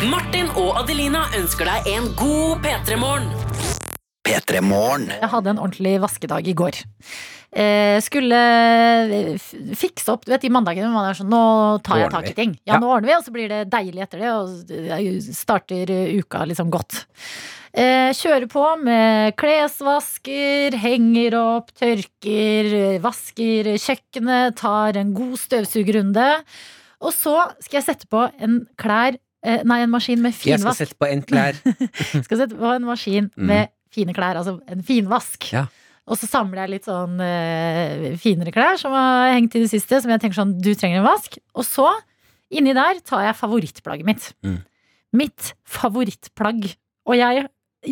Speaker 6: Martin og Adelina ønsker deg en god P3-morgen.
Speaker 4: Jeg hadde en ordentlig vaskedag i går. Eh, skulle eh, f- fikse opp Du vet de mandagene hvor man er sånn Nå tar
Speaker 3: Nå
Speaker 4: jeg
Speaker 3: ordner
Speaker 4: tak i
Speaker 3: vi.
Speaker 4: ting. Ja,
Speaker 3: Ja.
Speaker 4: nå ordner vi, og så blir det deilig etter det, og jeg starter eh, uka liksom godt. Eh, kjører på med klesvasker, henger opp, tørker, eh, vasker kjøkkenet, tar en god støvsugerrunde. Og så skal jeg sette på en klær eh, Nei, en maskin med
Speaker 3: Jeg skal
Speaker 4: finvask.
Speaker 3: sette på en klær.
Speaker 4: (laughs) Skal sette på en maskin med fine klær, altså en finvask.
Speaker 3: Mm. Ja.
Speaker 4: Og så samler jeg litt sånn eh, finere klær som har hengt i det siste, som jeg tenker sånn, du trenger en vask. Og så, inni der, tar jeg favorittplagget mitt.
Speaker 3: Mm.
Speaker 4: Mitt favorittplagg. Og jeg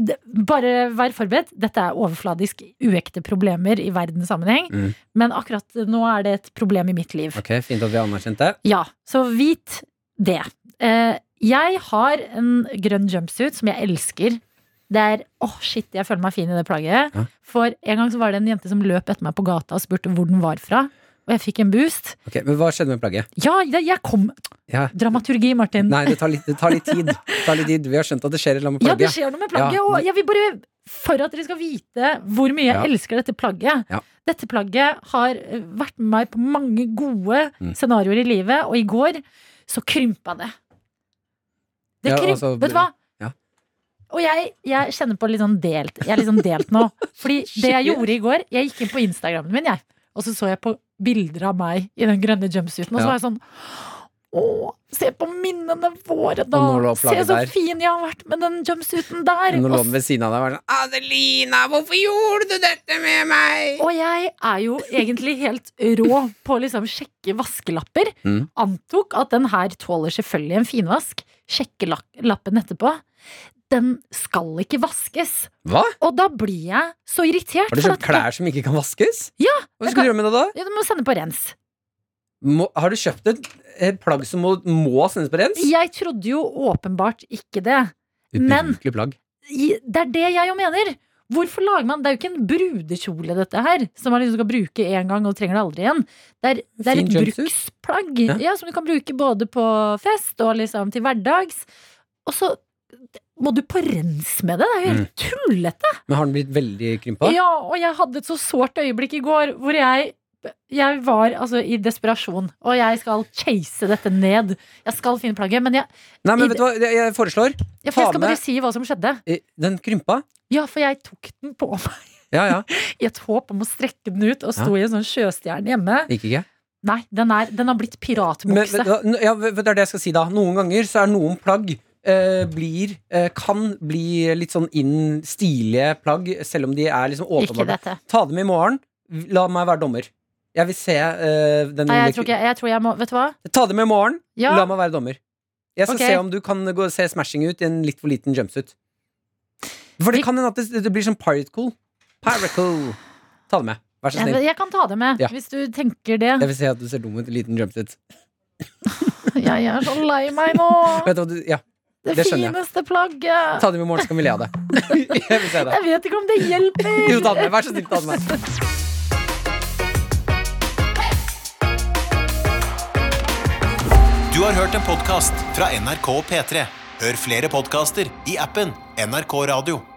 Speaker 4: det- Bare vær forberedt, dette er overfladisk uekte problemer i verdenssammenheng,
Speaker 3: Mm.
Speaker 4: men akkurat nå er det et problem i mitt liv.
Speaker 3: Ok, Fint at vi anerkjente det.
Speaker 4: Ja, så vit det. Eh, jeg har en grønn jumpsuit som jeg elsker. Det er åh shit, jeg føler meg fin i det plagget.
Speaker 3: Ja.
Speaker 4: For en gang så var det en jente som løp etter meg på gata og spurte hvor den var fra. Og jeg fikk en boost.
Speaker 3: Ok, Men hva skjedde med plagget?
Speaker 4: Ja, jeg, jeg kom!
Speaker 3: Ja.
Speaker 4: Dramaturgi, Martin.
Speaker 3: Nei, det tar litt, det tar litt tid. Det tar litt tid. Vi har skjønt at det skjer et eller annet med
Speaker 4: Ja, det
Speaker 3: plagget.
Speaker 4: skjer noe med plagget.
Speaker 3: Ja.
Speaker 4: Og jeg vil bare, for at dere skal vite hvor mye jeg
Speaker 3: Ja.
Speaker 4: elsker dette plagget
Speaker 3: Ja.
Speaker 4: Dette plagget har eh, vært med meg på mange gode
Speaker 3: Mm.
Speaker 4: scenarioer i livet, og i går så krympa det. Det
Speaker 3: Ja,
Speaker 4: krymp...
Speaker 3: altså,
Speaker 4: Vet du hva?
Speaker 3: ja.
Speaker 4: Og jeg, jeg kjenner på litt sånn delt. Jeg er litt sånn delt nå. Fordi det jeg gjorde i går Jeg gikk inn på Instagrammen min, jeg. Og så så jeg på bilder av meg i den grønne jumpsuiten, og
Speaker 3: Ja.
Speaker 4: så var jeg sånn å, se på minnene våre, da!
Speaker 3: Og nå lå
Speaker 4: Se
Speaker 3: plagget
Speaker 4: så
Speaker 3: der.
Speaker 4: fin jeg har vært med den jumpsuiten der!
Speaker 3: Når
Speaker 4: Og,
Speaker 3: lå den ved siden av deg og var sånn Adelina, hvorfor gjorde du dette med meg?
Speaker 4: og jeg er jo egentlig helt rå på å liksom sjekke vaskelapper.
Speaker 3: Mm.
Speaker 4: Antok at den her tåler selvfølgelig en finvask. Sjekke lak- lappen etterpå. Den skal ikke vaskes!
Speaker 3: Hva?
Speaker 4: Og da blir jeg så irritert.
Speaker 3: Har du
Speaker 4: for
Speaker 3: kjøpt
Speaker 4: at-
Speaker 3: klær som ikke kan vaskes?
Speaker 4: Ja,
Speaker 3: Hva skal du gjøre med det da?
Speaker 4: Ja, Du må sende på rens.
Speaker 3: Må, har du kjøpt et, et plagg som må, må sendes på rens?
Speaker 4: Jeg trodde jo åpenbart ikke det. men-
Speaker 3: Ubrukelig plagg.
Speaker 4: i- Det er det jeg jo mener. Hvorfor lager man Det er jo ikke en brudekjole, dette her, som man liksom skal bruke én gang og trenger det aldri igjen. Det er, det er
Speaker 3: Fin
Speaker 4: et
Speaker 3: jumpsuit.
Speaker 4: bruksplagg ja.
Speaker 3: Ja.
Speaker 4: som du kan bruke både på fest og liksom til hverdags. Og så må du på rens med det! Det er jo
Speaker 3: Mm.
Speaker 4: helt tullete!
Speaker 3: Men har den blitt veldig krympa?
Speaker 4: Ja, og jeg hadde et så sårt øyeblikk i går hvor jeg jeg var altså i desperasjon, og jeg skal chase dette ned. Jeg skal finne plagget, men jeg,
Speaker 3: Nei,
Speaker 4: i-
Speaker 3: men vet du hva, jeg, jeg foreslår
Speaker 4: jeg,
Speaker 3: Ta
Speaker 4: jeg skal
Speaker 3: med-
Speaker 4: bare si hva som skjedde.
Speaker 3: eh, Den krympa?
Speaker 4: Ja, for jeg tok den på meg.
Speaker 3: Ja, ja.
Speaker 4: i et håp om å strekke den ut, og sto i en sånn sjøstjerne hjemme.
Speaker 3: Gikk ikke.
Speaker 4: Nei, den, er, den har blitt
Speaker 3: Men, vet
Speaker 4: piratbukse.
Speaker 3: du hva, n- ja, vet du, det er det jeg skal si da. Noen ganger så er noen plagg eh, blir, eh, kan bli litt sånn inn stilige plagg, selv om de er liksom
Speaker 4: Ikke
Speaker 3: åpenbare.
Speaker 4: dette.
Speaker 3: Ta dem i morgen. La meg være dommer. Jeg vil se eh, den
Speaker 4: Nei,
Speaker 3: lille
Speaker 4: jeg tror ikke jeg, tror jeg må Vet du hva?
Speaker 3: kry- Ta dem i morgen.
Speaker 4: Ja,
Speaker 3: La meg være dommer. Jeg skal
Speaker 4: Ok.
Speaker 3: se om du kan gå, se smashing ut i en litt for liten jumpsuit. For det
Speaker 4: Vi-
Speaker 3: kan hende at det, det blir sånn pirate cool. Pirate cool. Ta det med. Vær så
Speaker 4: jeg,
Speaker 3: snill.
Speaker 4: jeg kan ta det med,
Speaker 3: Ja.
Speaker 4: hvis du tenker det.
Speaker 3: Jeg vil se at du ser dum ut i liten jumpsuit.
Speaker 4: (laughs) Jeg er så lei meg nå!
Speaker 3: Vet du hva du Ja,
Speaker 4: Det,
Speaker 3: det skjønner jeg.
Speaker 4: fineste plagget!
Speaker 3: ta dem i morgen, så kan vi le av det. (laughs) Jeg vil se det.
Speaker 4: Jeg vet ikke om det hjelper!
Speaker 3: Jo, ta det med. Vær så snill, ta det med.
Speaker 1: Du har hørt en podcast fra NRK P3. Hør flere podcaster i appen NRK Radio.